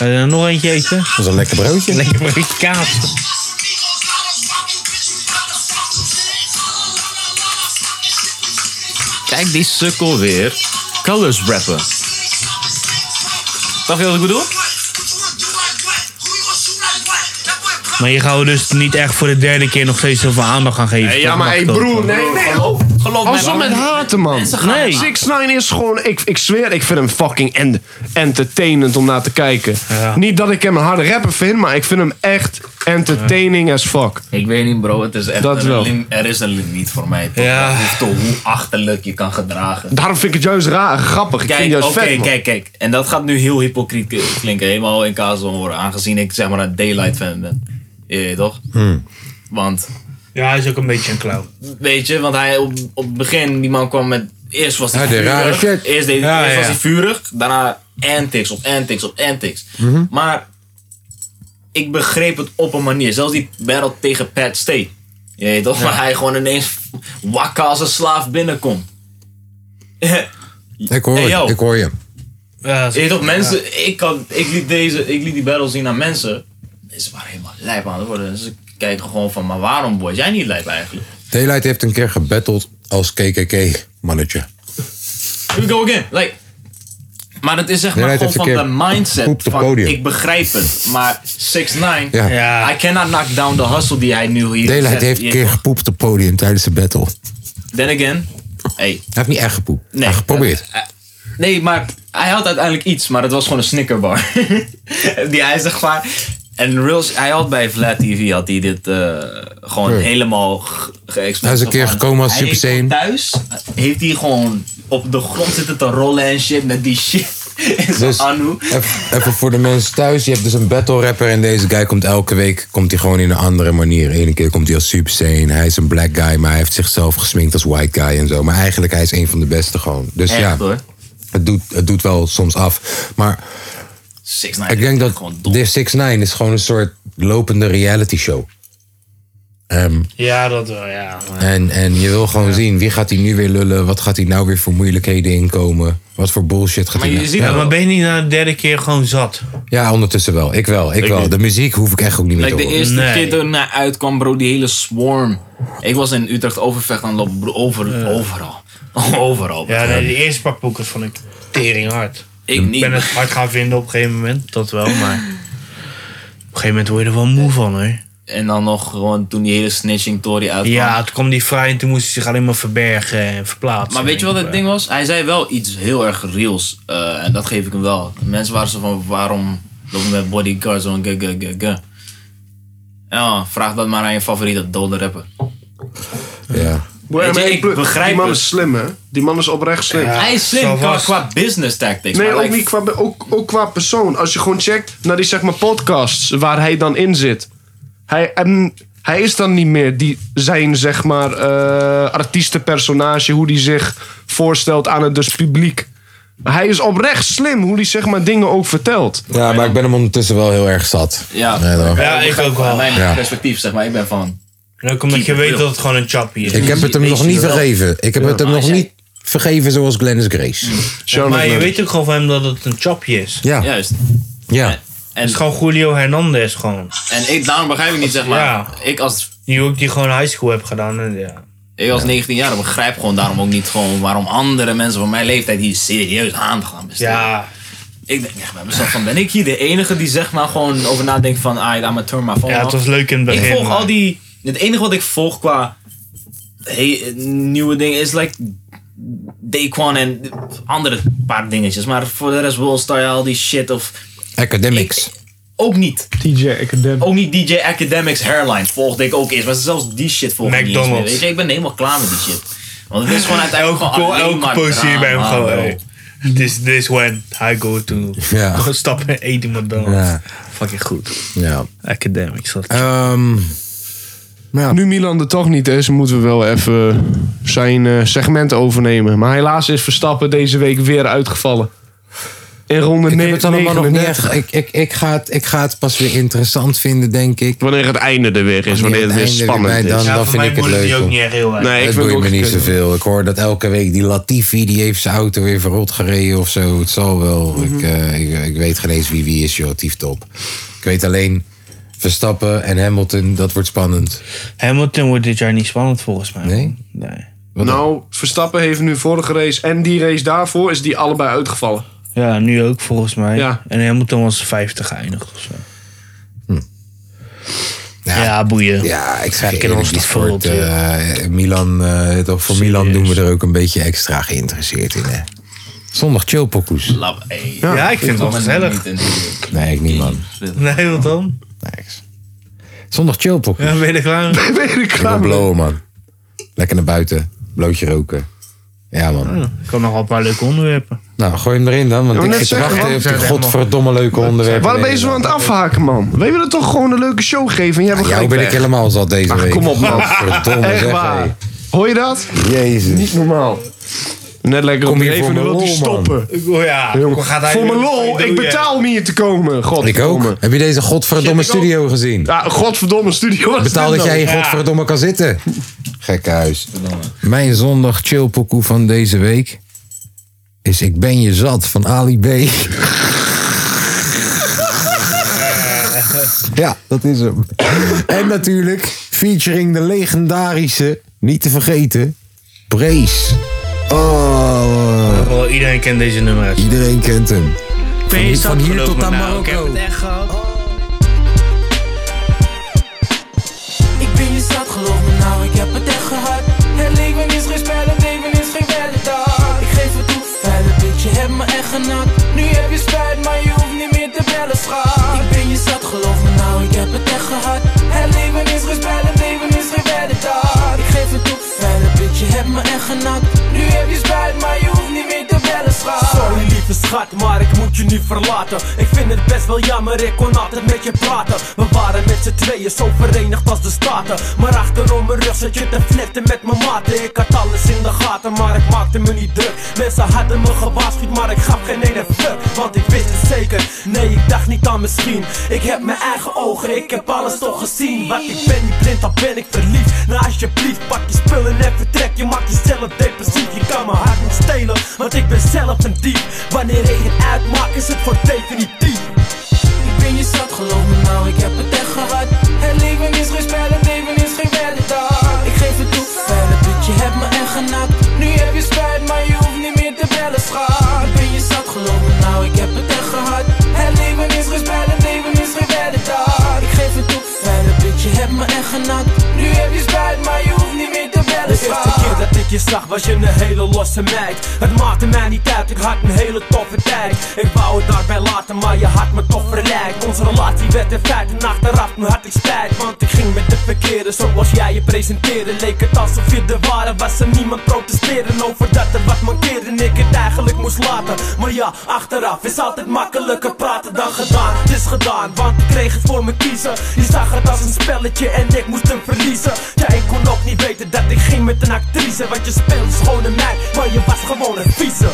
[SPEAKER 3] je er Eh, nog eentje eten?
[SPEAKER 1] Dat is een lekker broodje.
[SPEAKER 3] Lekker broodje kaas.
[SPEAKER 4] Kijk die sukkel weer. Colors rappen. Dacht je wat ik bedoel?
[SPEAKER 3] Maar je gaat er dus niet echt voor de derde keer nog steeds heel veel aandacht gaan geven.
[SPEAKER 2] ja,
[SPEAKER 3] Dat
[SPEAKER 2] maar
[SPEAKER 3] mag
[SPEAKER 2] hey,
[SPEAKER 3] toch?
[SPEAKER 2] broer, nee, nee. Oh,
[SPEAKER 4] Geloof
[SPEAKER 2] als we met haten, man.
[SPEAKER 4] Mensen gaan
[SPEAKER 3] Nee.
[SPEAKER 4] met
[SPEAKER 2] 6 9 is gewoon... Ik, ik zweer, ik vind hem fucking en, entertainend om naar te kijken.
[SPEAKER 3] Ja.
[SPEAKER 2] Niet dat ik hem een harde rapper vind, maar ik vind hem echt entertaining as fuck.
[SPEAKER 4] Ik weet niet, bro. Het is echt
[SPEAKER 2] Dat
[SPEAKER 4] een
[SPEAKER 2] wel.
[SPEAKER 4] lim- er is een limiet voor mij. toch?
[SPEAKER 3] Ja.
[SPEAKER 4] Dat hoeft toch hoe achterlijk je kan gedragen.
[SPEAKER 2] Daarom vind ik het juist raar, grappig. Ik
[SPEAKER 4] Kijk,
[SPEAKER 2] vind het
[SPEAKER 4] oké,
[SPEAKER 2] juist vet, man.
[SPEAKER 4] kijk, kijk. En dat gaat nu heel hypocriet k- klinken. Helemaal in kaas van worden. Aangezien ik zeg maar een Daylight fan ben. Je weet toch? Want
[SPEAKER 3] Ja, hij is ook een beetje een clown.
[SPEAKER 4] Weet je, want hij op, op het begin, die man kwam met. Eerst was hij
[SPEAKER 1] Hij deed
[SPEAKER 4] vurig.
[SPEAKER 1] rare shit.
[SPEAKER 4] Eerst, deed,
[SPEAKER 3] Ja,
[SPEAKER 4] eerst
[SPEAKER 3] ja,
[SPEAKER 4] was
[SPEAKER 3] ja.
[SPEAKER 4] hij vurig, daarna antics op antics op antics. Maar ik begreep het op een manier. Zelfs die battle tegen Pat State. Je weet toch? Waar hij gewoon ineens wakker als een slaaf binnenkomt.
[SPEAKER 1] Ik hoor
[SPEAKER 4] Hey,
[SPEAKER 1] het,
[SPEAKER 4] yo.
[SPEAKER 1] ik hoor je.
[SPEAKER 3] Ja,
[SPEAKER 4] Je weet toch, mensen, ik, kan, ik, liet deze, ik liet die battle zien aan mensen. Ze waren helemaal lijp aan het worden. Ze kijken gewoon van, maar waarom word jij niet lijp eigenlijk?
[SPEAKER 1] Daylight heeft een keer gebatteld als KKK-mannetje.
[SPEAKER 4] Here we go again. Like, maar dat is zeg maar
[SPEAKER 1] Nee, hij
[SPEAKER 4] gewoon
[SPEAKER 1] heeft
[SPEAKER 4] van
[SPEAKER 1] een
[SPEAKER 4] de
[SPEAKER 1] keer
[SPEAKER 4] mindset
[SPEAKER 1] poept op
[SPEAKER 4] van,
[SPEAKER 1] podium.
[SPEAKER 4] ik begrijp het. Maar 6 9
[SPEAKER 1] Ja.
[SPEAKER 3] Ja.
[SPEAKER 4] I cannot knock down the hustle die hij nu hier
[SPEAKER 1] Daylight
[SPEAKER 4] zet.
[SPEAKER 1] heeft een
[SPEAKER 4] Je-
[SPEAKER 1] keer gepoept op het podium tijdens de battle. Hij
[SPEAKER 4] Then again, hey,
[SPEAKER 1] heeft niet echt gepoept.
[SPEAKER 4] nee.
[SPEAKER 1] hij heeft geprobeerd.
[SPEAKER 4] Eh, eh, nee, maar hij had uiteindelijk iets, maar dat was gewoon een snickerbar. die hij zeg maar... En Reels, hij had bij Vlad TV, had hij dit eh, gewoon helemaal ge- geëxplodeerd.
[SPEAKER 1] Hij is een keer
[SPEAKER 4] Van,
[SPEAKER 1] gekomen als
[SPEAKER 4] hij
[SPEAKER 1] Super
[SPEAKER 4] heeft
[SPEAKER 1] Saiyan.
[SPEAKER 4] Thuis heeft hij gewoon op de grond zitten te rollen en shit met die shit. in zijn
[SPEAKER 1] Dus
[SPEAKER 4] Anu.
[SPEAKER 1] even, even voor de mensen thuis. Je hebt dus een battle rapper en deze guy komt elke week komt hij gewoon in een andere manier. Eén keer komt hij als Super Saiyan. Hij is een black guy, maar hij heeft zichzelf gesminkt als white guy en zo. Maar eigenlijk hij is een van de beste gewoon. Dus
[SPEAKER 4] Echt
[SPEAKER 1] ja,
[SPEAKER 4] hoor.
[SPEAKER 1] het doet, het doet wel soms af. Maar
[SPEAKER 4] 6 9
[SPEAKER 1] ik denk dat
[SPEAKER 4] gewoon dom.
[SPEAKER 1] de 6 9 is gewoon een soort lopende reality show. Ehm,
[SPEAKER 3] ja dat wel, ja.
[SPEAKER 1] en, en je wil gewoon zien, wie gaat hij nu weer lullen? Wat gaat hij nou weer voor moeilijkheden inkomen? Wat voor bullshit gaat
[SPEAKER 4] Maar
[SPEAKER 1] hij
[SPEAKER 4] je
[SPEAKER 1] nou-
[SPEAKER 4] ziet
[SPEAKER 1] ja.
[SPEAKER 3] Ja, maar ben je niet na de derde keer gewoon zat?
[SPEAKER 1] Ja, ondertussen wel. Ik wel, ik, wel. De muziek hoef ik echt ook niet meer
[SPEAKER 4] Like
[SPEAKER 1] te
[SPEAKER 4] de
[SPEAKER 1] horen.
[SPEAKER 4] eerste
[SPEAKER 3] Nee.
[SPEAKER 4] keer toen hij uitkwam, bro, die hele swarm. Ik was in Utrecht overvecht aan het lopen, bro, over, overal. overal. bro.
[SPEAKER 3] Ja, nee, die eerste paar boeken vond ik tering hard.
[SPEAKER 2] Hm.
[SPEAKER 4] ik niet.
[SPEAKER 3] Ik ben het hard gaan vinden op een gegeven moment, dat wel, maar... Op een gegeven moment word je er wel moe van, hoor.
[SPEAKER 4] En dan nog gewoon toen die hele snitching tory uitkwam.
[SPEAKER 3] Ja, toen kwam die vrij en toen moest hij zich alleen maar verbergen en verplaatsen.
[SPEAKER 4] Maar weet je wat
[SPEAKER 3] denk
[SPEAKER 4] het
[SPEAKER 3] ik,
[SPEAKER 4] ding was? Hij zei wel iets heel erg reels. eh, en dat geef ik hem wel. Mensen waren zo van, waarom lopen we met bodyguards zo'n ge, ge, ge, ge. Ja, vraag dat maar aan je favoriete dode rapper.
[SPEAKER 1] Ja.
[SPEAKER 2] Boy,
[SPEAKER 4] Weet je,
[SPEAKER 2] maar
[SPEAKER 4] ik begrijp
[SPEAKER 2] Die man
[SPEAKER 4] het.
[SPEAKER 2] is slim, hè? Die man is oprecht slim.
[SPEAKER 3] Ja,
[SPEAKER 4] hij is
[SPEAKER 3] zo
[SPEAKER 4] slim qua,
[SPEAKER 3] was-
[SPEAKER 4] qua business tactics.
[SPEAKER 2] Nee,
[SPEAKER 4] maar
[SPEAKER 2] ook,
[SPEAKER 4] like,
[SPEAKER 2] niet qua, ook, ook qua persoon. Als je gewoon checkt naar die zeg maar, podcasts waar hij dan in zit. Hij, en, hij is dan niet meer die, zijn zeg maar, eh, artiestenpersonage, hoe hij zich voorstelt aan het dus publiek. Hij is oprecht slim hoe hij zeg maar, dingen ook vertelt.
[SPEAKER 1] ja, maar ik ben hem ondertussen wel heel erg zat.
[SPEAKER 4] Ja.
[SPEAKER 1] Nee, dan.
[SPEAKER 3] Ja, ik ook
[SPEAKER 4] Vanuit
[SPEAKER 3] wel.
[SPEAKER 4] mijn
[SPEAKER 1] Ja.
[SPEAKER 4] perspectief, zeg maar. Ik ben van...
[SPEAKER 3] En ook omdat je
[SPEAKER 4] Keep
[SPEAKER 3] weet
[SPEAKER 4] real.
[SPEAKER 3] dat het gewoon een chappie is.
[SPEAKER 1] Ik heb het hem
[SPEAKER 4] Weet
[SPEAKER 1] nog
[SPEAKER 4] je
[SPEAKER 1] niet
[SPEAKER 4] wel.
[SPEAKER 1] vergeven. Ik heb het hem
[SPEAKER 4] maar
[SPEAKER 1] nog
[SPEAKER 4] als
[SPEAKER 1] niet vergeven zoals Glennis Grace.
[SPEAKER 2] Jonathan.
[SPEAKER 3] maar je weet ook gewoon van hem dat het een chapje is. Het
[SPEAKER 1] Ja,
[SPEAKER 4] Juist.
[SPEAKER 1] ja.
[SPEAKER 4] En,
[SPEAKER 3] is gewoon Julio Hernandez gewoon.
[SPEAKER 4] en ik, daarom begrijp ik niet, zeg maar.
[SPEAKER 3] Ja.
[SPEAKER 4] Ik als,
[SPEAKER 3] Die ook die gewoon high school heb gedaan. En ja.
[SPEAKER 4] ik als 19 jaar begrijp gewoon daarom ook niet gewoon waarom andere mensen van mijn leeftijd hier serieus aan gaan besteden.
[SPEAKER 3] ja,
[SPEAKER 4] Ik denk echt bij mezelf van, ben ik hier de enige die zeg maar gewoon over nadenkt van, ah, I'm a turn my phone
[SPEAKER 3] ja,
[SPEAKER 4] off?
[SPEAKER 3] het was leuk in het
[SPEAKER 4] Ik
[SPEAKER 3] begin.
[SPEAKER 4] volg
[SPEAKER 3] maar-
[SPEAKER 4] al die... Het enige wat ik volg qua he- nieuwe dingen is like Daquan en andere paar dingetjes. Maar voor de rest Will Star, al die shit of...
[SPEAKER 1] Academics.
[SPEAKER 4] Ook niet.
[SPEAKER 2] TJ Academic.
[SPEAKER 4] Ook niet DJ Academics Hairline volgde ik ook eens. Maar zelfs die shit volgde ik niet eens meer.
[SPEAKER 3] McDonald's.
[SPEAKER 4] Weet je, ik ben helemaal klaar met die shit. Want het is gewoon uiteindelijk
[SPEAKER 3] Elke,
[SPEAKER 4] gewoon
[SPEAKER 3] po-
[SPEAKER 4] alleen
[SPEAKER 3] elke
[SPEAKER 4] maar
[SPEAKER 3] post zie je bij hem
[SPEAKER 4] drama,
[SPEAKER 3] gewoon.
[SPEAKER 4] bro.
[SPEAKER 3] hey, This, this when I go to.
[SPEAKER 1] Ja.
[SPEAKER 3] Gewoon stappen en eten McDonald's.
[SPEAKER 1] Ja.
[SPEAKER 3] Fucking goed.
[SPEAKER 1] Ja.
[SPEAKER 3] Academics. Dat.
[SPEAKER 1] Ehm, ja.
[SPEAKER 2] Nu Milan er toch niet is, moeten we wel even zijn eh, segment overnemen. Maar helaas is Verstappen deze week weer uitgevallen. In ronde
[SPEAKER 1] Ik heb het allemaal nog niet
[SPEAKER 2] 39.
[SPEAKER 1] echt. Ik, ik, ik, ga het, ik ga het pas weer interessant vinden, denk ik.
[SPEAKER 2] Wanneer het einde er weer is, wanneer het weer
[SPEAKER 1] einde weer bij
[SPEAKER 2] spannend
[SPEAKER 1] dan-
[SPEAKER 2] is.
[SPEAKER 1] dan
[SPEAKER 3] ja, voor
[SPEAKER 1] vind
[SPEAKER 3] mij
[SPEAKER 1] ik het
[SPEAKER 3] boeit die
[SPEAKER 1] leuk,
[SPEAKER 3] ook
[SPEAKER 1] hoor.
[SPEAKER 3] niet echt heel erg.
[SPEAKER 2] Nee, ik
[SPEAKER 1] Het
[SPEAKER 2] vind
[SPEAKER 1] boeit me
[SPEAKER 2] ook-
[SPEAKER 1] niet zoveel. Ik hoor dat elke week die Latifi, die heeft zijn auto weer verrot gereden of zo. Het zal wel.
[SPEAKER 3] Mhm.
[SPEAKER 1] ik, eh, ik, ik weet geen eens wie wie is, joh. Tief top. Ik weet alleen Verstappen en Hamilton, dat wordt spannend.
[SPEAKER 3] Hamilton wordt dit jaar niet spannend volgens mij.
[SPEAKER 1] Nee?
[SPEAKER 3] Nee.
[SPEAKER 1] Wat dan?
[SPEAKER 2] Nou, Verstappen heeft nu vorige race en die race daarvoor is die allebei uitgevallen.
[SPEAKER 3] Ja, nu ook volgens mij.
[SPEAKER 2] Ja.
[SPEAKER 3] En Hamilton was 50 geëindigd of zo.
[SPEAKER 1] Ja.
[SPEAKER 3] Ja, boeien.
[SPEAKER 1] Ja, ik zeg
[SPEAKER 3] Ik
[SPEAKER 1] ik
[SPEAKER 3] ken ons
[SPEAKER 1] eerlijk, die
[SPEAKER 3] toch wel
[SPEAKER 1] sport,
[SPEAKER 3] op,
[SPEAKER 1] eh, Milan, eh, toch, voor Milan doen we er ook een beetje extra geïnteresseerd in. Hè. Zondag chillpokoes.
[SPEAKER 4] Lab,
[SPEAKER 2] eh,
[SPEAKER 4] ey.
[SPEAKER 3] Ja, ik vind het wel gezellig.
[SPEAKER 1] Nee, ik niet man.
[SPEAKER 3] Nee, wat dan?
[SPEAKER 1] Niks. Zondag chillpokoes.
[SPEAKER 3] Ja, ben je er klaar? mee?
[SPEAKER 2] Weet ik
[SPEAKER 1] Ik wil
[SPEAKER 2] klaar mee.
[SPEAKER 1] blowen man. Lekker naar buiten, blootje roken. Ja, man.
[SPEAKER 3] Ja, ik had nogal een paar leuke onderwerpen.
[SPEAKER 1] Nou, gooi hem erin dan, want
[SPEAKER 2] wou
[SPEAKER 1] ik
[SPEAKER 2] net
[SPEAKER 1] zit te
[SPEAKER 2] zeggen,
[SPEAKER 1] wachten
[SPEAKER 2] man.
[SPEAKER 1] op die godverdomme leuke onderwerpen.
[SPEAKER 2] Waarom ben je zo aan het afhaken, man? Wij willen toch gewoon een leuke show geven en jij hebt
[SPEAKER 1] Jou
[SPEAKER 2] gelijk
[SPEAKER 1] ben ik
[SPEAKER 2] weg.
[SPEAKER 1] helemaal zat deze
[SPEAKER 2] Ach,
[SPEAKER 1] week.
[SPEAKER 2] Ah, kom op, man.
[SPEAKER 1] Godverdomme,
[SPEAKER 2] Echt
[SPEAKER 1] zeg,
[SPEAKER 2] waar.
[SPEAKER 1] hé.
[SPEAKER 2] Hoor je dat?
[SPEAKER 1] Jezus.
[SPEAKER 2] Niet normaal. Net lekker
[SPEAKER 1] Kom
[SPEAKER 2] op
[SPEAKER 1] hier
[SPEAKER 2] de
[SPEAKER 1] voor
[SPEAKER 2] even
[SPEAKER 1] mijn
[SPEAKER 2] wil die
[SPEAKER 1] lol, man.
[SPEAKER 2] stoppen.
[SPEAKER 3] Ja,
[SPEAKER 2] Voor mijn lol, ik
[SPEAKER 3] eh,
[SPEAKER 2] betaal om hier te komen.
[SPEAKER 1] Ik
[SPEAKER 2] Godverdomme.
[SPEAKER 1] ook. Heb je deze godverdomme
[SPEAKER 2] Shit, ik ook.
[SPEAKER 1] studio gezien?
[SPEAKER 2] Ja, godverdomme studio. was
[SPEAKER 1] Betaal
[SPEAKER 2] dit
[SPEAKER 1] dat jij
[SPEAKER 2] nou?
[SPEAKER 1] in godverdomme kan zitten. Gekke huis. Mijn zondag chillpokoe van deze week is Ik ben je zat van Ali B. Eh. ja, dat is hem. en natuurlijk featuring de legendarische, niet te vergeten, Brace. Oh,
[SPEAKER 3] Wel, iedereen kent deze nummers.
[SPEAKER 1] iedereen kent hem.
[SPEAKER 3] Van,
[SPEAKER 1] van hier tot aan
[SPEAKER 3] Ik heb
[SPEAKER 1] Marokko.
[SPEAKER 3] het echt gehad.
[SPEAKER 5] Ik ben je zat, geloof me nou, ik heb het echt gehad. Het leven is geen spel, het leven is geen dag. Ik geef het toe, verder bitch, je hebt me echt genakt. Nu heb je spijt, maar je hoeft niet meer te bellen, schat. Ik ben je zat, geloof me nou, ik heb het echt gehad. Het leven is geen spel, het leven is geen dag. Ik geef het toe, verder bitch, je hebt me echt genakt. Nu heb je spijt, maar je hoeft niet meer te bellen, schat.
[SPEAKER 6] Sorry lieve schat, maar ik moet je nu verlaten Ik vind het best wel jammer, ik kon altijd met je praten We waren met z'n tweeën zo verenigd als de staten Maar achterom mijn rug zat je te fletten met mijn maten Ik had alles in de gaten, maar ik maakte me niet druk Mensen hadden me gewaarschuwd, maar ik gaf geen ene fuck Want ik wist het zeker, nee ik dacht niet aan misschien Ik heb mijn eigen ogen, ik heb alles toch gezien Want ik ben niet blind, dan ben ik verliefd Nou alsjeblieft, pak je spullen en vertrek Je maakt jezelf depressief, je kan mijn hart niet stelen Want ik ben zelf een dief Wanneer ik het uitmaak is het voor definitief
[SPEAKER 5] Ik ben je zat, geloof me nou, ik heb het echt gehad. Het leven is geen spel, het leven is geen weddendag. Ik geef het toe, verder bitch, je hebt me echt genakt. Nu heb je spijt, maar je hoeft niet meer te bellen, schat. Ik ben je zat, geloof me nou, ik heb het echt gehad. Het leven is geen spel, het leven is geen weddendag. Ik geef het toe, verder bitch, je hebt me echt genakt. Nu heb je spijt, maar je hoeft niet meer te bellen,
[SPEAKER 6] De eerste
[SPEAKER 5] schat.
[SPEAKER 6] keer dat ik je zag was je een hele losse meid Het maakte mij niet uit, ik had een hele toffe tijd Ik wou het daarbij laten, maar je had me toch verleid Onze relatie werd in feite achteraf, nu had ik spijt Want ik ging met de verkeerde, zoals jij je presenteerde Leek het alsof je er waren, was er niemand protesteren Over dat er wat mankeerde en ik het eigenlijk moest laten Maar ja, achteraf is altijd makkelijker praten dan gedaan Het is gedaan, want ik kreeg het voor me kiezen Je zag het als een spelletje en ik moest hem verliezen Ja, ik kon ook niet weten dat ik ging met een actrice Want je speelde schone meid, maar je was gewoon een vieze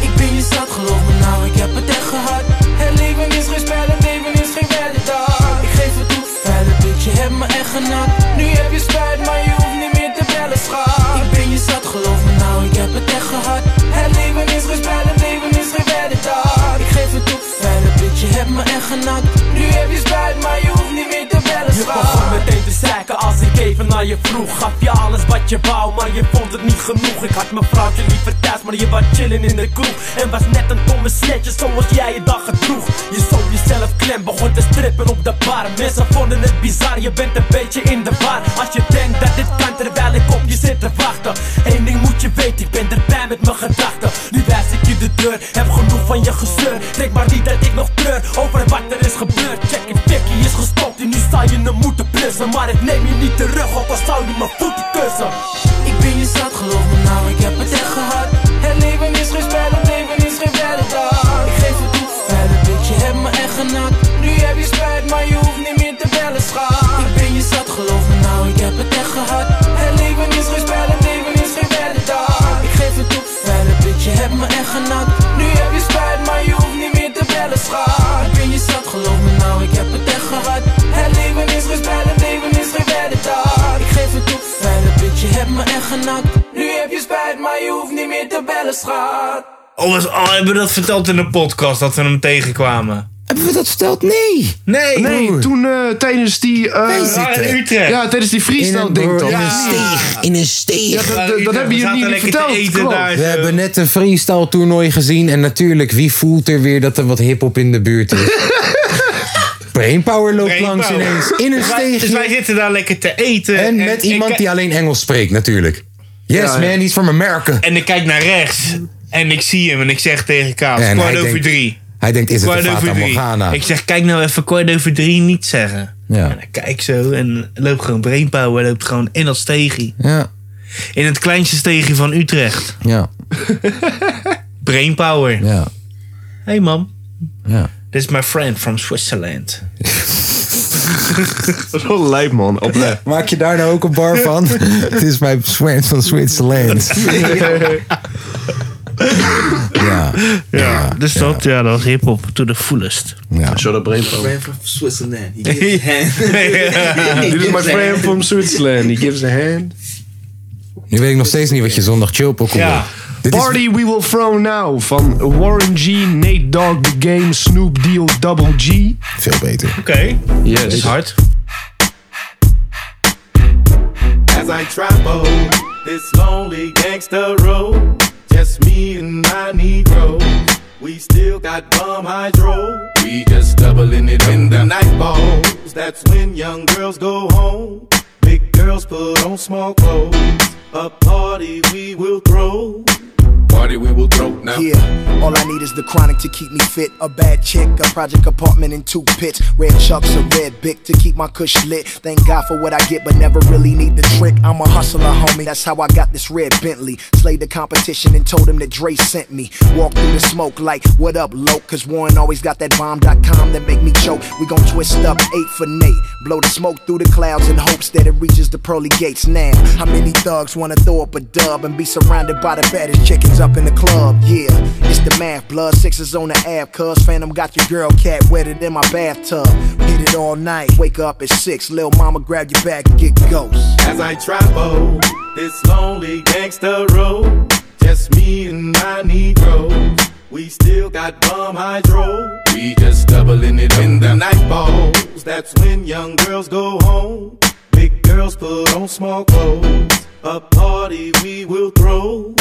[SPEAKER 5] Ik ben je zat, geloof me nou, ik heb het echt gehad. Het leven is geen spel, het leven is geen weddendag. Ik geef het toe, verder bitch, je hebt me echt genakt. Nu heb je spijt, maar je hoeft niet meer te bellen, schat. Ik ben je zat, geloof me nou, ik heb het echt gehad. Het leven is geen spel, het leven is geen weddendag. Ik geef het toe, verder bitch, je hebt me echt genakt. Nu heb je spijt, maar je hoeft niet meer te bellen,
[SPEAKER 6] Je
[SPEAKER 5] schat.
[SPEAKER 6] begon meteen te zeiken als ik even naar je vroeg Gaf je alles wat je wou, maar je vond het niet genoeg Ik had mijn vrouwtje liever thuis, maar je was chillen in de kroeg En was net een domme sletje zoals jij je dag gedroeg Je zo jezelf klem, begon te strippen op de bar Mensen vonden het bizar, je bent een beetje in de war Als je denkt dat dit kan terwijl ik op je zit te wachten Eén ding moet je weten, ik ben erbij met mijn gedachten Nu wijs ik je de deur, heb genoeg van je gezeur Denk maar niet dat ik nog treur over wat er is gebeurd Check in fikkie is gestopt en nu sta je hem moeten blussen Maar ik neem je niet terug, ook al zou je mijn voeten kussen
[SPEAKER 5] Ik ben je zat, geloof me nou, ik heb het echt gehad. Het leven is geen spel, het leven is geen weddendag. Ik geef het toe, verder bitch, je hebt me echt genakt. Nu heb je spijt, maar je hoeft niet meer te bellen, schat. Ik ben je zat, geloof me nou, ik heb het echt gehad. Het leven is geen spel, het leven is geen weddendag. Ik geef het toe, verder bitch, je hebt me echt genakt. Nu heb je spijt, maar je hoeft niet meer te bellen, schat. Ik ben je zat, geloof me nou, ik heb het echt gehad. Het leven is geen spel, het leven is geen weddendag. Ik geef het toe, verder bitch, je hebt me echt genakt. Nu heb je spijt, maar je hoeft niet meer te bellen, schat.
[SPEAKER 3] Oh, was, oh, hebben we dat verteld in de podcast dat we hem tegenkwamen?
[SPEAKER 1] Hebben we dat verteld? Nee!
[SPEAKER 3] Nee!
[SPEAKER 2] Nee,
[SPEAKER 1] Broer.
[SPEAKER 2] toen eh, tijdens die... eh,
[SPEAKER 1] Wij
[SPEAKER 3] Ah, in
[SPEAKER 1] zitten
[SPEAKER 3] Utrecht.
[SPEAKER 2] ja, tijdens die freestyle ding toch?
[SPEAKER 1] in een
[SPEAKER 2] Ja,
[SPEAKER 1] steeg. In een steeg.
[SPEAKER 2] dat, dat, dat hebben
[SPEAKER 3] We zaten
[SPEAKER 2] jullie niet
[SPEAKER 3] lekker te
[SPEAKER 2] verteld.
[SPEAKER 3] eten
[SPEAKER 2] klopt.
[SPEAKER 3] daar.
[SPEAKER 1] We hebben net een freestyle toernooi gezien. En natuurlijk, wie voelt er weer dat er wat hiphop in de buurt is? Brainpower loopt
[SPEAKER 3] Brainpower.
[SPEAKER 1] langs ineens. In een
[SPEAKER 3] Wij- nou. Dus wij
[SPEAKER 1] steegje.
[SPEAKER 3] zitten daar lekker te eten.
[SPEAKER 1] En met
[SPEAKER 3] Eh, ik
[SPEAKER 1] iemand
[SPEAKER 3] ki-
[SPEAKER 1] die alleen Engels spreekt natuurlijk. Yes
[SPEAKER 2] Ja, ja.
[SPEAKER 1] man, iets van Amerika.
[SPEAKER 3] En ik kijk naar rechts. En ik zie hem en ik zeg tegen Kaap,
[SPEAKER 1] En
[SPEAKER 3] kwart
[SPEAKER 1] hij
[SPEAKER 3] over
[SPEAKER 1] denkt-
[SPEAKER 3] drie.
[SPEAKER 1] Hij denkt, is het een
[SPEAKER 3] Kwart
[SPEAKER 1] Fata
[SPEAKER 3] over drie.
[SPEAKER 1] Morgana?
[SPEAKER 3] Ik zeg, kijk nou even kwart over drie niet zeggen.
[SPEAKER 1] Ja.
[SPEAKER 3] En dan kijk zo en loopt gewoon brainpower, loopt gewoon in dat steegje.
[SPEAKER 1] Ja,
[SPEAKER 3] In het kleinste steegje van Utrecht.
[SPEAKER 1] ja.
[SPEAKER 3] Brainpower.
[SPEAKER 1] Ja.
[SPEAKER 3] Hey man.
[SPEAKER 1] Ja.
[SPEAKER 3] This is my friend from Switzerland.
[SPEAKER 2] Zo'n lijp, man. eh, Oprecht.
[SPEAKER 1] Maak je daar nou ook een bar van? Het is mijn Swans van Zwitserland. Ja,
[SPEAKER 3] Ja, dus dat, ja, dat was hip-hop to the fullest.
[SPEAKER 1] ja.
[SPEAKER 2] Zo dat brainpower.
[SPEAKER 4] Friend from Switzerland. He gives a hand. He
[SPEAKER 2] Dit is
[SPEAKER 4] gives
[SPEAKER 2] my
[SPEAKER 4] a
[SPEAKER 2] friend
[SPEAKER 4] hand.
[SPEAKER 2] from Switzerland. He gives a hand.
[SPEAKER 1] Nu weet ik nog steeds niet wat je zondag chillpop komt
[SPEAKER 3] Ja.
[SPEAKER 1] Dit is
[SPEAKER 2] Party We Will Throw Now van Warren G, Nate Dogg, The Game, Snoop, Deal, Double G.
[SPEAKER 1] veel beter.
[SPEAKER 3] Oké, dat is
[SPEAKER 2] Yes.
[SPEAKER 3] hard.
[SPEAKER 7] as I travel this lonely gangster road. Just me and my Negro. We still got bum hydro. We just doubling it in the night balls. That's when young girls go home. Big girls put on small clothes. A party we will throw. Party we will throw now.
[SPEAKER 8] Yeah, all I need is the chronic to keep me fit. A bad chick, a project apartment, and two pits. Red chucks, a red bic to keep my cush lit. Thank God for what I get, but never really need the trick. I'm a hustler, homie. That's how I got this red Bentley. Slayed the competition and told him that Dre sent me. Walked through the smoke like, what up, loke? Cause Warren always got that bomb.com that make me choke. We gon' twist up eight for Nate. Blow the smoke through the clouds in hopes that it reaches the pearly gates now. How many thugs wanna throw up a dub and be surrounded by the baddest chickens up in the club? Yeah, it's the math, blood. Sixes on the ab, cuz Phantom got your girl cat wetter in my bathtub. Hit it all night, wake up at six. Lil' mama grab your bag and get ghost.
[SPEAKER 7] as I travel this lonely gangster road. Just me and my Negro. We still got bum hydro. We just doubling it in the night balls. That's when young girls go home. Big girls put on small clothes. A party we will throw.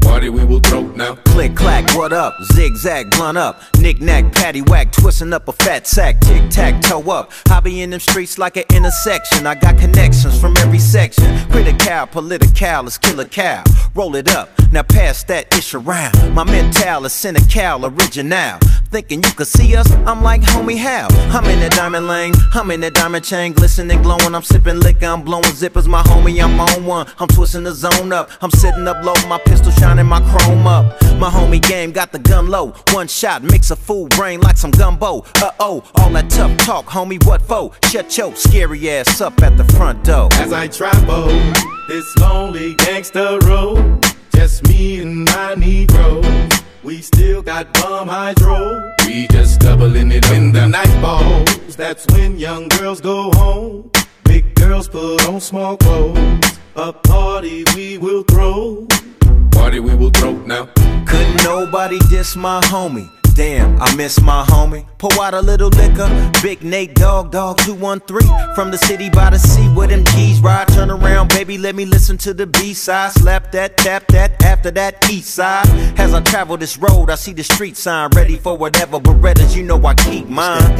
[SPEAKER 7] Party we will throw now.
[SPEAKER 9] Click clack, what up? Zigzag, blunt up. Knick knack, patty whack, twisting up a fat sack. Tic tac, toe up. Hobby in them streets like an intersection. I got connections from every section. Critical, political, let's kill a cow. Roll it up, now pass that ish around. My mental is cynical, original. Thinking you could see us? I'm like, homie, how? I'm in that diamond lane, I'm in that diamond chain, glistening, glowing. I'm sipping liquor, I'm blowing zippers, my homie, I'm on one. I'm twisting the zone up, I'm sitting up low, my pistol shining my chrome up. My homie game got the gun low, one shot, mix a fool brain like some gumbo. Uh oh, all that tough talk, homie, what for? Shut your scary ass up at the front door.
[SPEAKER 7] as I travel this lonely gangster road. Just me and my Negro. We still got bum hydro. We just doubling it in the night balls. That's when young girls go home. Big girls put on small clothes. A party we will throw. Party we will throw now.
[SPEAKER 9] Couldn't nobody diss my homie. Damn, I miss my homie. Pour out a little liquor. Big Nate Dog Dog 213 from the city by the sea where them keys ride. Turn around, baby, let me listen to the B side. Slap that, tap that, after that east side. As I travel this road, I see the street sign ready for whatever. Berettas, you know I keep mine.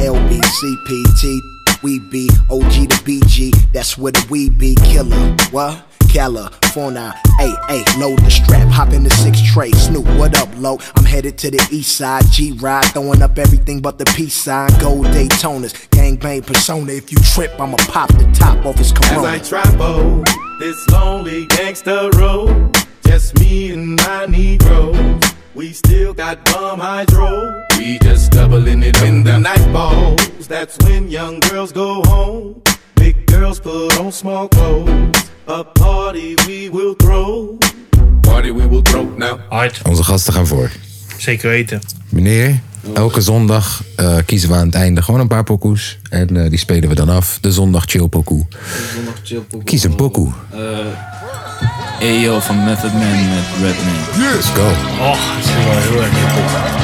[SPEAKER 8] LBCPT, we be OG to BG, that's where the we be killer. What? California, hey, hey, load the strap, hop in the six tray. Snoop, what up, low? I'm headed to the east side, G ride, throwing up everything but the peace sign. Gold Daytonas, gangbang persona. If you trip, I'ma pop the top off his
[SPEAKER 7] As
[SPEAKER 8] corona.
[SPEAKER 7] I travel this lonely gangster road, just me and my Negro. We still got bum hydro. We just doubling it in the night balls. That's when young girls go home. Big girls put on small clothes. A party we will throw. Party we will throw now.
[SPEAKER 3] Hard,
[SPEAKER 1] Onze gasten gaan voor.
[SPEAKER 3] zeker weten.
[SPEAKER 1] Meneer, elke zondag eh, kiezen we aan het einde gewoon een paar pokoes. En eh, die spelen we dan af. De zondag chill pokoe.
[SPEAKER 4] Zondag chill eh, pokoe.
[SPEAKER 1] Kies een pokoe.
[SPEAKER 4] Hey yo, van Method Man met Redman.
[SPEAKER 1] Let's go.
[SPEAKER 3] Och, dat is wel heel erg hip-hop.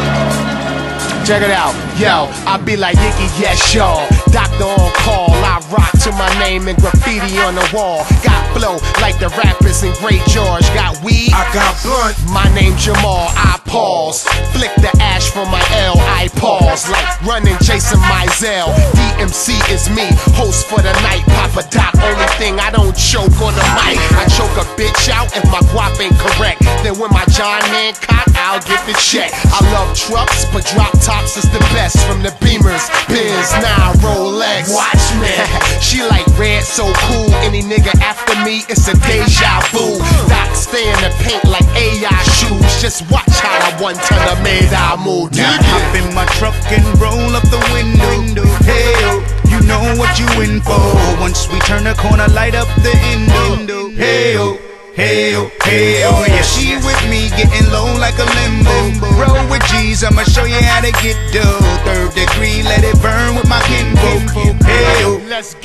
[SPEAKER 7] Check it out, yo. I be like Iggy, yes, y'all. Doctor on call, I rock to my name and graffiti on the wall. Got flow like the rappers in Great George. Got weed, I got blunt. My name Jamal, I pause. Flick the ash from my L, I pause. Like running, chasing my Zell. DMC is me, host for the night. Papa Doc, only thing I don't choke on the mic. I choke a bitch out if my guap ain't correct. Then when my John man cock, I'll get the check. I love trucks, but drop tops is the best. From the Beamers, Benz, now Rolex. Watch me. she like red, so cool. Any nigga after me, it's a deja vu. Doc stay in the paint like AI shoes. Just watch how I one ton of made I move.
[SPEAKER 10] Hop in my truck and roll up the window. Hell, you know what you in for. Once we turn the corner, light up the window. oh, Hell, hell, hell, oh, yeah. She with me getting low like a limbo. Roll with G's, I'ma show you how to get dough. Third degree, let it burn with my oh, kinfolk. Hell, hell,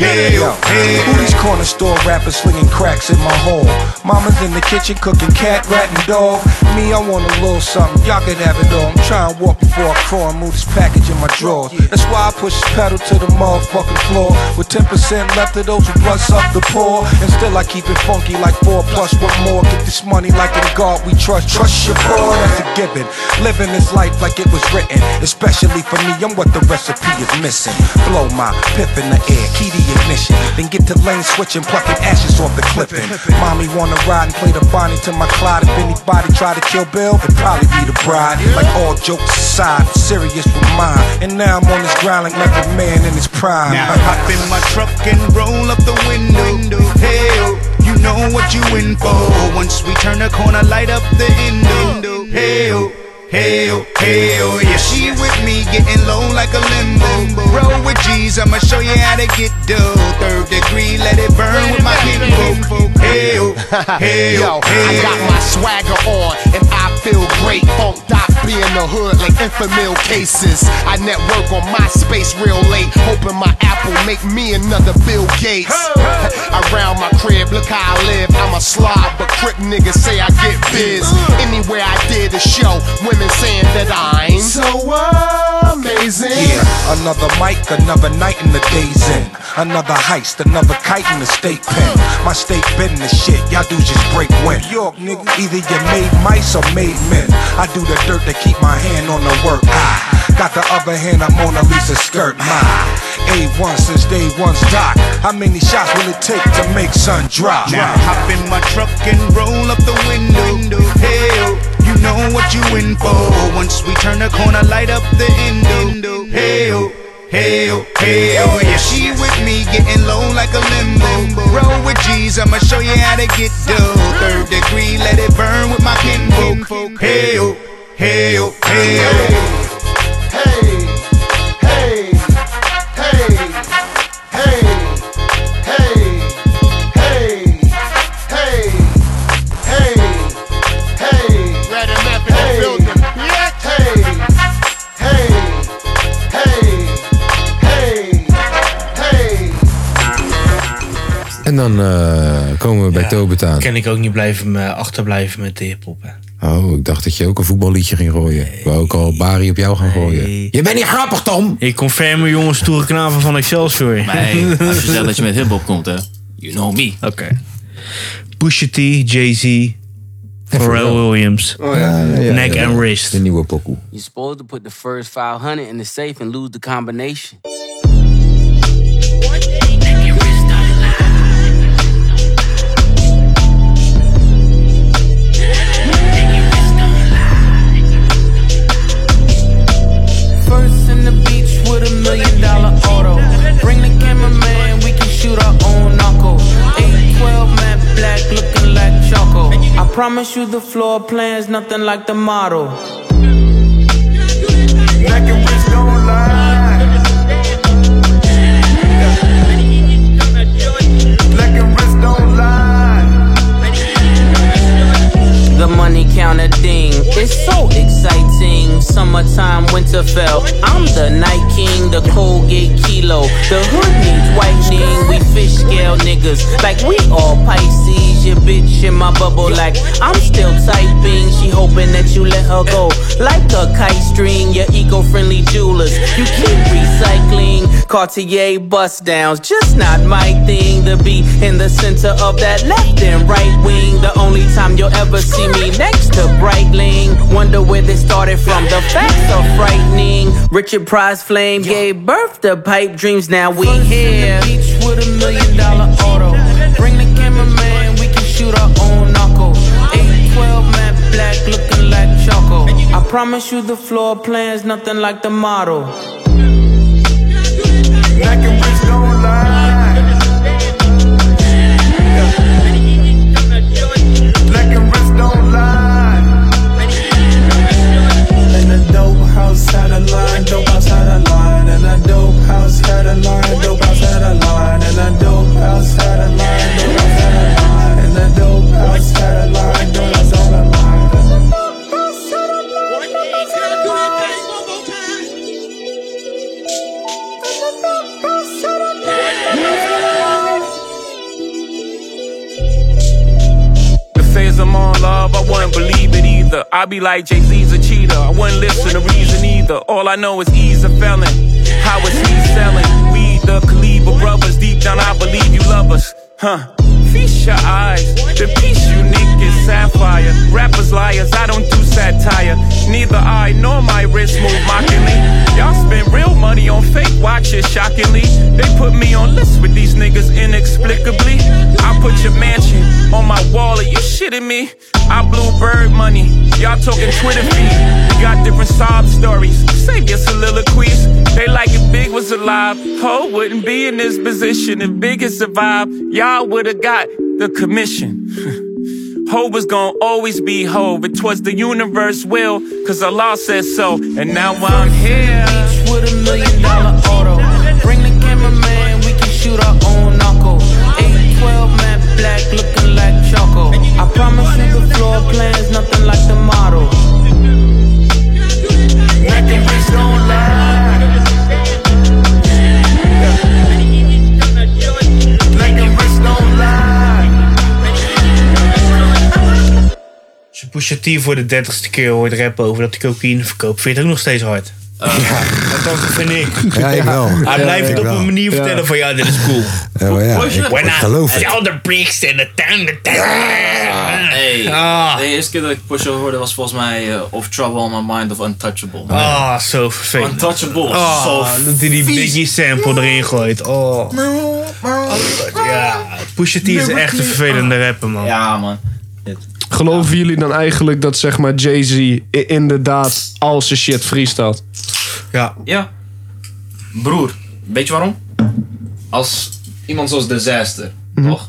[SPEAKER 10] hell.
[SPEAKER 11] Who these corner store rappers slinging cracks in my home? Mama's in the kitchen cooking cat, rat, and dog. Me, I want a little something. Y'all can have it all. I'm trying to walk before I crawl and move this package in my drawer. That's why I push this pedal to the motherfucking floor. With 10% left of those who bust up the poor. And still I keep it funky like four plus one more. Get this money like in God we trust. Trust your boy, that's a given. Living this life like it was written. Especially for me, I'm what the recipe is missing. Blow my piff in the air, key to ignition. Then get to lane switching, plucking ashes off the clipping. Mommy wanna ride and play the Bonnie to my Clyde. If anybody try to kill Bill, it'd probably be the bride. Like all jokes aside, I'm serious with mine. And now I'm on this grind like every man in his prime.
[SPEAKER 10] Now hop in my truck and roll up the window. Hell, you know what you in for. Once we turn the corner, light up the window. Hell, hell, hell, yeah. She with me getting low like a limbo. Roll with G's, I'ma show you how to get dough. Third degree, let it burn with my kinfolk. Hell,
[SPEAKER 7] Yo,
[SPEAKER 10] hell,
[SPEAKER 7] I
[SPEAKER 10] hell.
[SPEAKER 7] got my swagger on and I feel great. Funk dot be in the hood like infamil cases. I network on MySpace real late, hoping my Apple make me another Bill Gates. Around my crib, look how I live. I'm a slob, but crip niggas say I get biz. Anywhere I did a show, women saying that I'm so amazing.
[SPEAKER 11] Yeah, another mic, another night in the days in. Another heist, another kite in the state pen. My state been the shit, y'all dudes just break wind. York, nigga, either you made mice or made men. I do the dirt to keep my hand on the work. I got the other hand, I'm Mona Lisa skirt. My A1 since day one's doc. How many shots will it take to make sun drop?
[SPEAKER 10] Now hop in my truck and roll up the window. Hell, you know what you in for. Once we turn the corner, light up the window. Hell, hell, hell. Yeah, she with me getting low like a limbo. Roll with G's, I'ma show you how to get dough. Third degree, let it burn with my kinfolk. Hell, hell, hell.
[SPEAKER 7] Hey, hey, hey, hey, hey, hey, hey, hey. Red and map in the building. Hey, hey, hey, hey, hey.
[SPEAKER 1] En dan eh, komen we bij Tobit aan.
[SPEAKER 3] Kan ik ook niet blijven eh, achterblijven met de hiphop. hè.
[SPEAKER 1] Oh, ik dacht dat je ook een voetballiedje ging gooien. Ik wou ook al Bari op jou gaan gooien. Je bent niet grappig, Tom!
[SPEAKER 3] Ik confirm me, jongens, stoere knaven van Excelsior.
[SPEAKER 4] Nee, als je zegt dat je met hiphop komt, hè. You know me.
[SPEAKER 3] Oké. Pusha T, Jay-Z, Pharrell Williams.
[SPEAKER 1] Oh,
[SPEAKER 3] Neck and wrist.
[SPEAKER 1] De nieuwe pokoe.
[SPEAKER 12] You're supposed to put the first 500 in the safe and lose the combination.
[SPEAKER 5] First in the beach with a million dollar auto. Bring the cameraman, we can shoot our own knuckle. 812 matte black, looking like choco. I promise you the floor plan's nothing like the model. Neck and wrist don't lie. Neck and wrist don't lie.
[SPEAKER 12] The money counter ding, it's so exciting. Summertime, Winterfell, I'm the Night King, the Colgate Kilo. The hood needs whitening, we fish scale niggas. Like we all Pisces, your bitch in my bubble. Like I'm still typing, she hoping that you let her go. Like a kite string, your eco friendly jewelers. You keep recycling Cartier bust downs, just not my thing to be in the center of that left and right wing. The only time you'll ever see me next to Brightling. Wonder where this started from. The facts are frightening. Richard Prize Flame gave birth to pipe dreams. Now we here.
[SPEAKER 5] beach with a million dollar auto. Bring the cameraman, we can shoot our own knuckle. 812 matte black, looking like choco. I promise you the floor plan's nothing like the model. Neck and wrist don't lie. Neck and wrist don't lie.
[SPEAKER 13] either. I be like Jay Z's a cheater. I wouldn't listen to reason either. All I know is he's a felon. How is he selling? We the Kaliba brothers. Deep down, I believe you love us. Huh. Feast your eyes. The piece unique is sapphire. Rappers liars, I don't do satire. Neither I nor my wrist move mockingly. Y'all spend real money on fake watches, shockingly. They put me on lists with these niggas inexplicably. I put your mansion on my wall. Are you shitting me? I blew bird money. Y'all talking Twitter feed. We got different sob stories. Save your soliloquies. They like if Big was alive. Ho wouldn't be in this position. If Big had survived, y'all would've got the commission. Ho was gon' always be ho. It was the universe will, cause Allah said so. And now I'm here.
[SPEAKER 14] Each with a million dollar auto. Bring the cameraman, we can shoot our own knuckle. 812 matte black, looking like choco. I promise you the floor plan's nothing like the model. Nothing rich don't lie. Nothing rich don't lie.
[SPEAKER 3] Als je Pusha T voor de dertigste keer hoort rappen over dat hij cocaïne verkoopt, vind je het ook nog steeds hard.
[SPEAKER 4] Eh,
[SPEAKER 3] Dat vind ik.
[SPEAKER 10] Ja, ik wel.
[SPEAKER 3] Hij
[SPEAKER 10] Ja,
[SPEAKER 3] blijft
[SPEAKER 10] ik
[SPEAKER 3] het op
[SPEAKER 10] wel.
[SPEAKER 3] een manier
[SPEAKER 10] Ja.
[SPEAKER 3] vertellen van ja, dit is cool.
[SPEAKER 10] Ja, maar ja, ik,
[SPEAKER 3] When
[SPEAKER 10] ik
[SPEAKER 3] I
[SPEAKER 10] geloof het.
[SPEAKER 3] sell the bricks in the town, the town.
[SPEAKER 4] Hey,
[SPEAKER 3] Ah.
[SPEAKER 4] de eerste keer dat ik Pusha hoorde was volgens mij eh, Of Trouble on My Mind of Untouchable.
[SPEAKER 3] Ah, zo vervelend.
[SPEAKER 4] Untouchable is
[SPEAKER 3] Ah,
[SPEAKER 4] zo
[SPEAKER 3] dat hij die
[SPEAKER 4] vies.
[SPEAKER 3] Biggie sample erin gooit. Oh. Ja, Pusha T is echt een
[SPEAKER 1] Ah.
[SPEAKER 3] vervelende rapper, man.
[SPEAKER 4] Ja, man.
[SPEAKER 2] Geloven jullie dan eigenlijk dat zeg maar Jay-Z i- inderdaad al zijn shit freestelt?
[SPEAKER 3] Ja.
[SPEAKER 4] Ja. Broer, weet je waarom? Als iemand zoals Disaster, toch?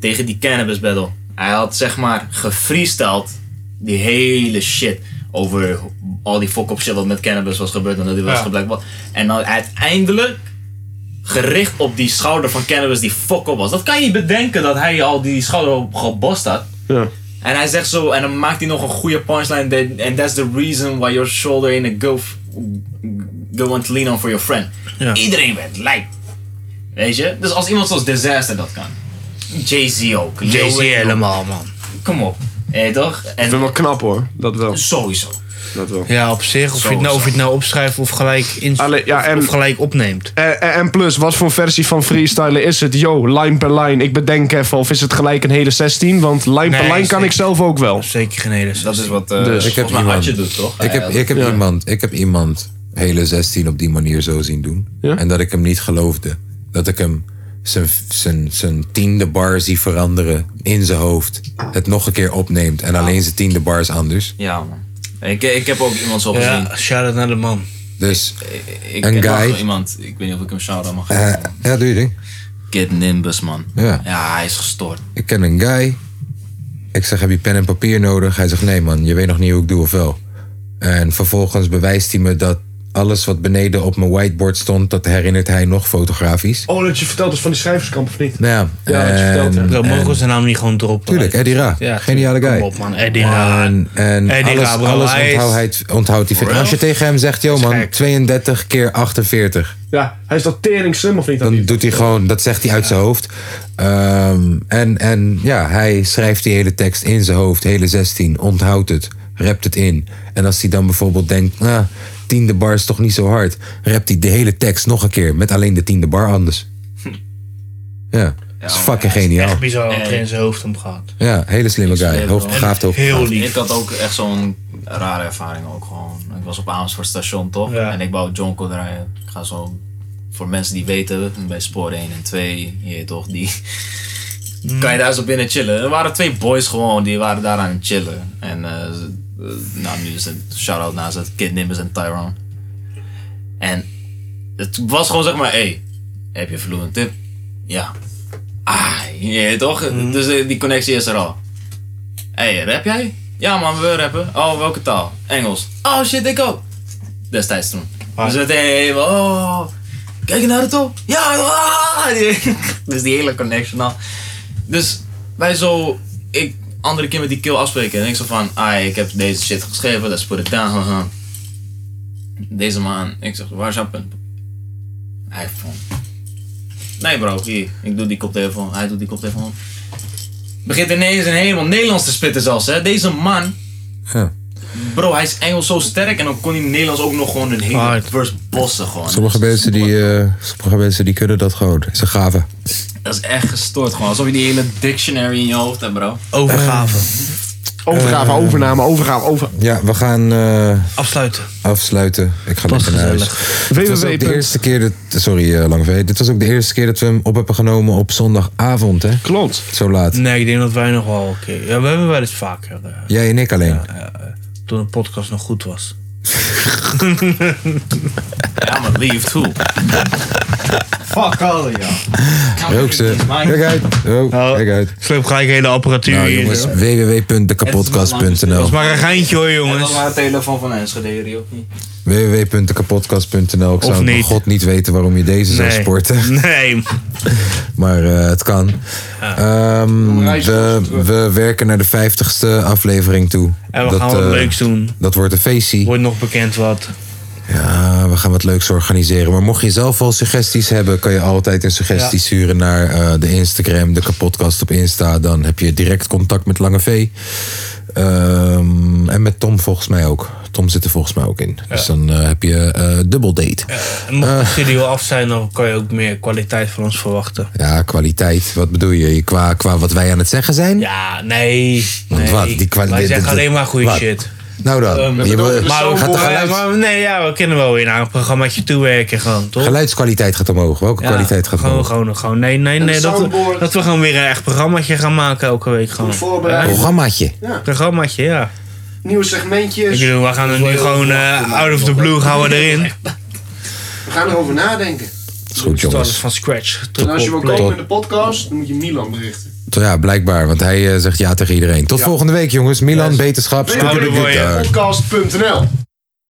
[SPEAKER 4] Tegen die cannabis battle. Hij had zeg maar gefreestyled die hele shit over al die fuck-up shit wat met cannabis was gebeurd en dat hij was
[SPEAKER 3] Ja.
[SPEAKER 4] gebleven. En dan uiteindelijk gericht op die schouder van cannabis die fuck-up was. Dat kan je niet bedenken dat hij al die schouder op gebost had.
[SPEAKER 2] Ja.
[SPEAKER 4] En hij zegt zo, en dan maakt hij nog een goede punchline. that- And that's the reason why your shoulder ain't a go, f- go want to lean on for your friend.
[SPEAKER 3] Ja.
[SPEAKER 4] Iedereen bent lijkt. Weet je? Dus als iemand zoals Disaster dat kan. Jay-Z ook. Lil
[SPEAKER 3] Jay-Z
[SPEAKER 4] Wayne ook.
[SPEAKER 3] helemaal, man.
[SPEAKER 4] Kom op. Hé, toch?
[SPEAKER 2] Ik vind het wel knap hoor, dat wel.
[SPEAKER 4] Sowieso.
[SPEAKER 2] Dat wel.
[SPEAKER 3] Ja, op zich. Of je, het nou, of je het nou opschrijft of gelijk, in, of, of gelijk opneemt.
[SPEAKER 2] En, en- en plus, wat voor versie van freestylen is het? Yo, line per line, ik bedenk even. Of is het gelijk een hele 16? Want line per
[SPEAKER 3] Nee,
[SPEAKER 2] line kan
[SPEAKER 3] zeker.
[SPEAKER 2] ik zelf ook wel.
[SPEAKER 3] Zeker geen hele 16.
[SPEAKER 4] Dat is wat
[SPEAKER 2] Dus.
[SPEAKER 4] ik heb eh, volgens mij Adje doet, toch? Ah,
[SPEAKER 2] Ja,
[SPEAKER 1] Ik heb,
[SPEAKER 2] ja,
[SPEAKER 1] ik heb,
[SPEAKER 2] ja.
[SPEAKER 1] iemand, ik heb iemand hele 16 op die manier zo zien doen. En dat ik hem niet geloofde. Dat ik hem zijn, zijn, zijn tiende bar zie veranderen in zijn hoofd. Het nog een keer opneemt en alleen zijn tiende bar is anders.
[SPEAKER 4] Ja, man. Ik, ik heb ook iemand zo gezien.
[SPEAKER 3] Ja, shout-out naar de man.
[SPEAKER 1] Dus
[SPEAKER 4] Ik
[SPEAKER 1] een
[SPEAKER 4] ken nog wel
[SPEAKER 1] guy.
[SPEAKER 4] iemand. Ik weet niet of ik hem shout-out mag
[SPEAKER 1] eh,
[SPEAKER 4] geven.
[SPEAKER 1] ja, doe je ding.
[SPEAKER 4] Kid Nimbus, man.
[SPEAKER 1] Ja.
[SPEAKER 4] Ja, hij is gestoord.
[SPEAKER 1] Ik ken een guy. Ik zeg, heb je pen en papier nodig? Hij zegt, nee man, je weet nog niet hoe ik doe of wel. En vervolgens bewijst hij me dat alles wat beneden op mijn whiteboard stond... dat herinnert hij nog fotografisch.
[SPEAKER 2] Oh, dat je vertelt is van die schrijverskamp of niet?
[SPEAKER 1] Nou ja,
[SPEAKER 2] Ja, dat je vertelt, hè.
[SPEAKER 1] en-
[SPEAKER 2] Bro,
[SPEAKER 3] Mogen we
[SPEAKER 1] en-
[SPEAKER 3] zijn naam niet gewoon droppen?
[SPEAKER 1] Tuurlijk, Eddie Ra.
[SPEAKER 3] Ja,
[SPEAKER 1] Geniale guy.
[SPEAKER 3] Kom op, man. Eddie Ra.
[SPEAKER 1] En, en
[SPEAKER 3] Eddie
[SPEAKER 1] alles,
[SPEAKER 3] Ra, bro,
[SPEAKER 1] alles
[SPEAKER 3] hij is-
[SPEAKER 1] onthoudt hij, onthoudt hij.
[SPEAKER 3] Bro.
[SPEAKER 1] Als je tegen hem zegt, yo man, 32 keer 48.
[SPEAKER 2] Ja, hij is dat tering slim of niet?
[SPEAKER 1] Dan doet hij gewoon, dat zegt hij uit zijn hoofd. Ehm, en, en ja, hij schrijft die hele tekst in zijn hoofd, hele 16, onthoudt het, rapt het in. En als hij dan bijvoorbeeld denkt, nou, tiende bar is toch niet zo hard, rapt hij de hele tekst nog een keer met alleen de tiende bar anders.
[SPEAKER 2] Hm.
[SPEAKER 1] Ja, dat is fucking geniaal.
[SPEAKER 3] Echt bizar wat er in zijn hoofd om gaat.
[SPEAKER 1] Ja, hele slimme guy, hoogbegaafd, hoogbegaafd.
[SPEAKER 4] Ik had ook echt zo'n rare ervaring ook gewoon. Ik was op Amersfoort station toch? En ik wou Jonko draaien. Ik ga zo, voor mensen die weten, bij spoor 1 en 2, je weet toch, die... Kan je daar zo binnen chillen? Er waren twee boys gewoon, die waren daar aan het chillen. En eh, ze- eh, nou, nu is het shout-out naar ze, Kid Nimbus en Tyrone. En het was gewoon zeg maar, hé, hey, heb je Fluent Tip? Ja. Ah, je weet toch? Dus eh, die connectie is er al. Hé, hey, rap jij? Ja man, we rappen. Oh, welke taal? Engels. Oh shit, ik ook. Destijds toen. Dus meteen even, oh, kijk je naar de top? Ja, ah! Dus die hele connection al. Dus wij zo, ik, andere keer met die kill afspreken. En ik zo van, ah, ik heb deze shit geschreven, let's put it down. haha. Deze man, ik zeg, waar is jouw pen? Hij vond. Nee bro, hier, ik doe die koptelefoon. Hij doet die koptelefoon. Begint ineens in helemaal Nederlands te spitten zelfs, hè. Deze man
[SPEAKER 1] Ja.
[SPEAKER 4] Bro, hij is Engels zo sterk en dan kon hij Nederlands ook nog gewoon een hele verse bossen gewoon.
[SPEAKER 1] Sommige mensen, die, eh, sommige mensen die kunnen dat gewoon. Ze gaven.
[SPEAKER 4] Dat is echt gestoord gewoon. Alsof je die hele dictionary in je hoofd hebt, bro.
[SPEAKER 3] Overgave.
[SPEAKER 2] Overgave,
[SPEAKER 3] Eh.
[SPEAKER 2] overname, overgave, over.
[SPEAKER 1] Ja, we gaan. eh,
[SPEAKER 3] afsluiten.
[SPEAKER 1] Afsluiten. Ik ga
[SPEAKER 3] Was
[SPEAKER 1] lekker naar huis.
[SPEAKER 3] gezellig.
[SPEAKER 1] Dit was ook
[SPEAKER 3] www.
[SPEAKER 1] de eerste keer dat. Sorry, eh Lange V. Dit was ook de eerste keer dat we hem op hebben genomen op zondagavond, hè?
[SPEAKER 2] Klopt.
[SPEAKER 1] Zo laat.
[SPEAKER 3] Nee, ik denk dat wij nog wel een keer... Ja, we hebben wel eens vaker, eh,
[SPEAKER 1] Jij en ik alleen.
[SPEAKER 3] toen een podcast nog goed was.
[SPEAKER 4] I'm a leave too. Fuck oh, all of y'all.
[SPEAKER 1] Rook ze. Kijk uit. Rook, Kijk uit.
[SPEAKER 3] Sleep Nou, gelijk hele apparatuur
[SPEAKER 1] nou,
[SPEAKER 3] hier,
[SPEAKER 1] jongens.
[SPEAKER 3] joh.
[SPEAKER 1] www.dekapodcast.nl
[SPEAKER 3] geintje hoor, jongens.
[SPEAKER 4] Dat was maar een telefoon van Enschede, die ook niet.
[SPEAKER 1] www.dekapodcast.nl Ik
[SPEAKER 4] Of
[SPEAKER 1] zou bij
[SPEAKER 4] niet.
[SPEAKER 1] god niet weten waarom je deze zou
[SPEAKER 4] Nee.
[SPEAKER 1] sporten.
[SPEAKER 3] Nee.
[SPEAKER 1] maar eh, het kan. Ehm, we, we werken naar de 50ste aflevering toe.
[SPEAKER 3] En we gaan wat
[SPEAKER 1] eh,
[SPEAKER 3] leuks doen.
[SPEAKER 1] Dat wordt een feestje.
[SPEAKER 3] Wordt nog bekend wat.
[SPEAKER 1] Ja, we gaan wat leuks organiseren. Maar mocht je zelf al suggesties hebben, kan je altijd een suggestie
[SPEAKER 3] Ja.
[SPEAKER 1] sturen naar eh, de Instagram, de kapotkast op Insta. Dan heb je direct contact met Lange V. Ehm, en met Tom volgens mij ook. Tom zit er volgens mij ook in. Dus dan eh, heb je eh dubbel date.
[SPEAKER 3] En mocht
[SPEAKER 1] Eh.
[SPEAKER 3] de studio af zijn, dan kan je ook meer kwaliteit van ons verwachten.
[SPEAKER 1] Ja, kwaliteit. Wat bedoel je? Je Qua, qua wat wij aan het zeggen zijn?
[SPEAKER 3] Ja, nee.
[SPEAKER 1] Want
[SPEAKER 3] nee.
[SPEAKER 1] wat? Die kwali-
[SPEAKER 3] Wij
[SPEAKER 1] dit-
[SPEAKER 3] zeggen
[SPEAKER 1] dit-
[SPEAKER 3] alleen maar goede
[SPEAKER 1] wat?
[SPEAKER 3] shit.
[SPEAKER 1] Nou dan.
[SPEAKER 3] Ehm,
[SPEAKER 1] je be-
[SPEAKER 3] maar,
[SPEAKER 1] gaat
[SPEAKER 3] ook-
[SPEAKER 1] de geluid-
[SPEAKER 3] maar nee, ja, we kunnen wel weer naar een programmaatje toewerken gewoon, toch?
[SPEAKER 1] geluidskwaliteit gaat omhoog. Welke
[SPEAKER 3] Ja,
[SPEAKER 1] kwaliteit gaat
[SPEAKER 3] gewoon,
[SPEAKER 1] omhoog?
[SPEAKER 3] gewoon, gewoon, nee, nee,
[SPEAKER 1] Een
[SPEAKER 3] nee. Dat,
[SPEAKER 1] soundboard.
[SPEAKER 3] dat we gewoon weer een echt programmaatje gaan maken elke week. Gewoon.
[SPEAKER 1] voorbereid. Programmaatje.
[SPEAKER 3] Ja. Programmaatje, ja.
[SPEAKER 2] Nieuwe segmentjes.
[SPEAKER 3] Ik bedoel, we gaan er nu gewoon eh, out of the blue gaan we erin.
[SPEAKER 2] We gaan erover nadenken.
[SPEAKER 1] Is goed, jongens.
[SPEAKER 3] Van scratch.
[SPEAKER 2] En als je wil komen
[SPEAKER 1] Tot-
[SPEAKER 2] in de podcast, dan moet je Milan berichten.
[SPEAKER 1] Ja, blijkbaar. Want hij eh, zegt ja tegen iedereen. Tot volgende week, jongens. Milan, beterschap. Scoop de
[SPEAKER 2] www.podcast.nl